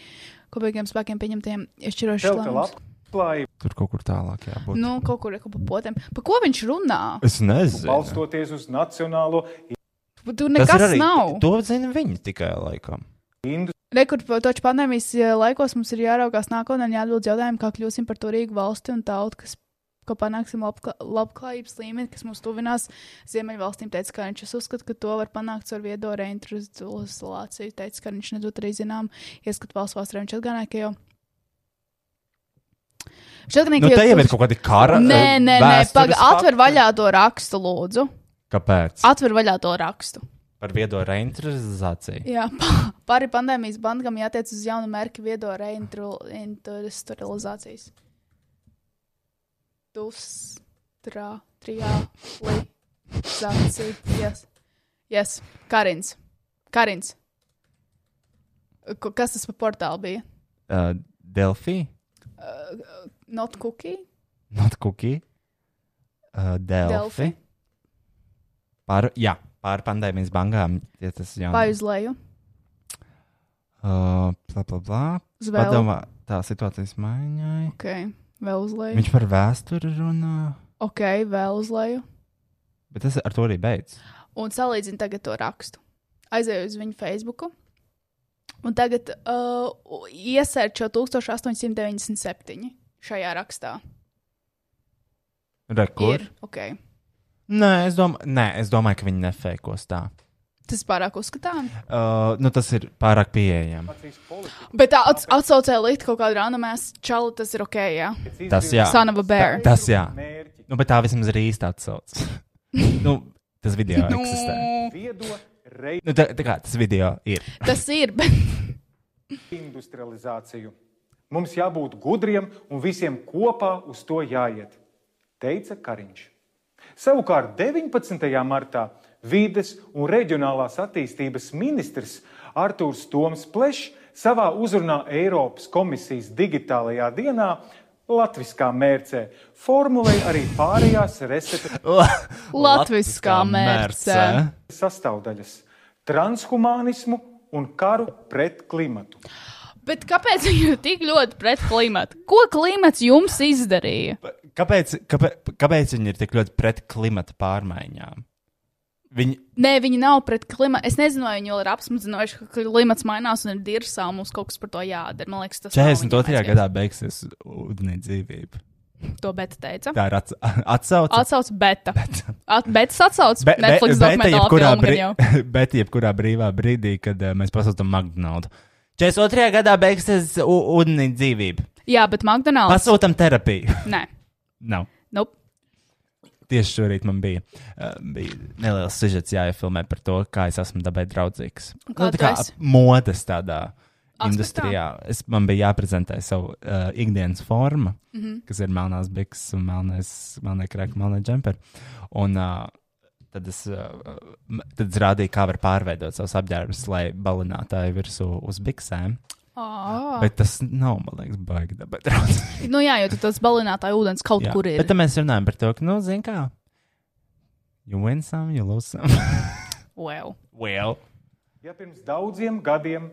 C: kopīgiem spēkiem pieņemtiem izšķirošiem lēmumiem.
L: Lai
B: Tur kaut kur tālāk jābūt.
C: Nu, kaut kur ir kaut pa potēm. Pa ko viņš runā?
B: Es nezinu.
L: balstoties uz nacionālo
C: Pa Tur
B: Tas ir
C: nekas
B: arī-
C: nav.
B: To zina viņi tikai laikam.
C: Rekords taču pandēmijas eh, laikos mums ir jāraugās nākotnē un jāatbild jautājumu, kā kļūsim par turīgu valsti un tautu, kas, ka panāksim labkla, labklājības līmeni, kas mums tuvinās Ziemeļvalstīm, teica Kariņš. Es uzskatu, ka to var panākt ar viedo reintruzolāciju, teica Kariņš, nedot arī zinām, ieskat valsts vēsturē. Viņš atgādināja, ka jau. Viņš atgādināja,
B: Nu,
C: ka
B: te jau ir
C: tūkst-
B: kaut kādi kara,
C: Nē,
B: eh,
C: nē, nē,
B: vēstures
C: pag,
B: fakti.
C: atver vaļā to rakstu, lūdzu.
B: Kāpēc?
C: Atver vaļā to rakstu.
B: Par viedo reinteresāciju.
C: Jā, pa- pāri pandēmijas bankam jātiec uz jaunu mērķu viedo reindustrializācijas. Dus, trā, trijā, lizācija. Yes. yes, Karins. Karins. Ko- Kas tas par portālu bija?
B: Uh, Delphi?
C: Uh, not cookie?
B: Not cookie. Uh, Delphi.
C: Delphi.
B: Par, jā, pār pandēmijas bankām. Ja tas jau
C: Vai uz leju?
B: Uh, bla, bla, bla.
C: Uz vēl?
B: Padomā, tā situācijas maiņai.
C: Ok, vēl uz leju.
B: Viņš par vēsturi runā,
C: Ok, vēl uz leju.
B: bet tas ar to arī beidz.
C: Un salīdzinu tagad to rakstu. Aizēju uz viņu Facebook. Un tagad uh, iesērču 1897 šajā rakstā.
B: Re, kur?
C: Ir. Okay.
B: Nē, es domāju, nē, es domāju, ka viņi nefēkos tā.
C: Tas pārāk uzskatām.
B: Uh, nu, tas ir pārāk pieejami.
C: Bet tā at, atsaucē līdzi kaut kādu randomēs čalu, tas ir ok, jā.
B: Tas jā.
C: Son of a bear.
B: Ta, tas jā. Nu, bet tā vismaz ir īsta atsauce. nu, tas video
C: Nu.
B: eksistē. Nu, tā, tā kā tas video ir.
C: Tas ir, bet
L: industrializāciju. Mums jābūt gudriem un visiem kopā uz to jāiet, teica Kariņš. Savukārt 19. martā Vides un reģionālās attīstības ministrs Artūrs Toms Plešs savā uzrunā Eiropas komisijas digitālajā dienā Latviskā mērcē formulēja arī pārējās resetas.
C: latviskā mērce.
L: Sastāvdaļas - transhumānismu un karu pret klimatu.
C: Bet kāpēc viņi ir tik ļoti pret klimatu? Ko klimats jums izdarīja?
B: Kāpēc, kāpēc, kāpēc viņi ir tik ļoti pret klimata pārmaiņām? Viņi,
C: Nē, viņi nav pret klimatu. Es nezinu, vai viņi vēl ir apsmedzinājuši, ka klimats mainās un ir dirsā, un mums kaut kas par to jādara. Man liekas, tas
B: 42. gadā beigsies ūdens dzīvība.
C: gadā. To Beta teica.
B: Tā ir atsa- atsauce.
C: Atsauc Beta. At, betas atsauc
B: Be-
C: Be
B: be-
C: Netflix
B: beta
C: dokumentālo
B: jebkurā
C: filmu.
B: brī-
C: gan jau.
B: Bet jebkurā brīvā brīdī, kad eh, mēs pasūtām McDonald's,
O: 42. gadā beigsies ūdens dzīvība.
C: Jā, bet McDonald's.
B: pasūtām terapiju.
C: Nē,
B: Nav.
C: Nope.
B: Tieši šorīt man bija, eh, bija neliels sižets jāiefilmē par to, kā es esmu dabai draudzīgs.
C: Un kā
B: Nu, tā
C: tu
B: kā
C: esi?
B: modes tādā
C: Aspektā?
B: industrijā. Es, man bija jāprezentē savu uh, ikdienas formu, mm -hmm.
C: Mhm.
B: kas ir melnās bikses un melnais, melnā krāka, melnā džempera. Un uh, tad es, uh, m- tad es rādīju, kā var pārveidot savus apģērbus, lai balinātāji virsū uz biksēm.
C: Ā.
B: Bet tas nav, man liekas, baigi dabai draudzīgi.
C: Nu jā, jo tu tas balinātāja ūdens kaut
B: Jā,
C: kur ir.
B: Bet tad mēs runājam par to, ka, nu, zini, kā. You win some, you lose some.
C: Well.
B: well.
L: Ja pirms daudziem gadiem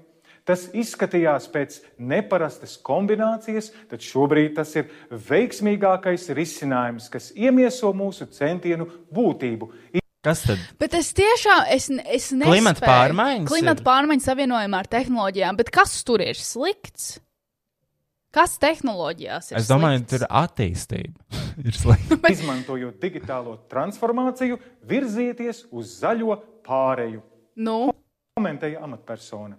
L: tas izskatījās pēc neparastas kombinācijas, tad šobrīd tas ir veiksmīgākais risinājums, kas iemieso mūsu centienu būtību.
B: Kas tad?
C: Bet es tiešām es, n- es nezinu.
L: Klimata pārmaiņas
C: Klimata
L: ir.
C: pārmaiņas savienojumā ar tehnoloģijām, bet kas tur ir slikts? Kas tehnoloģijās ir?
B: Es domāju, tur attīstība ir slikta.
L: Izmantojot digitālo transformāciju, virzieties uz zaļo pāreju.
C: Nu?
L: Komentēja amatpersona.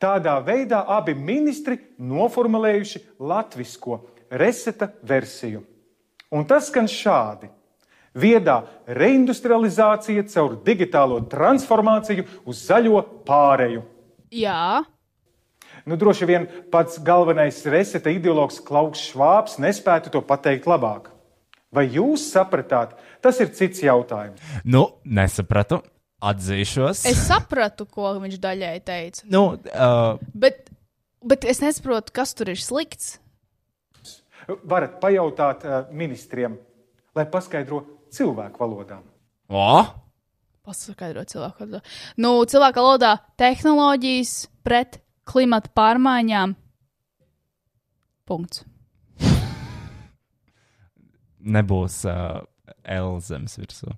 L: Tādā veidā abi ministri noformulējuši latvisko reseta versiju. Un tas skan šādi. Viedā reindustrializācija caur digitālo transformāciju uz zaļo pāreju.
C: Jā,
L: Nu, droši vien pats galvenais reseta ideologs Klauks Švāps nespētu to pateikt labāk. Vai jūs sapratāt, tas ir cits jautājums.
B: Nu, nesapratu. Atzīšos.
C: es sapratu, ko viņš daļai teica.
B: Nu, uh,
C: Bet, bet es nesaprotu, kas tur ir slikts.
L: Varat pajautāt eh, ministriem, lai paskaidro cilvēku valodām.
B: o?
C: Paskaidrot cilvēku valodā. Nu, cilvēku valodā tehnoloģijas pret klimata pārmaiņām. Punkts.
B: Nebūs uh, Elzems virsū.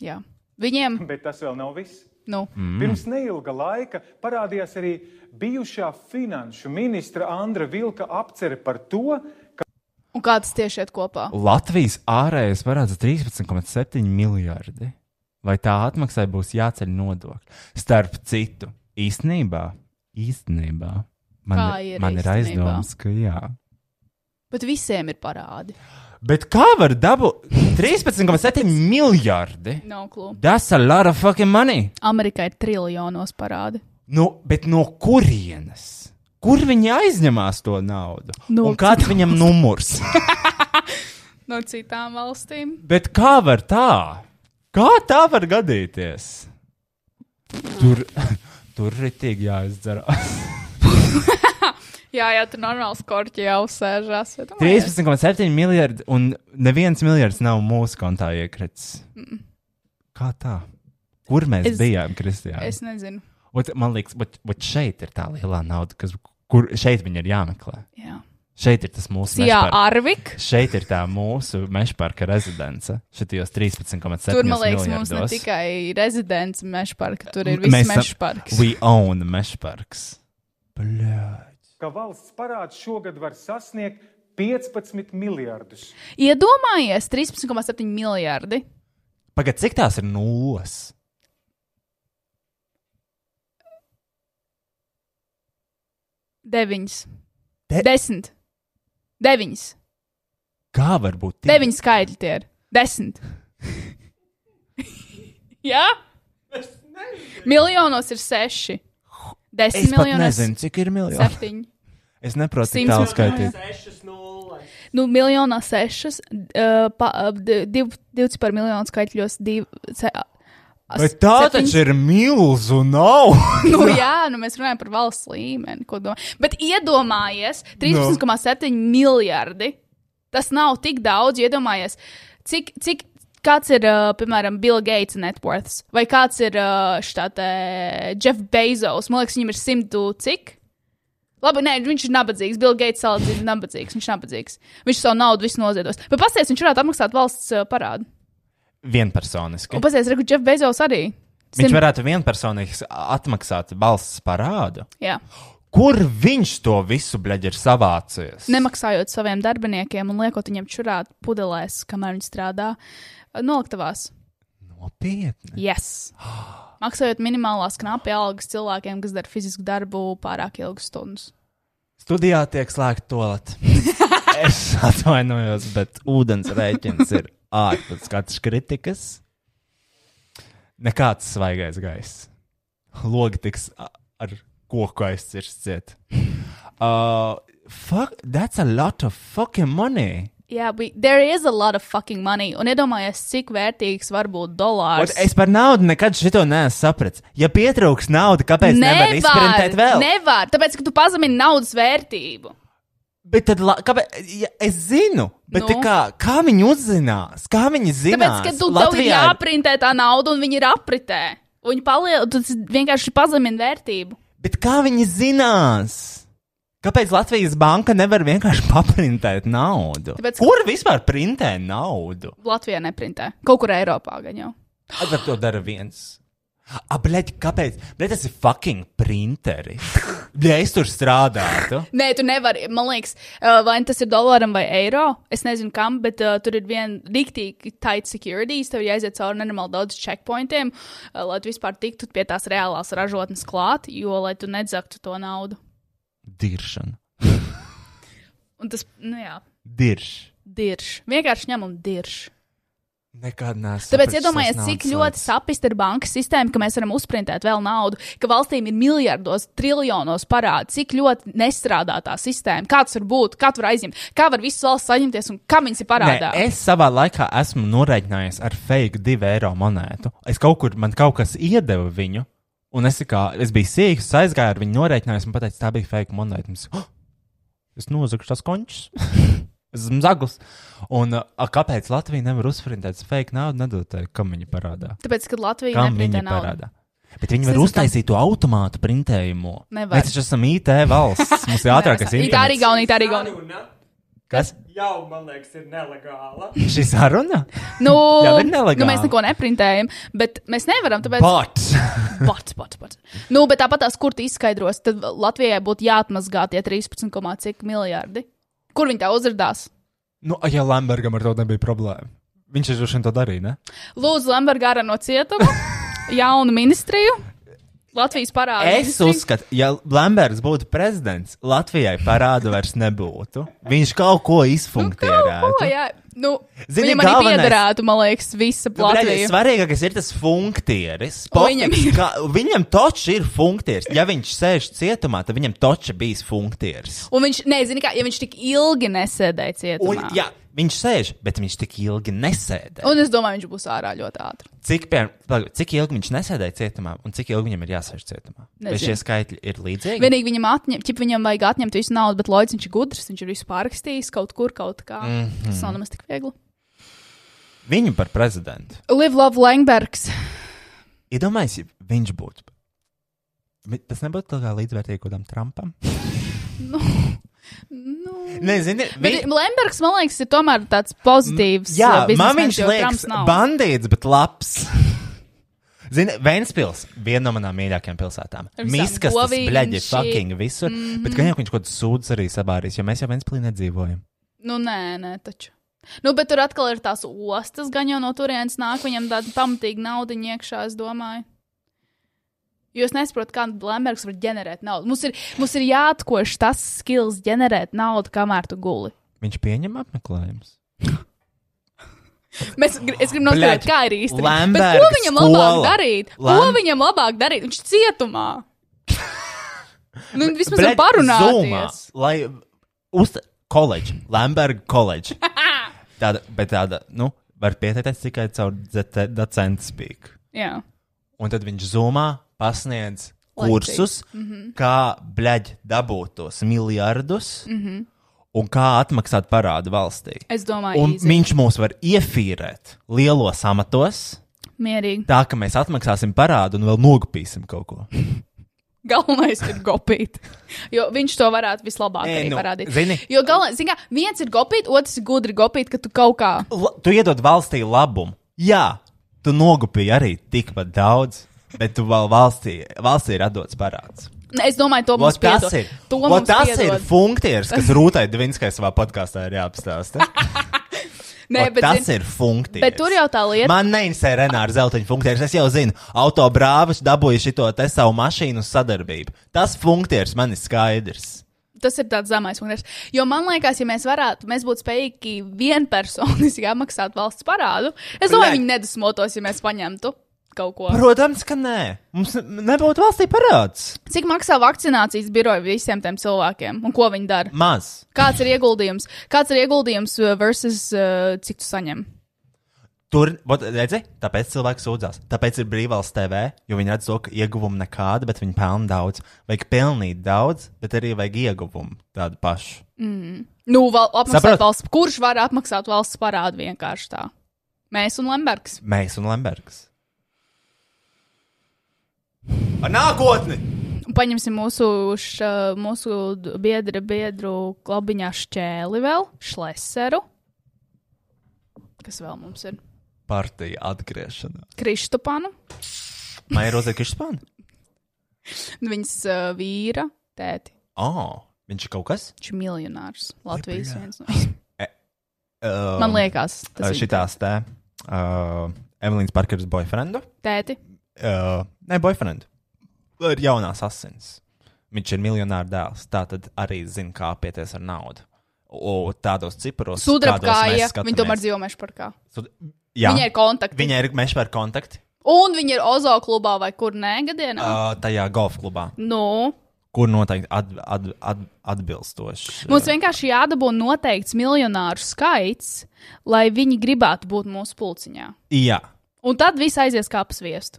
C: Jā. Viņiem.
L: Bet tas vēl nav viss.
C: Nu.
L: Mm. Pirms neilga laika parādījās arī bijušā finanšu ministra Andra Vilka apcere par to, ka
C: Un kā tas tieši iet kopā?
B: Latvijas ārējais parāds ir 13,7 miljardi. Vai tā atmaksai būs jāceļ nodokļi? Starp citu, īstenībā, īstenībā man
C: Kā ir
B: man ir
C: īstenībā?
B: aizdomas, ka jā.
C: Bet visiem ir parādi.
B: Bet kā var dabūt 13,7 miljardi?
C: Nav klubu.
B: Tas ir lot of fucking money.
C: Amerikai ir triljonos parādi.
B: Nu, bet no kurienes? Kur viņi aizņemās to naudu? No
C: No
B: Un kāds viņam numurs?
C: No citām valstīm.
B: bet kā var tā? Kā tā var gadīties? Tur, tur ritīgi jāizdzerās.
C: Jā, jā, tur normāls korķis jau sēžās. bet domāju,
B: 13,7 miljardi un neviens miljards nav mūsu kontā iekritis.
C: Mm.
B: Kā tā? Kur mēs
C: Es-
B: es, bijām, Kristija?
C: Es nezinu.
B: Man liekas, bet, bet šeit ir tā lielā nauda, kas, kur šeit viņi ir jāmeklē.
C: Jā.
B: Šeit ir tas mūsu
C: Sijā
B: mežpark-
C: Arvik?
B: Šeit ir tā mūsu meža parka rezidence. Šitajos 13,7
C: Tur, man liekas, mums ne
B: miljardos.
C: tikai rezidents meža parka, tur ir
B: Mēs
C: viss
B: esam-
C: meža parks.
B: We own meža parks. Bļā.
L: ka valsts parāds šogad var sasniegt 15 miljardus.
C: Iedomājies, 13,7 miljardi.
B: Pagaidiet, cik tās ir nulles?
C: Deviņas. De... Desmit. Deviņas.
B: Kā var būt tik
C: Deviņi skaitļi tie ir. Desmit. Jā? Miljonos ir seši. Desmit
B: Es pat
C: miljonos.
B: nezinu, cik ir miljoni.
C: Septiņi.
B: Es neprotu, cik
C: Simts
B: tālu
C: miljonā.
B: skaitīt.
C: Nu, miljonā sešas, uh, pa, uh, div, divas par miljonu skaitļos, div, se, as-
B: Bet tā
C: septiņas-
B: taču ir milzu nauda.
C: Nu, jā, nu mēs runājam par valsts līmeni. ko domā- Bet iedomājies, 13,7 no. miljardi. Tas nav tik daudz. Iedomājies, cik, cik kāds ir, uh, piemēram, Bill Gates net worth, vai kāds ir uh, štāte Jeff Bezos. Man liekas, viņam ir simtu cik. Labi, nē, viņš ir nabadzīgs. Bill Gates salīdzina nabadzīgs. Viņš ir nabadzīgs. Viņš savu naudu visu noziedos. Bet pasties, viņš varētu apmaksāt valsts uh, parādu.
B: Vienpersoniski.
C: Un pasties, reku, Jeff Bezos arī.
B: Viņš
C: Simt-
B: varētu vienpersonīgi atmaksāt valsts parādu.
C: Jā.
B: Kur viņš to visu bleģi ir savācies?
C: nemaksājot saviem darbiniekiem un liekot viņiem čurāt pudelēs, kamēr viņi strādā, noliktavās.
B: Nopietni.
C: Yes. Maksājot minimālās knapi algas cilvēkiem, kas dara fizisku darbu pārāk ilgas stundas.
B: Studijā tiek slēgta tolata. es atvainojos, bet ūdens rēķins ir ārpus katras kritikas. Nekāds svaigais gaiss. Logi tiks a- ar koku aizcirsts ciet. Uh, fuck, that's a lot of fucking money.
C: Jā, yeah, there is a lot of fucking money. Un iedomājies, cik vērtīgs var būt dolārs.
B: Ot, es par naudu nekad šito neesmu sapratis. Ja pietrūks nauda, kāpēc nevar izprintēt vēl?
C: nevar, tāpēc, ka tu pazemini naudas vērtību.
B: Bet tad, la- kāpēc, ja, es zinu, bet
C: Nu?
B: nu. kā, kā viņi uzzinās? Kā viņi zinās?
C: Tāpēc, ka tu, tev ir
B: Latvijā ir-
C: jāprintē tā nauda, un viņi ir apritē. Viņi palielina, tas vienkārši pazemina vērtību.
B: Bet kā viņi zinās? Kāpēc Latvijas banka nevar vienkārši paprintēt naudu?
C: Tāpēc,
B: Tāpēc,
C: ka-
B: Kur vispār printē naudu?
C: Latvijā neprintē. Kaut kur Eiropā gan jau.
B: Tad to dara viens. Ableģ, kāpēc? Bet tas ir fucking printeri. Ja es tur strādātu,
C: Nē, tu nevari. Man liekas, uh, vai tas ir dolāram vai eiro. Es nezinu, kam, bet uh, tur ir viena rīktīgi tight securities. Tev jāiziet cauri nenormāli daudz checkpointiem, uh, lai tu vispār tiktu pie tās reālās ražotnes klāt, jo lai tu nedzaktu to naudu.
B: diršana.
C: Un tas, nu jā,
B: Dirš.
C: dirš. Vienkārši ņem un dirš.
B: Nekad neesmu.
C: Tāpēc iedomājieties, cik ļoti sapista ir banka sistēma, ka mēs varam uzprintēt vēl naudu, ka valstīm ir miljardos, triljonos parādi, cik ļoti nestrādā tā sistēma, kāds var būt, kā tu vari aizņemt, kā var visas valsts saņemties un kam viņas ir parādā.
B: Nē, es savā laikā esmu norēķinājies ar fake divu eiro monētu. Es kaut kur, man kaut kas iedeva viņu, un es, tā kā, es biju sīgs, aizgāju ar viņu, norēķinājos, un pateicu, tā bija fake monēta. Un Es, "Oh, es nozagšu tas končus. es esmu zaglis. Un uh, a, kāpēc Latvija nevar uzprintēt fake naudu, nedot tai, kam viņa parādā?
C: Tāpēc, kad Latvija
B: Kam
C: neprintē
B: viņa
C: naudu.
B: parādā? Bet
C: Es
B: viņi var
C: nezinu, kam.
B: uztaisīt to automātu printējumu.
C: Nevar.
B: Mēs taču esam IT valsts. Mums ir ātrākais
C: It kā arī
B: internets.
C: gaunīt, arī gaunīt.
B: Kas?
P: Jau, man liekas, ir nelegāla.
B: Šī saruna?
C: Nu,
B: Jau ir
C: nu, mēs
B: nelegāli.
C: neko neprintējam, bet mēs nevaram. Tāpēc...
B: But.
C: But, but, but. Nu, bet tāpat tās, kur tu izskaidros, tad Latvijai būtu jāatmazgā tie 13,5 miljardi. Kur viņi tā uzrādās?
B: Nu, ja Lambergam ar to nebija problēma, viņš ir droši vien to darīja. Ne?
C: Lūdzu, Lamberga ārā no cietuma, jaunu ministriju, Latvijas parādu.
B: Es
C: ministriju.
B: uzskatu, ja Lamberts būtu prezidents, Latvijai parādu vairs nebūtu. Viņš kaut ko izfunkcionētu.
C: Ko, jā, nu,
B: Zini,
C: viņam arī
B: galvenais-
C: piederētu, man liekas, visa
B: Nu, bļaļ,
C: Latvija.
B: Svarīgākais ir tas funkcijas.
C: Viņam ir.
B: Kā, viņam taču ir funkcijas. Ja viņš sēž cietumā, tad viņam taču bijis funkcijas.
C: Un viņš, nezinu, kā, ja viņš tik ilgi nesēdēja
B: Un,
C: cietumā.
B: jā, viņš sēž, bet viņš tik ilgi nesēdē.
C: Un es domāju, viņš būs ārā ļoti ātri.
B: Cik, pie, pagaid, cik ilgi viņš nesēdēja cietumā, un cik ilgi viņam ir jāsēž cietumā? Vai
C: Nezinu.
B: šie skaitļi ir līdzīgi?
C: Vienīgi viņam, atņem, ķip, viņam vajag atņemt visu naudu, bet Lodzis viņš ir gudrs, viņš ir visu pārrakstījis kaut kur, kaut kā. Mm
B: Mhm.
C: -hmm. Tas nav nemaz tik viegli.
B: Viņu par prezidentu.
C: Live Love Langbergs.
B: Iedomājieties, ja viņš būtu. Bet Tas nebūtu tā kā līdzvērtīgi kaut kādam Trumpam.
C: Nu, nu.
B: Nezinu,
C: Bet Lembergs, man liekas, ir tomēr tāds pozitīvs.
B: Jā,
C: uh, biznesmenis,
B: man viņš
C: jo
B: liekas,
C: Trumps nav.
B: bandīts, bet labs. Zini, Vēnspils, viena no manām mīļākajām pilsētām.
C: Ar visām Mhm.
B: Miskas, tas
C: govīm
B: bleģi,
C: šī-
B: fucking visur. Mm -hmm. Bet gan jau viņš kaut kādas sūdzes arī sabārīs, jo mēs jau Vēnspilī nedzīvojam.
C: Nu, nē, nē, taču. Nu, bet tur atkal ir tās ostas, gan jau no turienes nāk, viņam tāda pamatīga nauda iekšā, es domāju. Jo es nesaprotu, kā Lembergs var ģenerēt naudu. Mums ir, mums ir jāatkož tas skills ģenerēt naudu, kamēr tu guli.
B: Viņš pieņem apmeklējumus.
C: Mēs, gr- es gribu noskaidrot,
B: Bļaģ,
C: kā ir īstenībā. Bet
B: Lemberga
C: Ko viņam labāk
B: skola.
C: darīt? Ko
B: Lem-
C: viņam labāk darīt? Viņš ir cietumā. Nu, vismaz
B: Bļaģ, Zoomā,
C: parunāties.
B: Lai uz koledžu, Lemberga koledžu. Tāda, bet tāda, nu, var pieteikties tikai caur dzete- docentu spīku.
C: Jā.
B: Un tad viņš zumā pasniedz
C: Lekcijas.
B: kursus,
C: Mhm.
B: kā bleģi dabūt tos miljardus
C: Mhm.
B: un kā atmaksāt parādu valstī.
C: Es domāju,
B: Un
C: easy.
B: viņš mūs var iefīrēt lielos amatos,
C: Mierīgi.
B: tā ka mēs atmaksāsim parādu un vēl nogupīsim kaut ko.
C: Galvenais ir gopīt. Jo viņš to varētu vislabāk
B: Nē,
C: arī
B: nu,
C: parādīt.
B: zini.
C: Jo galvenais, zini, kā, viens ir gopīt, otrs ir gudri gopīt, ka tu kaut kā.
B: La, tu iedod valstī labumu. Jā, tu nogupīji arī tikpat daudz, bet tu vēl valstī, valstī ir atdots parāds.
C: Es domāju, to
B: Vot
C: mums
B: tas
C: piedod.
B: ir,
C: To
B: vot
C: mums
B: tas ir
C: piedod.
B: funkcijas, kas Rūtai Divinskai savā podkāstā ir jāapstāsta.
C: Nē,
B: Vot
C: bet,
B: tas
C: zini,
B: ir funkcijas.
C: Bet tur jau tā lieta.
B: Man neinteresē Renāra Zeltiņa funkcijas. Es jau zinu, autobrāvis dabūja šo te savu mašīnu uz sadarbību. Tas funkcijas man ir skaidrs.
C: Tas ir tāds zemais monētas. Jo man liekas, ja mēs varētu, mēs būtu spējīgi vienpersoniski apmaksāt valsts parādu. Es domāju,
B: Bļaigi.
C: viņi nedusmotos, ja mēs paņemtu kaut ko.
B: Protams, ka nē. Mums ne- nebūtu valstī parāds.
C: Cik maksā vakcinācijas biroja visiem tiem cilvēkiem un ko viņi dara?
B: Maz.
C: Kāds ir ieguldījums? Kāds ir ieguldījums uh, versus uh, cik tu saņem?
B: Tur, vot, redzi, tāpēc cilvēki sūdzas. Tāpēc ir brīvvalsts TV, jo viņi redz, to, ka ieguvumi nekādi, bet viņi pelna daudz. Vajag pelnīt daudz, bet arī vajag ieguvumu tādu pašu.
C: Mm. Nu, val, apmaksāt
B: Sapratu.
C: valsts, kurš var apmaksāt valsts parādu vienkārši tā? Mēs un Lembergs.
B: Mēs un Lembergs. Ar nākotni!
C: Un Paņemsim mūsu, š, mūsu d- biedra, biedru klubiņā šķēli vēl, šleseru. Kas vēl mums ir?
B: Partija atgriešanās.
C: Kristupānu,
B: Maija Rozeka Krišpāna?
C: viņas uh, vīra, tēti.
B: Oh, viņš ir kaut kas?
C: Viņš ir miljonārs. Latvijas
B: Jebkurā.
C: viens no.
B: Uh,
C: Man liekas, tas ir-
B: Šitās te uh, Evelīnas Parkeras boyfriendu.
C: Tēti.
B: Uh, ne boyfriendu. Ir jaunās asins. Viņš ir miljonārs dēls. Tā tad arī zina, kā apieties ar naudu. O, tādos ciparos.
C: Sudrabkāja, viņa tomēr dzīvo mežparkā. Viņai ir kontakti.
B: Viņai ir mežpēr kontakti
C: Un viņi ir Ozo klubā vai kur nē, gadienā.
B: uh, tajā golf klubā,
C: Nu,
B: kur noteikti at, at, at, atbilstoši.
C: mums vienkārši jādabū noteikts miljonāru skaits, lai viņi gribētu būt mūsu pulciņā.
B: Jā.
C: Un tad viss aizies kā apsviestu.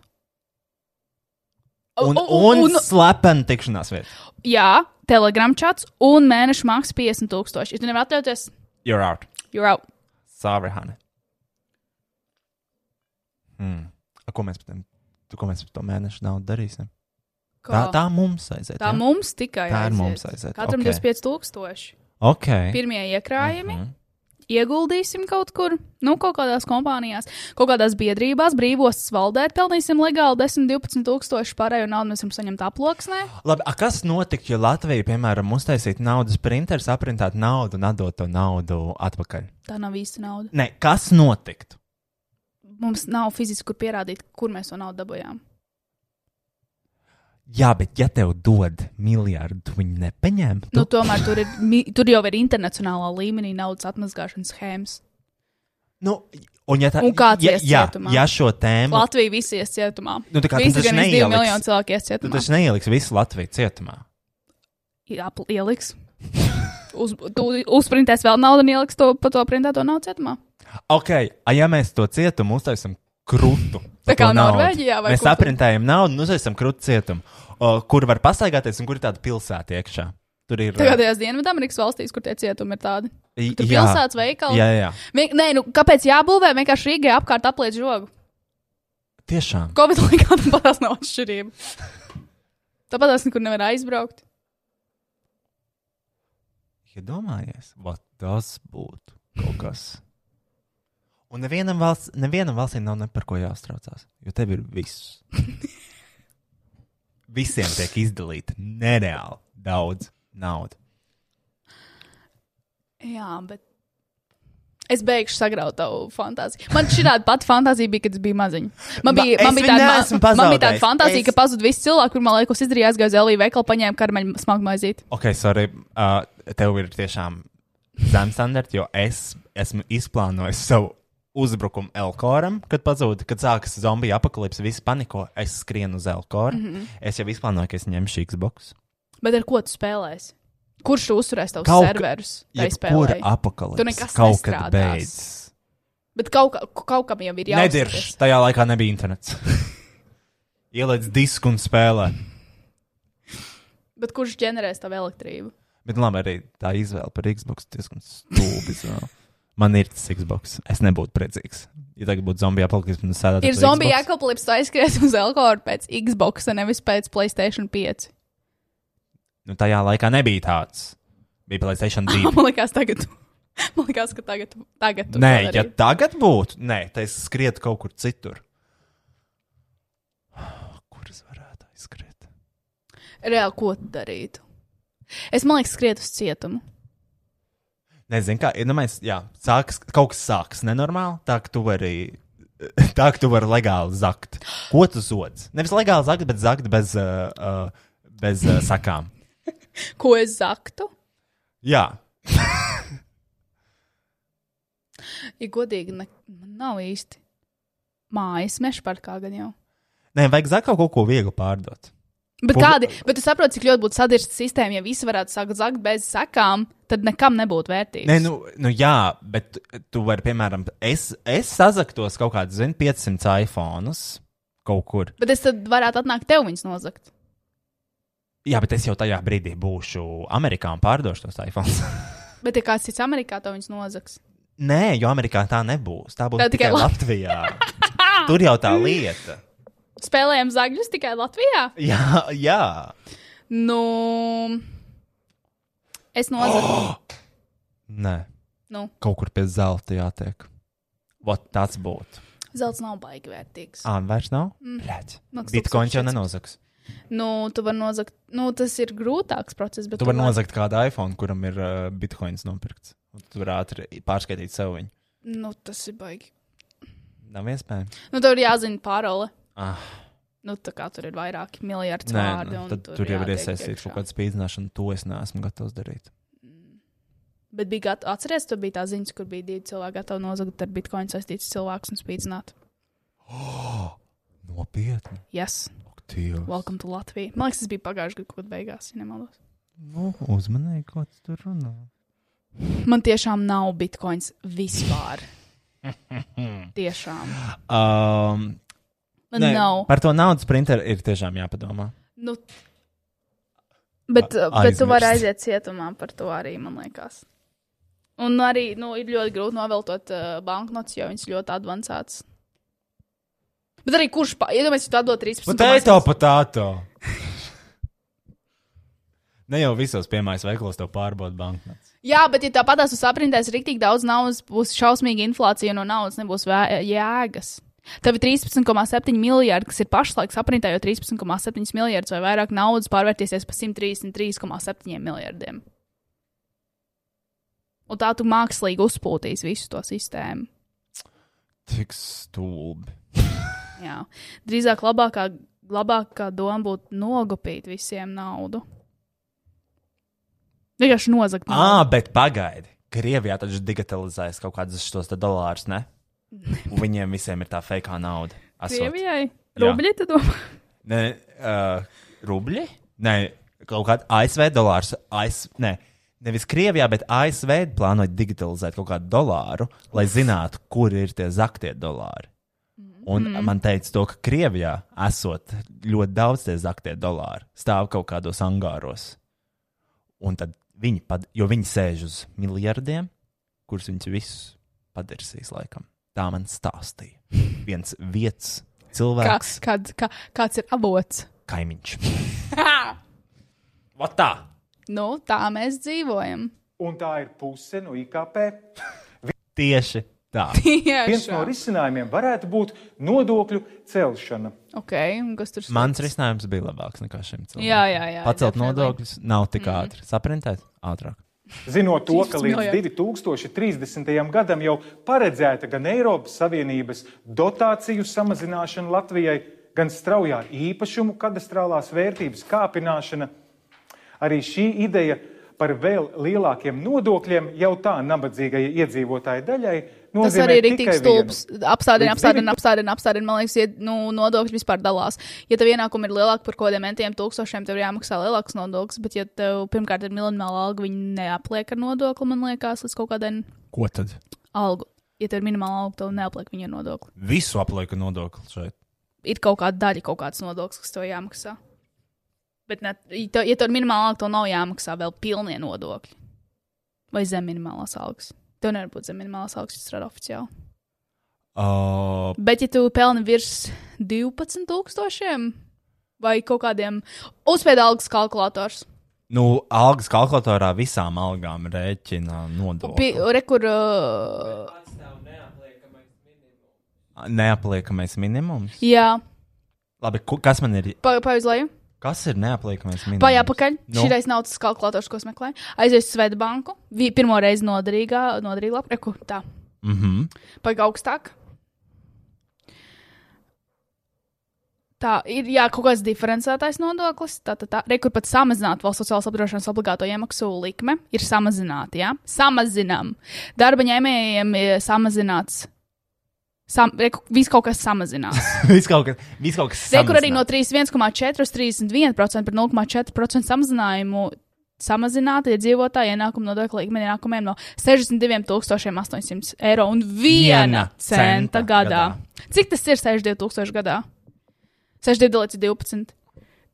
B: Un,
C: Un- un-
B: un,
C: un-
B: un slepeni tikšanās vieta.
C: Jā, telegram chats un mēneša maksa 50 tūkstoši. Ja tu nevari atļauties,
B: You're out.
C: you're out.
B: Sorry, honey. Mm. A, ko mēs par tiem- tu- ko mēs par to mēnešu naudu darīsim?
C: Kā?
B: Tā, tā mums aiziet. ja?
C: Tā mums tikai
B: Tā ir
C: aiziet.
B: mums aiziet.
C: Katram
B: okay.
C: 25 tūkstoši.
B: Ok.
C: Pirmie iekrājumi.
B: Mhm.
C: Ieguldīsim kaut kur, nu, kaut kādās kompānijās, kaut kādās biedrībās, brīvostas valdē, pelnīsim legāli 10, 12 tūkstošu pārējo naudu, mēs varam saņemt aploksnē.
B: Labi, a kas notiktu, ja Latvija, piemēram, uztaisītu naudas printeru, aprintētu naudu un atdotu to naudu atpakaļ?
C: Tā nav īsta nauda.
B: Nē, kas notiktu?
C: Mums nav fiziski, kur pierādīt, kur mēs to naudu dabūjām.
B: Jā, bet ja tev dod miljardu, tu viņu nepaņem.
C: Nu, tomēr tur, ir, mi- tur jau ir internacionālā līmenī naudas atmazgāšanas schēmas.
B: Nu, un, ja tā,
C: Un kāds
B: ja,
C: ies
B: ja,
C: cietumā?
B: ja šo tēmu
C: Latvija visi ies cietumā.
B: Nu, tā kā tu
C: visi
B: taču
C: gan iz divi
B: neieliks.
C: miljoni cilvēku ies
B: Tu
C: cietumā.
B: taču neieliks visu Latviju cietumā.
C: Jā, pl- ieliks. Uz, tu uzprintēs vēl naudu un ieliks to pa to printēto naudu cietumā.
B: Ok, a, ja mēs to cietumu uztaisām krūtu.
C: Tā kā Norvēģijā vai
B: Mēs
C: kur tur?
B: aprintējam naudu un uztaisām krūtu cietumu, o, kur var pastaigāties un kur ir tāda pilsēta iekšā. Tur ir.
C: Tagad tajās Dienvidamerikas valstīs, kur tie cietumi ir tādi.
B: J-
C: Tur
B: jā.
C: pilsētas veikali.
B: Jā, jā.
C: Vien, nē, nu, kāpēc jābūvē? Vienkārši Rīgai apkārt apliec žogu.
B: Tiešām.
C: Covid laikā tam patās nav atšķirība. Tāpat es nekur nevaru aizbraukt.
B: Iedomājies, ja vat tas būtu kaut kas. Un nevienam, valsts, nevienam valstīm nav ne par ko jāuztraucās, jo tev ir viss. Visiem tiek izdalīta nereāli daudz naudas.
C: Jā, bet es beigšu sagraut tavu fantāziju. Man šī tāda pati fantāzija bija, kad es biju maziņa. Man
B: Ma-
C: bija,
B: es
C: man bija,
B: viņu
C: tāda,
B: neesmu
C: man, man bija tāda
B: pazaudējis.
C: fantāzija,
B: Es-
C: es... ka pazudīs viss cilvēks, kur man liekas, izdarīja aizgāju uz Elīju veikalu, paņēma karmeņu smagmaizīt.
B: Ok, sorry, uh, tev ir tiešām zems standarts, jo es esmu izplānojis savu uzbrukumu Elkoram, kad pazūd, kad sākas zombiju apakalipse, visi paniko, es skrienu uz Elkoru. Mm
C: Mhm.
B: -hmm. Es jau izplānoju, ka es ņemšu Xbox.
C: Bet ar ko tu spēlēsi? Kurš tu uzturēs tavus
B: Kaut ka-
C: serverus? tai
B: Jebkura
C: spēlei?
B: apakalipse
C: Tu nekas
B: kaut
C: nestrādās.
B: kad beidzas.
C: Bet kaut, kā- kaut kam jau ir jābūt.
B: Nedirž, tajā laikā nebija internets. Ieliec disku un spēlē.
C: Bet kurš ģenerēs tavu elektrību?
B: Bet nu labi, arī tā izvēle par Xbox diezgan stulba izvēle. Man ir tas Xbox. Es nebūtu priecīgs. Ja tagad būtu zombija apakalipse, tad es sēdētu.
C: Ir
B: uz
C: zombija
B: Xbox.
C: akalipse, tu aizskries uz Elkoru pēc Xbox, nevis pēc PlayStation 5.
B: Nu, tajā laikā nebija tāds. Bija Placēta 2.
C: Man liekas, tagad. Man liekas, ka tagad. tagad Ah, tu
B: Nē,
C: to darītu.
B: ja tagad būtu, nē, tad es skrietu kaut kur citur.
C: Reāli, ko tu darītu? Es man liekas, skriet uz cietumu.
B: Nezinu, kā, iedomājies, jā, sāks, kaut kas sāks nenormāli, tā ka tu vari, tā ka tu vari legāli zakt. Ko tu zodz? Nevis legāli zakt, bet zakt bez, uh, uh, bez uh, sakām.
C: Ko es zaktu?
B: Jā,
C: Ja godīgi, ne, man nav īsti mājas meža parkā gan jau.
B: nē, vajag zakt kaut ko viegli pārdot.
C: Bet
B: Pub-
C: kādi, bet tu saproti, cik ļoti būtu sadirsta sistēma, ja visi varētu sākt zakt bez sakām, tad nekam nebūtu vērtības.
B: Nē, nu, nu jā, bet tu- tu vari, piemēram, es, es sazaktos kaut kādus, zinu, 500 iPhone kaut kur.
C: Bet es tad varētu atnākt tev viņus nozagt.
B: Jā, bet es jau tajā brīdī būšu Amerikā un pārdošu tos iPhone.
C: Bet ja kāds cits Amerikā to viņus nozags.
B: Nē, jo Amerikā tā nebūs. Tā būs
C: Tā
B: tā tikai
C: tikai Lat-
B: Latvijā. Tur jau tā lieta.
C: Spēlējam zagļus tikai Latvijā?
B: Jā, jā.
C: Nu, es nozagu. Oh!
B: Nē,
C: Nu,
B: kaut kur pie zelta jātiek. Vat tāds būtu.
C: zelts nav baigi vērtīgs.
B: Ā, nu vairs nav?
C: Mm.
B: Bļaģ.
C: Maks
B: Ah, Bitcoin jau nenozaks.
C: Nu, tu vari nozagt, nu, tas ir grūtāks process. Bet
B: Tu vari nozagt kādu iPhone, kuram ir uh, bitcoins nopirkts. Un Tu vari ātri pārskaitīt sev viņu.
C: Nu, tas ir baigi.
B: Nav iespējams.
C: Nu, tev ir jāzina parole.
B: Ah.
C: Nu, tā kā tur ir vairāki miljardi
B: Nē,
C: vārdu.
B: nu,
C: un
B: tad tur jau ir
C: jātiek
B: iesaistīts
C: iekšā.
B: kaut kāda spīdzināšana. To es neesmu gatavs darīt.
C: Bet bija gatavi atcerēties, tur bija tā ziņa, kur bija divi cilvēki gatavi nozagt ar bitkoinu saistīts cilvēks un spīdzināt.
B: Oh, nopietni.
C: Yes.
B: Dievs.
C: Welcome to Latviju. Man liekas, tas bija pagājušajā gadā, kad beigās, ja nemaldos.
B: Nu, uzmanīgi, ko tu tur runā.
C: Man tiešām nav bitkoins vispār. tiešām.
B: Um,
C: Man nav.
B: Par to naudas printeru ir tiešām jāpadomā.
C: Nu, bet,
B: A-
C: bet tu vari
B: aizmirst.
C: aiziet cietumā par to arī, man liekas. Un arī nu, ir ļoti grūti noveltot uh, banknotes, jo viņas ļoti advancētas. Bet arī kurš, pa- iedomājieties, ja tu atdod 13.
B: Patēto, patēto. ne jau visos piemājas veikalos tev pārbauda banknotes.
C: Jā, bet ja tāpatās uz aprindēs rīktīgi daudz naudas, būs šausmīga inflācija, no naudas nebūs vē- jēgas. Tev ir 13,7 miljardi, kas ir pašlaik aprindē, jo 13,7 miljardus vai vairāk naudas pārvērtīsies par 133,7 miljardiem. Un tā tu mākslīgi uzpūtīsi visu to sistēmu.
B: Tik stulbi.
C: Jā. Drīzāk labākā, labākā doma būtu nogupīt visiem naudu. Vienkārši nozagt. naudu.
B: Ā, bet pagaidi. Krievijā taču digitalizēs kaut kādus šos te dolārus, ne? Un Viņiem visiem ir tā fake nauda. esot.
C: Krievijai?
B: Jā.
C: Rubļi, tu domā?
B: Nē, uh, rubļi? Nē, kaut kāda ASV dolārs. AS, nē, nevis Krievijā, bet ASV plānoja digitalizēt kaut kādu dolāru, lai zinātu, kur ir tie zaktie dolāri. Un
C: Mm.
B: mm. man teica, to, ka Krievijā esot ļoti daudz tie zaktie dolāri, stāv kaut kādos angāros. Un tad viņi, pad, jo viņi sēž uz miljardiem, kurus viņi visus padarsīs laikam. Tā man stāstīja viens vietas
C: Kā,
Q: cilvēks,
C: kad, kā, kāds ir avots?
Q: kaimiņš.
C: What tā? Nu, tā mēs dzīvojam.
L: Un tā ir puse no IKP.
Q: Tieši tā.
C: Tieši.
L: Viens no risinājumiem varētu būt nodokļu celšana.
C: Ok, un kas tur
Q: Mans risinājums bija labāks nekā šim cilvēkam.
C: Jā, jā, jā,
Q: Pacelt
C: definitely. Mhm.
Q: nodokļus nav tik ātri. Saprintēt, ātrāk.
L: Zinot to, ka līdz
C: Miljardi.
L: 2030. gadam jau paredzēta gan Eiropas Savienības dotāciju samazināšana Latvijai, gan straujā īpašumu kadastrālās vērtības kāpināšana, arī šī ideja par vēl lielākiem nodokļiem jau tā nabadzīgajai iedzīvotāju daļai
C: Tas
L: nozīmē
C: arī ir
L: tikai
C: rīktīgi stulbs.
L: vienu.
C: Apstādini,
L: Līdz
C: apstādini, apstādini, apstādini. Man liekas, ied, nu, nodokļi vispār dalās. Ja tev ienākumi ir lielāki par kaut kādiem mentiem tūkstošiem, tev ir jāmaksā lielāks nodoklis, bet ja tev pirmkārt ir minimāla alga, viņi neapliek ar nodokli, man liekas, līdz kaut kādai
B: Ko tad?
C: algu. Ja tev ir minimāla alga, tev neapliek viņu ar nodokli.
B: Visu aplieka nodokli šeit.
C: Ir kaut kāda daļa, kaut kāds nodoklis, kas tev jāmaksā. Bet, ne, ja tev- ja tev ir minimāla alga, tev nav jāmaksā vēl pilnie nodokļi. Vai zem minimālās algas. Tev nevar būt zem minimālās algas, ja tu strādā oficiāli.
B: Uh,
C: Bet, ja tu pelni virs 12,000 vai kaut kādiem uzspēļu algas kalkulators,
B: nu, algas kalkulatorā visām algām rēķina nodokli.
C: rekurors.
B: Neapliekamais minimums.
C: Jā,
B: Labi, ku- kas man ir?
C: pa, pa uz leju.
B: Kas ir neapliekamais minimums?
C: Pajā pakaļ.
B: Nu?
C: Nu. Šis nav tas kalkulators, ko es meklēju. Aizies uz Svetbanku. Vi- Pirmo reizi noderīgā, noderīgā lapā. Reku, tā.
B: Mhm.
C: Pagaidā augstāk. Tā ir jā, kaut kāds diferencētais nodoklis. Tā, tā, tā. Rekur pat samazināt valsts sociālās apdrošināšanas obligāto iemaksu likme ir samazināta. Jā? Samazinām. Darba ņēmējiem ir samazināts. Sam, reku, viss kaut kas samazinās.
B: Viss kaut kas, viss kaut kas
C: Rekur arī
B: samazinās.
C: no 31,4 uz 31% par 0,4% samazinājumu samazināta iedzīvotāja ienākuma nodokļa līmeņa ienākumiem no 62,800 eiro un 1
B: Viena centa
C: centa gadā. gadā. Cik tas ir 62,000 gadā? 62 līdz 12,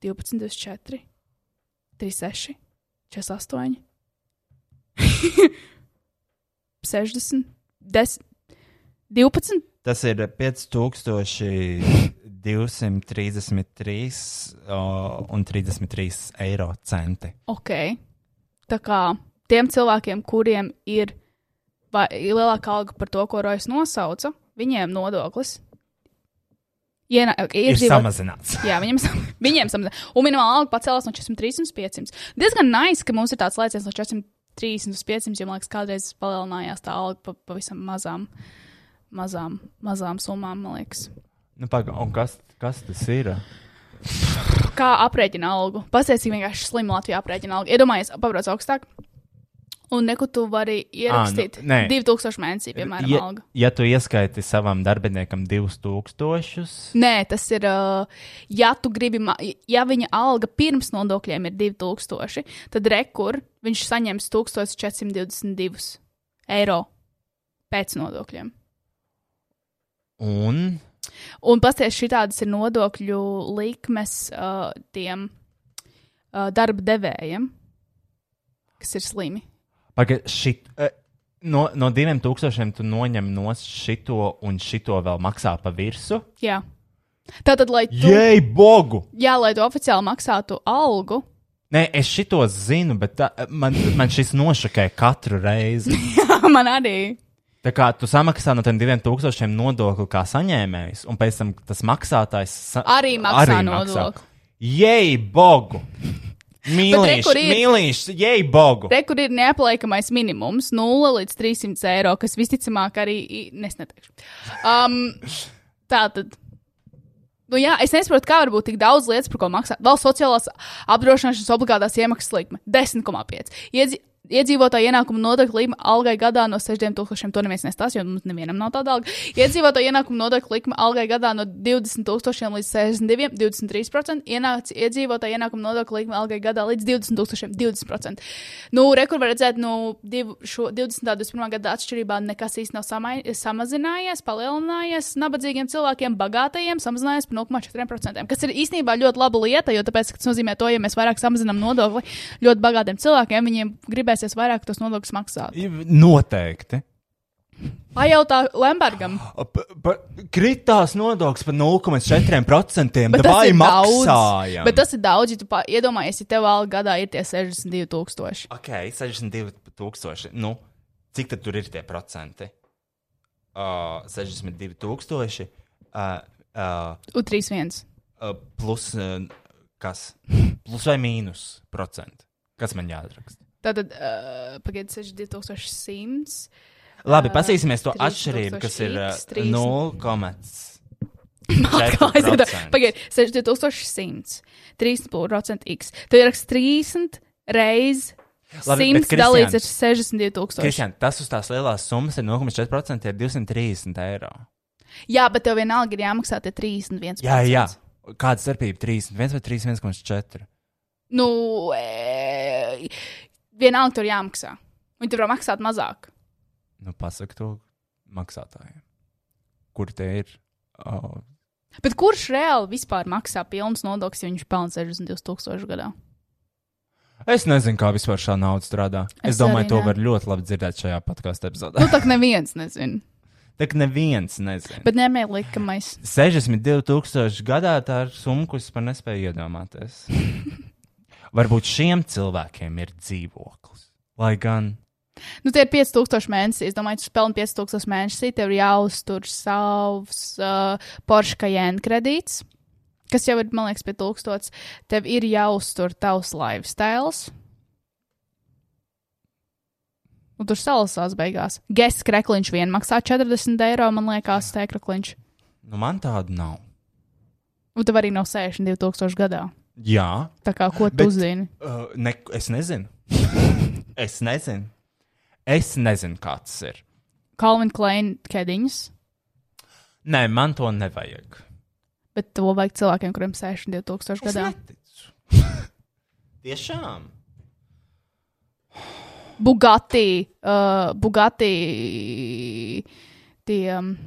C: 12, 24, 36, 48, 60, 10, 12.
B: Tas ir 5233 uh, un 33 eiro centi.
C: Ok. Tā kā tiem cilvēkiem, kuriem ir vai, lielāka alga par to, ko Rojas nosauca, viņiem nodoklis. Ienā,
B: Ir
C: iedzīvot-
B: samazināts.
C: Jā, viņiem, sam- viņiem samazināts. Un minimāla alga pacēlās no 403 līdz 500. Diezgan nice, ka mums ir tāds lēciens no 430 līdz 500, jo man liekas, kādreiz palielinājās tā alga pa, pavisam mazām, mazām, mazām summām, man liekas.
B: Nu, paga, un kas, kas tas ir?
C: Kā aprēķina algu? Pastāstīt, cik vienkārši slima Latvijā aprēķina algu. Iedomājies, pabrauc augstāk. Un neko tu vari ierakstīt.
B: Ā, nu, nē.
C: 2000 mēnesī, piemēram,
B: ja,
C: alga.
B: ja tu ieskaiti savam darbiniekam 2000,
C: Nē, tas ir, uh, ja tu gribi, ma- ja viņa alga pirms nodokļiem ir 2000, tad rekur viņš saņems 1422 eiro pēc nodokļiem.
B: un
C: Un pasties šitādas ir nodokļu likmes uh, tiem uh, darba devējiem, kas ir slimi.
B: paga, šit, eh, no, no 2000 tu noņem no šito un šito vēl maksā pa virsmu.
C: Jā. Tātad, lai tu,
B: Jei, bogu!
C: jā, lai tu oficiāli maksātu algu,
B: Nē, es šito zinu, bet tā, man, man šis nošakē katru reizi.
C: man arī.
B: Tā kā tu samaksā no tiem diviem tūkstošiem nodokli kā saņēmējs, un pēc tam tas maksātājs sa
C: Arī maksā nodokli.
B: Jej, bogu!
C: re,
B: Mīlīši,
C: kur ir-
B: mīlīši, jej, bogu!
C: Te, kur ir neapliekamais minimums, 0 līdz 300 eiro, kas visticamāk arī i- ne, es neteikšu. Um, tā tad. Nu, jā, es nesaprotu, kā var būt tik daudz lietas, par ko maksā. Vēl sociālās apdrošināšanas obligātās iemaksas likme - 10,5. Iedzi Iedzīvotāju ienākumu nodokļa likme algai gadā no 6000, to neviens nestāsta, jo mums nevienam nav tāda alga. Iedzīvotāju ienākumu nodokļa likme algai gadā no 20,000 līdz 62, 23%. Ienāca iedzīvotāju ienākumu nodokļa likme algai gadā līdz 20,000, 20%. Nu, rekur var redzēt, nu, divu, šo 20. un 21. gada atšķirībā nekas īsti nav samai- samazinājies, palielinājies. Nabadzīgiem cilvēkiem, bagātajiem samazinājies par 0,4%, kas ir īstenībā ļoti laba lieta, jo tāpēc, ka tas nozīmē to, ja mēs vairāk samazinām nodokli ļoti bagātiem cilvēkiem, viņiem gribēsies vairāk tos nodokļus maksāt.
B: Noteikti.
C: Pajautā Lembergam.
B: Kritās nodoklis par 0,4%.
C: Bet tas,
B: Vai
C: ir daudz,
B: maksājam?
C: bet tas ir daudz, ja tu pa- iedomājies, ja tev alga gadā ir tie 62,000.
B: Ok, 62,000. Nu, cik tad tur ir tie procenti? Uh, 62,000 uh, uh,
C: Un 3,1.
B: uh, plus uh, kas? Plus vai mīnus procenti? Kas man jāatraksta?
C: Tātad, uh, pagaidiet, 62,100.
B: Labi,
C: ā,
B: pasīsimies to
C: 3000
B: atšķirību, kas ir uh,
C: Eh, x, 3000.
B: 0,4%.
C: Pagaidiet, 62,100. 30% x. Tev ir raksts 30 reizes.
B: Labi, bet,
C: 100 dalīts ar
B: Kristian,
C: 62,000.
B: Kristian, tas uz tās lielās summas ir 0,4% ir 230 eiro.
C: Jā, bet tev vienalga ir jāmaksā tie 31.
B: Jā, jā. Kāda starpība? 31 vai 31,4?
C: Nu, e, vienalga tur jāmaksā. Viņi tur var maksāt mazāk.
B: Nu, pasak to maksātājiem. Kur te ir? Oh,
C: Bet kurš reāli vispār maksā pilnas nodokļus, ja viņš pelna 62,000 gadā?
B: es nezinu, kā vispār šā nauda strādā. Es, es
C: Es
B: domāju,
C: arī
B: to
C: ne.
B: var ļoti labi dzirdēt šajā podkāstu
C: Nu,
B: epizodē.
C: tā kā neviens nezina.
B: Tā kā neviens nezina.
C: Bet ņēmēji likamais.
B: 62,000 gadā tā ir summa, ko es pat nespēju iedomāties. Varbūt šiem cilvēkiem ir dzīvoklis. Lai gan
C: Nu, tie ir 5000 mēnesī. Es domāju, ka tu pelni 5000 mēnesī. Tev ir jāuztur savs uh, Porsche Cayenne kredīts, kas jau ir, man liekas, pie 1000. Tev ir jāuztur tavs lifestyle. Un tur salasās beigās. Gēs krekliņš vien maksā 40 eiro, man liekas, tēkrakliņš.
B: nu, man tāda nav.
C: Un tev arī nav 62,000 gadā.
B: Jā,
C: Tā kā ko tu
B: Bet,
C: zini?
B: Uh, ne, es nezinu. es nezinu. Es nezinu, kāds tas ir.
C: Kalvin Kleina kēdiņas,
B: Nē, man to nevajag.
C: bet to vajag cilvēkiem, kuriem 62,000
B: Es
C: gadā.
B: Tiešām.
C: Bugatti, uh, Bugatti tie um,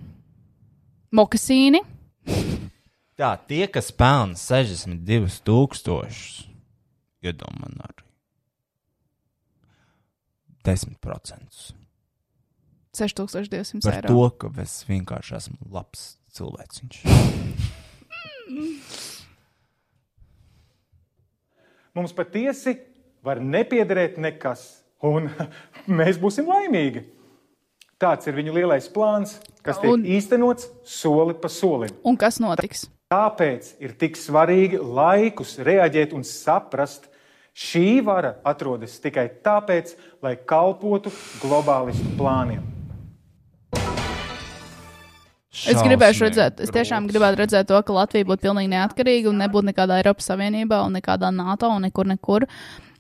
C: mokasīni.
B: Tā, tie, kas pelna 62,000, iedomājieties, man arī 10%
C: 6200
B: par
C: eiro.
B: to, ka es vienkārši esmu labs cilvēks.
L: Mums patiesi var nepiederēt nekas, un mēs būsim laimīgi. Tāds ir viņu lielais plāns, kas tiek
C: Un-
L: īstenots soli pa solim.
C: Un kas notiks?
L: Tāpēc ir tik svarīgi laikus reaģēt un saprast, šī vara atrodas tikai tāpēc, lai kalpotu globālistu plāniem.
C: Es gribēju redzēt, es tiešām gribētu redzēt to, ka Latvija būtu pilnīgi neatkarīga un nebūtu nekādā Eiropas Savienībā un nekādā NATO un nekur, nekur.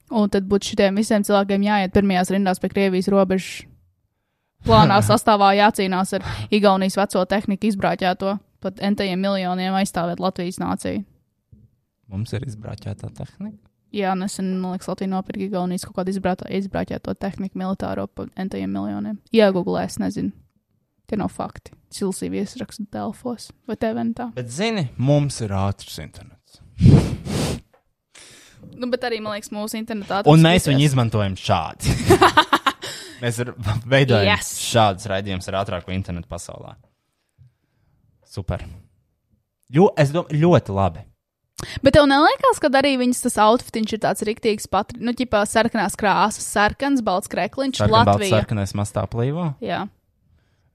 C: Un tad būtu šitiem visiem cilvēkiem jāiet pirmajās rindās pie Krievijas robežas. Plānā sastāvā jācīnās ar Igaunijas veco tehniku izbrāķēto, pat entajiem miljoniem aizstāvēt Latvijas nāciju.
B: Mums ir izbrāķēta tehnika.
C: Jā, nesen, man liekas, Latvija nopirka Igaunijas kaut kādu izbrātā- izbrāķēto tehniku militāro par entajiem miljoniem. Iegūlē, es nezinu. Tie nav fakti. Silsīvi iesrakstu Delfos vai Teventā.
B: Bet, zini, mums ir ātrs internets.
C: Nu, bet arī, man liekas, mūsu internetā.
B: Un mēs
C: atradīsies.
B: viņu izmantojam šādi. mēs ar- veidojam yes.
C: Yes.
B: šādus raidījumus ar ātrāku internetu pasaulē. Super. Jo, es domāju, ļoti labi.
C: Bet tev neliekas, ka arī viņas tas outfits ir tāds rīktīgs, patri... nu, tipā sarkanās krāsas, sarkans, balts krekliņš,
B: Sarkanbalts,
C: Latvija.
B: sarkanais mastā plīvo.
C: Jā.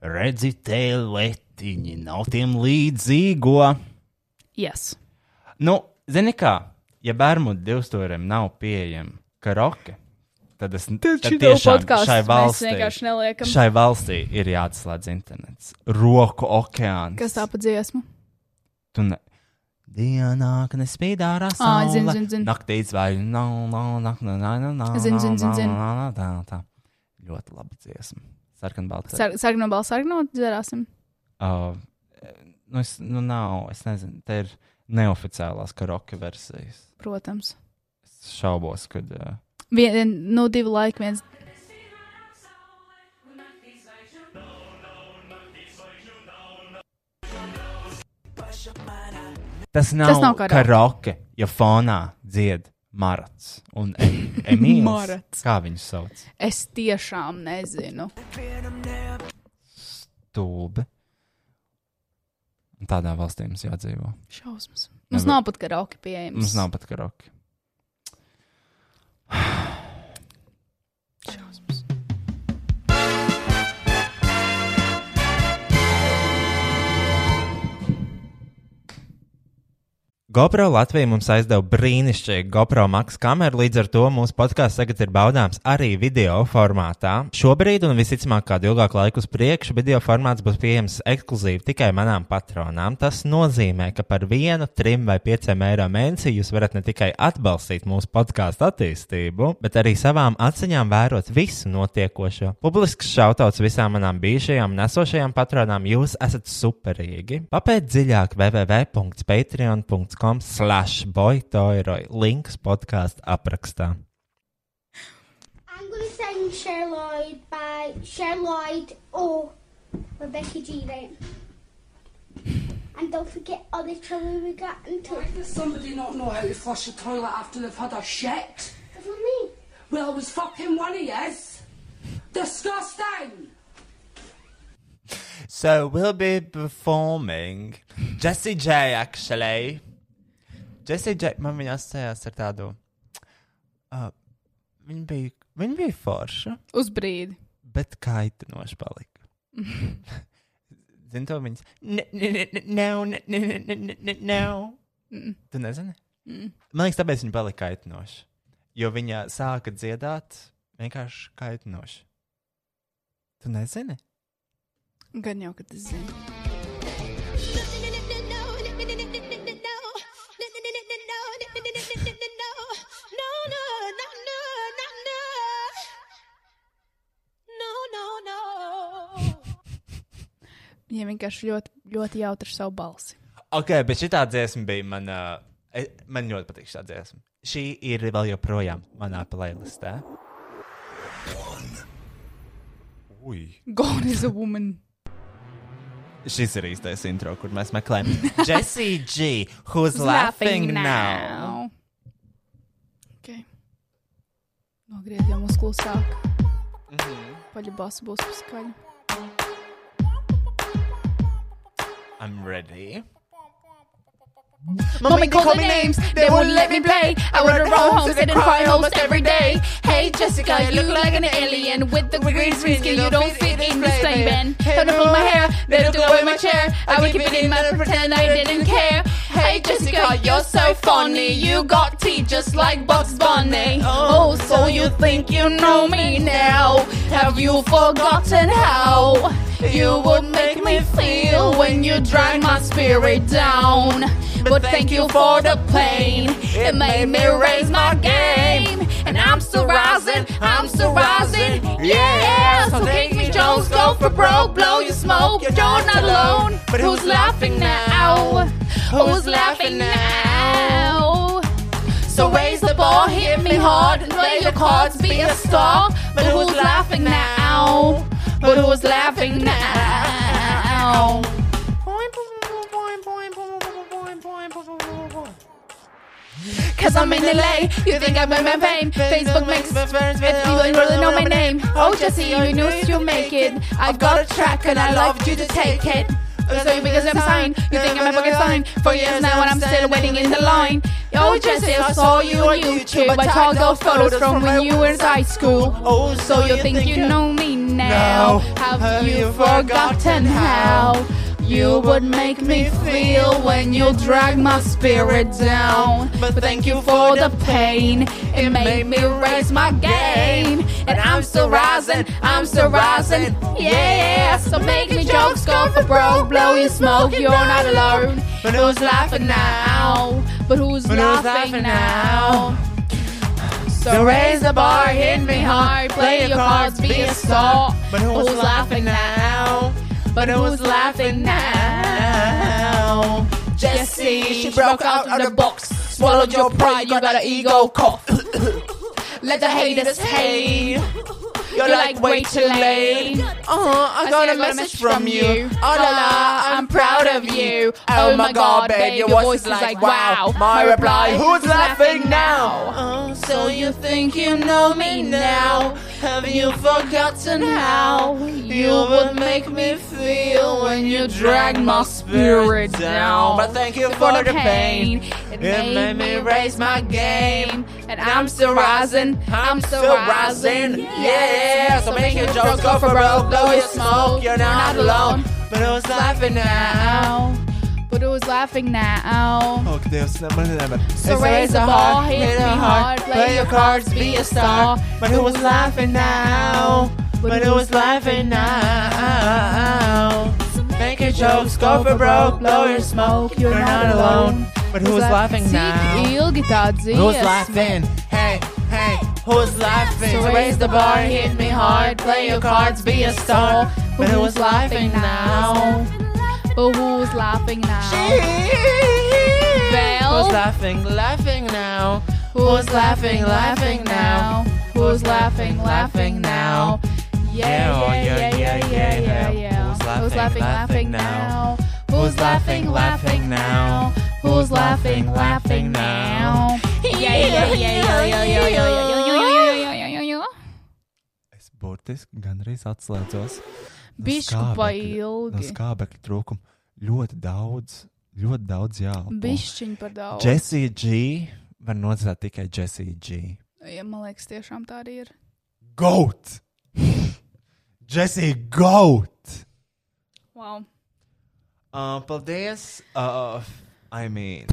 B: Redzi, te letiņi nav tiem līdzīgo.
C: Yes.
B: Nu, zini kā, ja bērnu divstūrim nav pieejama karaoke, tad es tad
C: šī nav
B: tiešām
C: podcasts,
B: šai
C: mēs
B: valstī,
C: vienkārši neliekam.
B: šai valstī ir jāatslēdz internets. Roku okeāns.
C: Kas tā pa dziesmu?
B: Tu ne... Dienā, kad nespīd ārā
C: Ā,
B: saule.
C: zinu, zinu, zinu.
B: Naktī zvaigžņu nav, nav, nav, nav, nav, nav, nav,
C: Zinu, zinu, zinu,
B: nav,
C: zinu.
B: nav, nav, tā, tā. Ļoti laba dziesma. Sarkanbalta.
C: Sar sarkano balss, sarkano dzerāsim.
B: Uh, nu, es, nu, nav, es nezinu, te ir neoficiālās karaoke versijas.
C: Protams.
B: Es šaubos, kad. Uh,
C: Vien, nu, divi laiki, viens.
B: tas nav,
C: nav karaoke.
B: karaoke, ja fonā dzied Marats un em Emīls.
C: Marats.
B: Kā viņu sauc?
C: Es tiešām nezinu.
N: stulbi. Un Tādā valstī mums jādzīvo.
C: Šausmas. Mums
N: Nevar-
C: nav pat karaoke pieejams.
N: Mums nav pat karaoke.
B: GoPro Latvija mums aizdeva brīnišķīgu GoPro Max kameru, līdz ar to mūsu podkāsts tagad ir baudāms arī video formātā. Šobrīd, un visticamāk, kādu ilgāku laiku uz priekšu, video formāts būs pieejams ekskluzīvi tikai manām patronām. Tas nozīmē, ka par vienu, trim vai pieciem eiro mēnesī jūs varat ne tikai atbalstīt mūsu podkāstu attīstību, bet arī savām acīm vērot visu notiekošo. Publisks šautauts visām manām bijušajām nesošajām patronām, jūs esat superīgi. Papēt dziļāk www.patreon.com slash boytoiroi. Links podkāstu aprakstā.
R: I'm going to sing Sherloid by Sherloid or Rebecca G. Right? And don't forget all the trouble we got into. Why
S: does somebody not know how to flush a toilet after they've had a shit?
R: For me.
S: Well, it was fucking one of yous. Disgusting!
B: So we'll be performing Jessie J. Actually. Jessie J. Man viņa asociējās ar tādu. Uh, viņa, bija, viņa bija forša,
C: Uz brīdi.
B: bet kaitinoša palika. Zini, to viņas. Ne, ne, ne, ne, nav, ne, ne, ne, ne, ne, ne, nav.
C: Mm.
B: Tu nezini?
C: Mm.
B: Man liekas, tāpēc viņa palika kaitinoša. Jo viņa sāka dziedāt vienkārši kaitinoši. Tu nezini?
C: Gan jau, ka tas zinu. Viņiem vienkārši ļoti, ļoti jautri ar savu balsi.
B: Ok, bet šī dziesma bija mana. e- Man ļoti patīk šī dziesma. Šī ir vēl joprojām manā playlistē. Ui.
C: Gone is a woman.
B: Šis ir īstais intro, kur mēs meklējam. Jessie G. Who's
C: Who's
B: laughing
C: laughing
B: now?
C: Okay. Nogriez jau mums klusāk.
N: Mhm.
C: Paļibās būs paskaļi.
B: I'm ready.
T: Mommy called me names, they wouldn't let me play. I would roll home, sit and cry almost every day. Hey Jessica, you look like an alien with the green screen skin. You don't fit in this play, man. Had to pull my hair, they took away my chair. I would keep it in my pretend I didn't care. Hey Jessica, you're so funny. You got teeth just like Bugs Bunny. Oh, so you think you know me now? Have you forgotten how you would make me feel when you drag my spirit down? But thank you for the pain. It made me raise my game. And I'm still rising, I'm still rising. Yeah! So take me, Jones, go for broke, blow your smoke. You're not alone. But who's laughing now? Who's laughing now? So raise the ball, hit me hard, and play your cards, be a star. But who's laughing now? But who's laughing now? Cause I'm in LA, you think I'm in my pain. Facebook makes if people don't really know my name. Oh, Jesse, you knew you make it. I've got a track and I loved you to take it. So because I'm signed, you think I'm a fucking sign. For years now and I'm still waiting in the line. Oh, Jesse, I saw you on YouTube. I took those photos from when you were in high school. Oh, so you think you know me now? Have you forgotten how? You would make me feel when you drag my spirit down. But thank you for the pain. It made me raise my game. And I'm still rising, I'm still rising. Yeah, so make me jokes, go for broke, blow your smoke, you're not alone. But who's laughing now? But who's But who's
C: laughing
T: laughing
C: now? So raise the bar, hit me hard, play your cards, be a star. But who's laughing now? But who's laughing now? Jessie, she broke out of the box, swallowed your pride, you got an ego cough. Let the haters hate. You're like way too late. Uh, I got a message from you. Oh la la, I'm proud of you. Oh my god, babe, your voice is like wow. My Uh-huh, reply, who's laughing now? So you think you know me now?
T: Have you forgotten how you would make me feel when you drag my spirit down? But thank you for the pain. It made me raise my game. And I'm still rising. I'm still rising. Yeah. So make your jokes go for broke. Blow your smoke. You're not alone. But who's laughing now? But who's laughing now?
H: Ak, Dievs, ne, man nevar.
T: So raise the ball, hit me hard, play your cards, be a star. But who was laughing now? But who was laughing now? Making jokes, go for broke, blow your smoke, you're not alone.
H: But who was laughing now?
T: Cik ilgi tā dzīves?
H: Who's laughing? Hey, hey, who's laughing?
T: So raise the bar, hit me hard, play your cards, be a star. But who was laughing now? But who's laughing now? Well,
H: Who's laughing, laughing now?
T: Who's laughing, laughing now? Who's laughing, laughing now? Yeah, yeah, yeah, yeah, yeah, yeah, yeah. Who's laughing, laughing now? Who's laughing, laughing now? Who's laughing, laughing now? Yeah, yeah, yeah, yeah, yeah, yeah, yeah, yeah, yeah, yeah, yeah, yeah, yeah.
B: Es burtiski gandrīz atslēdzos. no
C: Bišku
B: skābekļa-
C: pa ilgi.
B: No skābekļa trūkuma ļoti daudz, ļoti daudz jāelpo.
C: Bišķiņ par daudz.
B: Jesse G. var nodzēt tikai Jesse G.
C: Ja, man liekas, tiešām tā arī ir.
B: Goat! Jesse Goat!
C: Wow.
B: Uh, paldies! Uh, I mean,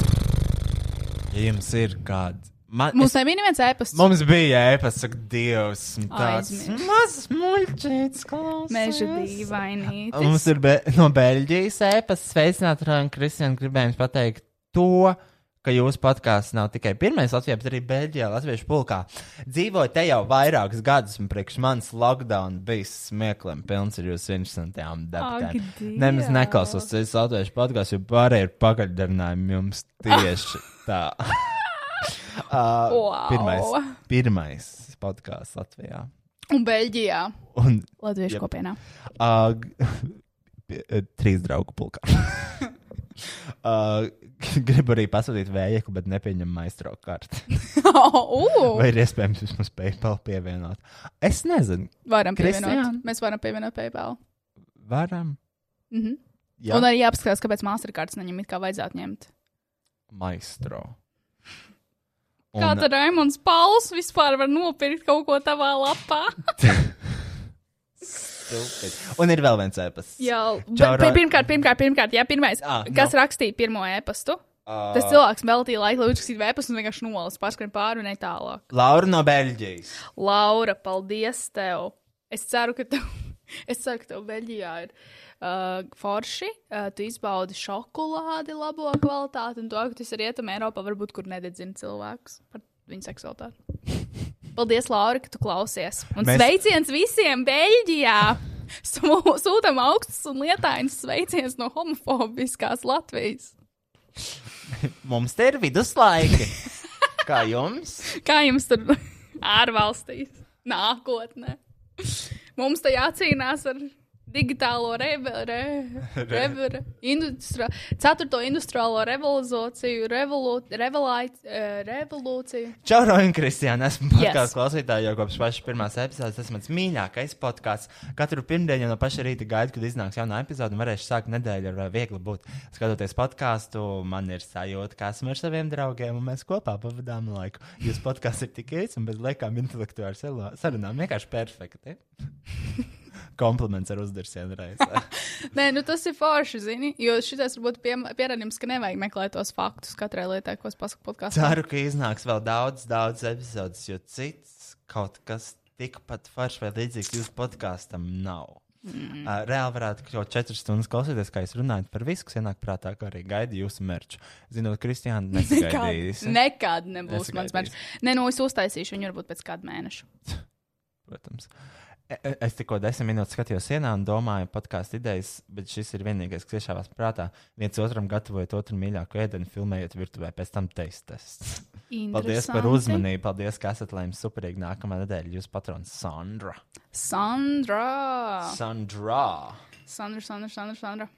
B: ja jums ir kāds. Man,
C: Mums nebija neviens ēpasts.
B: Mums bija ēpasts, saka, Dievs, un tāds.
C: Aizmirst.
T: Mazs muļķīts klausās.
C: Meža dīvainītis.
B: Mums ir be, no Beļģijas ēpasts. Sveicināt, Rāna Kristiāna, gribējums pateikt to, ka jūsu podkāsts nav tikai pirmais Latvijā, bet arī Beļģijā, Latviešu pulkā. Dzīvoju te jau vairākus gadus, un priekš manis lockdown bija smiekliem, pilns ar jūsu interesantām
T: Ak,
B: darbiem.
T: Dievs.
B: Nemaz neklausos citas latviešu podkāstus, jo pārējie ir pagaļdarinājumi jums tieši tā. Uh,
C: Wow.
B: Pirmais, pirmais podkāsts Latvijā.
C: Un Beļģijā.
B: Un-
C: Latviešu
B: Jep.
C: kopienā.
B: Uh, g- eh, trīs draugu pulkā. Uh, gribu arī pasūtīt vēju, bet nepieņemu maistro karti.
C: Ū!
B: Vai ir iespējams vismaz PayPal pievienot? Es nezinu.
C: Varam pievienot.
B: Kristiāna?
C: Mēs varam pievienot PayPal.
B: Varam.
C: Mhm.
B: Jā.
C: Un arī jāpaskatās, kāpēc Mastercards viņam it kā vajadzētu ņemt.
B: Maistro. Un-
C: Kā tad Raimons Pauls vispār var nopirkt kaut ko tavā lapā?
B: Stupid. Un ir vēl viens ēpasts.
C: Jā,
B: Čau,
C: bet
B: Ra-
C: pirmkārt, pirmkārt, pirmkārt, jā, pirmais,
B: Ā, no. Ah.
C: kas rakstīja pirmo ēpastu?
B: Ā.
C: Tas cilvēks veltīja laiku, lai uzrakstītu ēpastu un vienkārši nolas pārskrien pāri un ne tālāk.
B: Laura no Beļģijas.
C: Laura, paldies tev! Es ceru, ka tev, es ceru, ka tev Beļģijā ir uh, forši. Uh, tu izbaudi šokolādi, labo kvalitāti, un to, ka tas ir rietumē Eiropā, varbūt kur nededzina cilvēks par viņu seksualitāti. Paldies, Laura, ka tu klausies. Un
T: Mēs-
C: Mēs... sveiciens visiem Beļģijā! Sū- Sūtam augstus un lietainus sveicienus no homofobiskās Latvijas.
B: Mums te ir viduslaiki. Kā jums?
C: Kā jums tur ārvalstīs nākotnē? Mums te jācīnās ar digitālo revolūciju, industri ceturto industriālo revolūciju, revolu- revolai- eh, revolūciju.
B: Čau, Roja, Kristiāna. Esmu
C: Yes.
B: podkāstu yes. klausītāja jau kopš pašas pirmās epizodes. Tas ir mans mīļākais podkāsts. Katru pirmdienu jau no paša rīta gaidu, kad iznāks jauna epizode, un varēšu sākt nedēļu ar eh, viegli būt. Skatoties podkāstu, man ir sajūta, ka esmu ar saviem draugiem, un mēs kopā pavadām laiku. Jūsu podkāsts ir tik īsts un bez liekām intelektuālām selo- sarunām. Vienkārši perfekti. Kompliments ar uzdarsienu reizē.
C: Nē, nu tas ir forši, zini, jo šis varbūt piem- pierādījums, ka nevajag meklēt tos faktus katrai lietai, ko es pasaku podkāstā.
B: Ceru, ka iznāks vēl daudz, daudz epizodes, jo cits kaut kas tikpat foršs vai līdzīgs jūsu podkāstam nav. Mm.
T: Mm.
B: Uh, reāli varētu kļūt četras stundas klausīties, kā jūs runājat par visu, kas ienāk prātā, kā arī gaida jūsu merču. Zinot, Kristiāna, nesagaidīs.
C: nekad nebūs mans mērķis.
B: Nesagaidīsi.
C: Nē, nu es uztaisīšu viņu varbūt pēc kāda mēneša.
B: Protams. E- e- Es tikko desmit minūtes skatījos sienā un domāju, podkāstu idejas, bet šis ir vienīgais, kas iešāvās prātā. Viens otram gatavojot otru mīļāko ēdienu, filmējot virtuvē, pēc tam teistests. Paldies par
C: Interesanti.
B: uzmanību, paldies, ka esat, lai jums superīgi nākamā nedēļa jūs patrons Sandra.
C: Sandra!
B: Sandra.
C: Sandra, Sandra, Sandra. Sandra.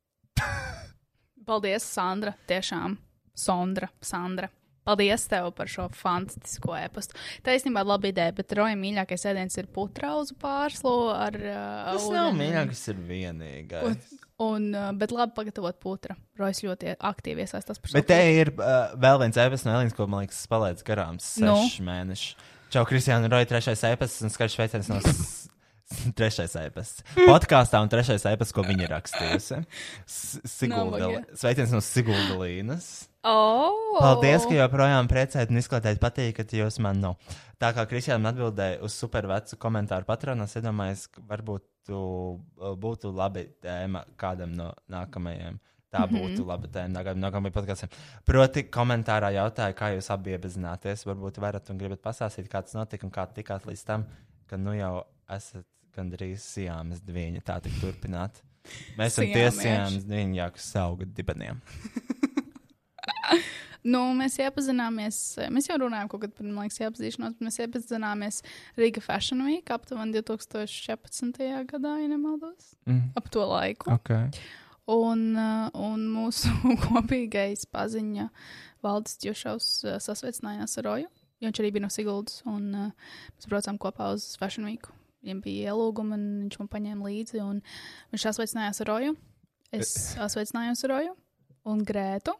C: Paldies, Sandra. Tiešām, Sondra, Sandra. Paldies tev par šo fantastisko e-pastu. Tā īstenībā ir laba ideja, bet Roja mīļākais ēdiens ir putrauzu pārslo ar. Uh,
B: Tas nav
C: ūdeni.
B: mīļākais, ir vienīgais.
C: Un, un, uh, bet labi pagatavot putra. Rojas ļoti aktīvi iesaistās par šo
B: Bet te ir uh, vēl viens ēpas no Elīnas, ko man liekas, palaidis garām.
C: Nu?
B: Seši nu? mēneši. Čau, Kristiāna Roja, trešais ēpas un skaļš veicens no. s- Trešais ēpas. Podkāstā un trešais ēpas, ko viņa ir rakstījusi. S- Sigulda-
C: Nabaga.
B: Sveiciens no Siguldalīnas.
C: Oh!
B: Paldies, ka joprojām priecājat un izklaidējat patīk, ka jūs man nav. Tā kā Kristiāna atbildēja uz supervecu komentāru patronā, es iedomājos, ka varbūt tu, uh, būtu labi tēma kādam no nākamajiem. Tā
N: Mhm.
B: būtu laba tēma nākam- nākamajam podkāstam. Proti, komentārā jautāja, kā jūs abi iepazināties. Varbūt varat un gribat pastāstīt, kā tas notika un kā tikāt līdz tam, ka nu jau esat gandrīz sijāmas diviņa. Tā tik turpināt. Mēs esam tie
C: Siamieši.
B: sijāmas diviņi, jā, kas auga dibeniem.
C: Nu, mēs iepazināmies, eh, mēs jau runājām kaut kad par, man liekas, iepazīšanos, bet mēs iepazināmies Riga Fashion Week aptuveni 2014. gadā, ja nemaldos,
N: Mhm.
C: ap to laiku.
N: Ok.
C: Un, uh, un mūsu kopīgais paziņa Valdis Čušaus uh, sasveicinājās ar Roju, jo viņš arī bija no Siguldas, un uh, mēs braucām kopā uz Fashion Week. Viņam bija ielūguma, un viņš man paņēma līdzi, un viņš sasveicinājās ar Roju. Es sasveicinājos ar Roju un Grētu.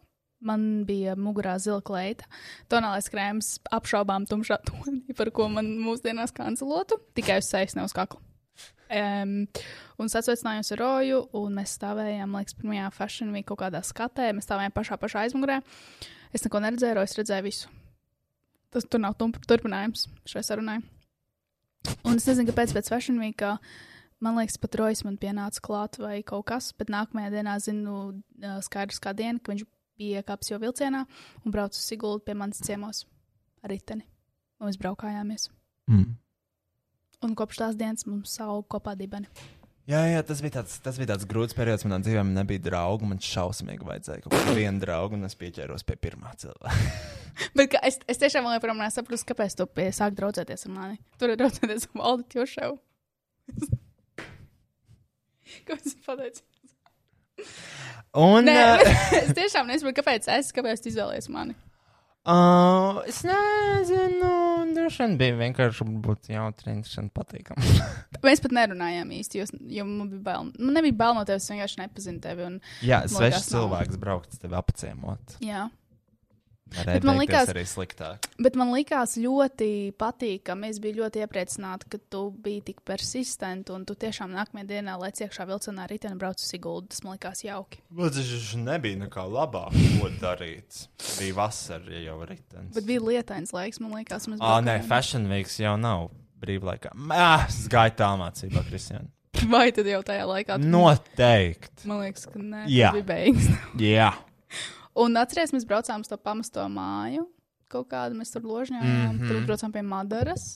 C: Man bija mugurā zila kleita, tonālais krēms, apšaubām tumšā tonī, par ko man mūsdienās kancelotu, tikai uz sejas, ne uz kakla. Um, un es atveicināju ar Roju, un mēs stāvējām, liekas, pirmajā fashion week kaut kādā skatē. Mēs stāvējām pašā, pašā aizmugurē. Es neko neredzēju, Rojas redzēju visu. Tas tur nav tum- turpinājums šai sarunai. Un es nezinu, kāpēc pēc fashion week. Man liekas, pat Rojas man pienāca klāt vai kaut kas, bet nākamajā dienā zinu uh, skaidrs kā diena, ka viņš bija iekāpis jau vilcienā un brauca uz Siguldu pie manas ciemos ar riteni. Un mēs braukājāmies.
B: Mm.
C: Un kopš tās dienas mums auga kopā dibeni.
B: Jā, jā tas, bija tāds, tas bija tāds grūts periods manā dzīvē. Man nebija draugu, man šausmīgi vajadzēja kaut kādu vienu draugu, un es pieķēros pie pirmā cilvēka.
C: Bet kā, es, es tiešām vēl joprojām nesaprotu, kāpēc tu pie- sāki draudzēties ar mani. Tur ir draudzēties ar Valdu Tjoševu. Ko es pateicu?
B: Un,
C: Nē,
B: uh,
C: es tiešām nesaprotu, kāpēc es, kāpēc tu izvēlējies mani.
B: uh, es nezinu, droši vien bija vienkārši būt jautri, interesanti, patīkami.
C: Mēs pat nerunājām īsti, jo, es- jo man bija bail. Man nebija bail no tevis, es vienkārši nepazinu tevi. Un,
B: jā,
C: man
B: svešs
C: likās, nav-
B: cilvēks braukt tevi apciemot.
C: Jā.
B: Varēja
C: Bet man
B: beigties
C: likās-
B: arī sliktāk.
C: Bet man likās ļoti patīkami. Es biju ļoti iepriecināta, ka tu biji tik persistenta un tu tiešām nākamajā dienā lec iekšā vilcienā rītā un brauc uz Siguldu. Tas man likās jauki.
B: Bet tas taču nebija nekā labāk, ko darīt. Bija vasara, ja jau ritenis.
C: Bet bija lietains laiks, man liekas, un es
B: Ah,
C: biju
B: nē, Fashion Week jau nav brīvlaikā. Mā, es gāju tā mācībā, Kristian.
C: Vai tad jau tajā laikā? tu-
B: Noteikti.
C: Man liekas, ka nē,
B: Jā.
C: tas bija beigas.
B: Jā.
C: Un atcerieties, mēs braucām uz to pamesto māju. Kaut kādu mēs tur ložņājām, mm
B: Mhm.
C: -hmm. tur braucām pie Madaras.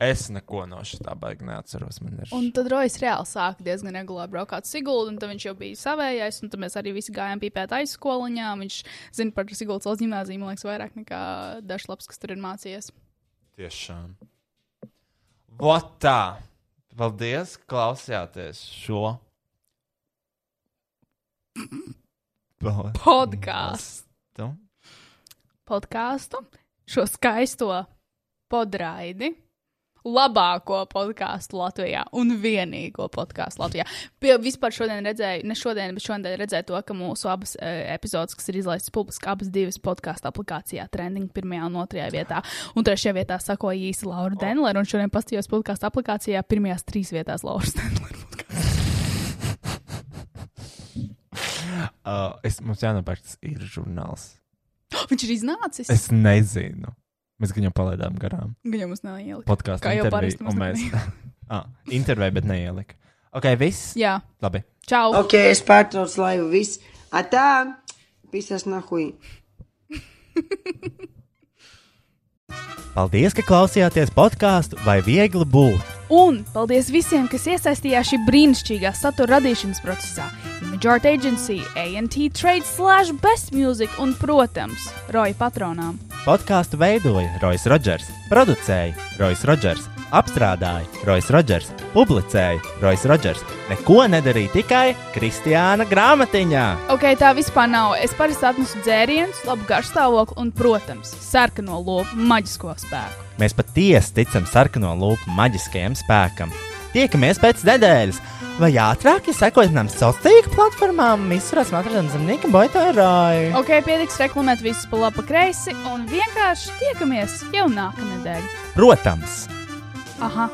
B: Es neko no šitā baigi neatceros. Man ir
C: Un tad Rojas reāli sāka diezgan regulāri braukt uz Sigūdu, un tad viņš jau bija savējais, un tad mēs arī visi gājām pīpēt aizskoliņā. Viņš zina par Sigūdas valsts gimnāziju, man liekas, vairāk nekā dažs labs, kas tur ir mācījies.
B: tiešām. Vot tā. Paldies, ka klausījāties šo
C: Podkāstu.
B: Tu?
C: Podkāstu, šo skaisto podraidi. labāko podkāstu Latvijā un vienīgo podkāstu Latvijā. Pie, vispār šodien redzēju, ne šodien, bet šodien redzēju to, ka mūsu abas e, epizodes, kas ir izlaistas publiski, abas divas podkāstu aplikācijā, trending pirmajā un otrajā vietā. Un trešajā vietā sakoja īsi Laura Denlera, un šodien pastījos podkāstu aplikācijā pirmajās trīs vietās Laura Denlera.
B: Uh, es, mums jānopērk tas ir žurnāls.
C: Viņš ir iznācis.
B: Es nezinu. Mēs viņu palaidām garām.
C: Viņam mums neielika.
B: Podkāstu
C: Kā jau
B: interviju.
C: parasti mums
B: un Mēs... ah, interviju, bet neielika. Ok, viss.
C: Jā.
B: Labi.
C: Čau.
U: Ok, es pārtraucu laivu. Viss. Atā, pisas nahui.
B: Paldies, ka klausījāties podkāstu vai viegli būt.
C: Un paldies visiem, kas iesaistījās šī brīnišķīgā satura radīšanas procesā. Majority Agency, ANT Trade, Slash, Best Music un, protams, Roja patronām.
B: Podkāstu veidoja Rois Rodžers, producēja Rois Rodžers, Apstrādāja Roisas Rodžers, publicēja Roisas Rodžers. Neko nedarīja tikai Kristiāna grāmatiņā.
C: Ok, tā vispār nav. Es parasti atnesu dzērienus, labu garšstāvokli un, protams, sarkano lopu maģisko spēku.
B: Mēs patiesi ticam sarkano lupu maģiskajam spēkam. Tiekamies pēc nedēļas, vai ātrāk, ja sekojat mums sociālajām tīkla platformām, visur esmu atradams zemnieka boitārāju.
C: Ok, pietiks reklamēt visus pa labi, pa kreisi un vienkārši tiekamies jau nākamnedēļ.
B: Protams!
C: Aha!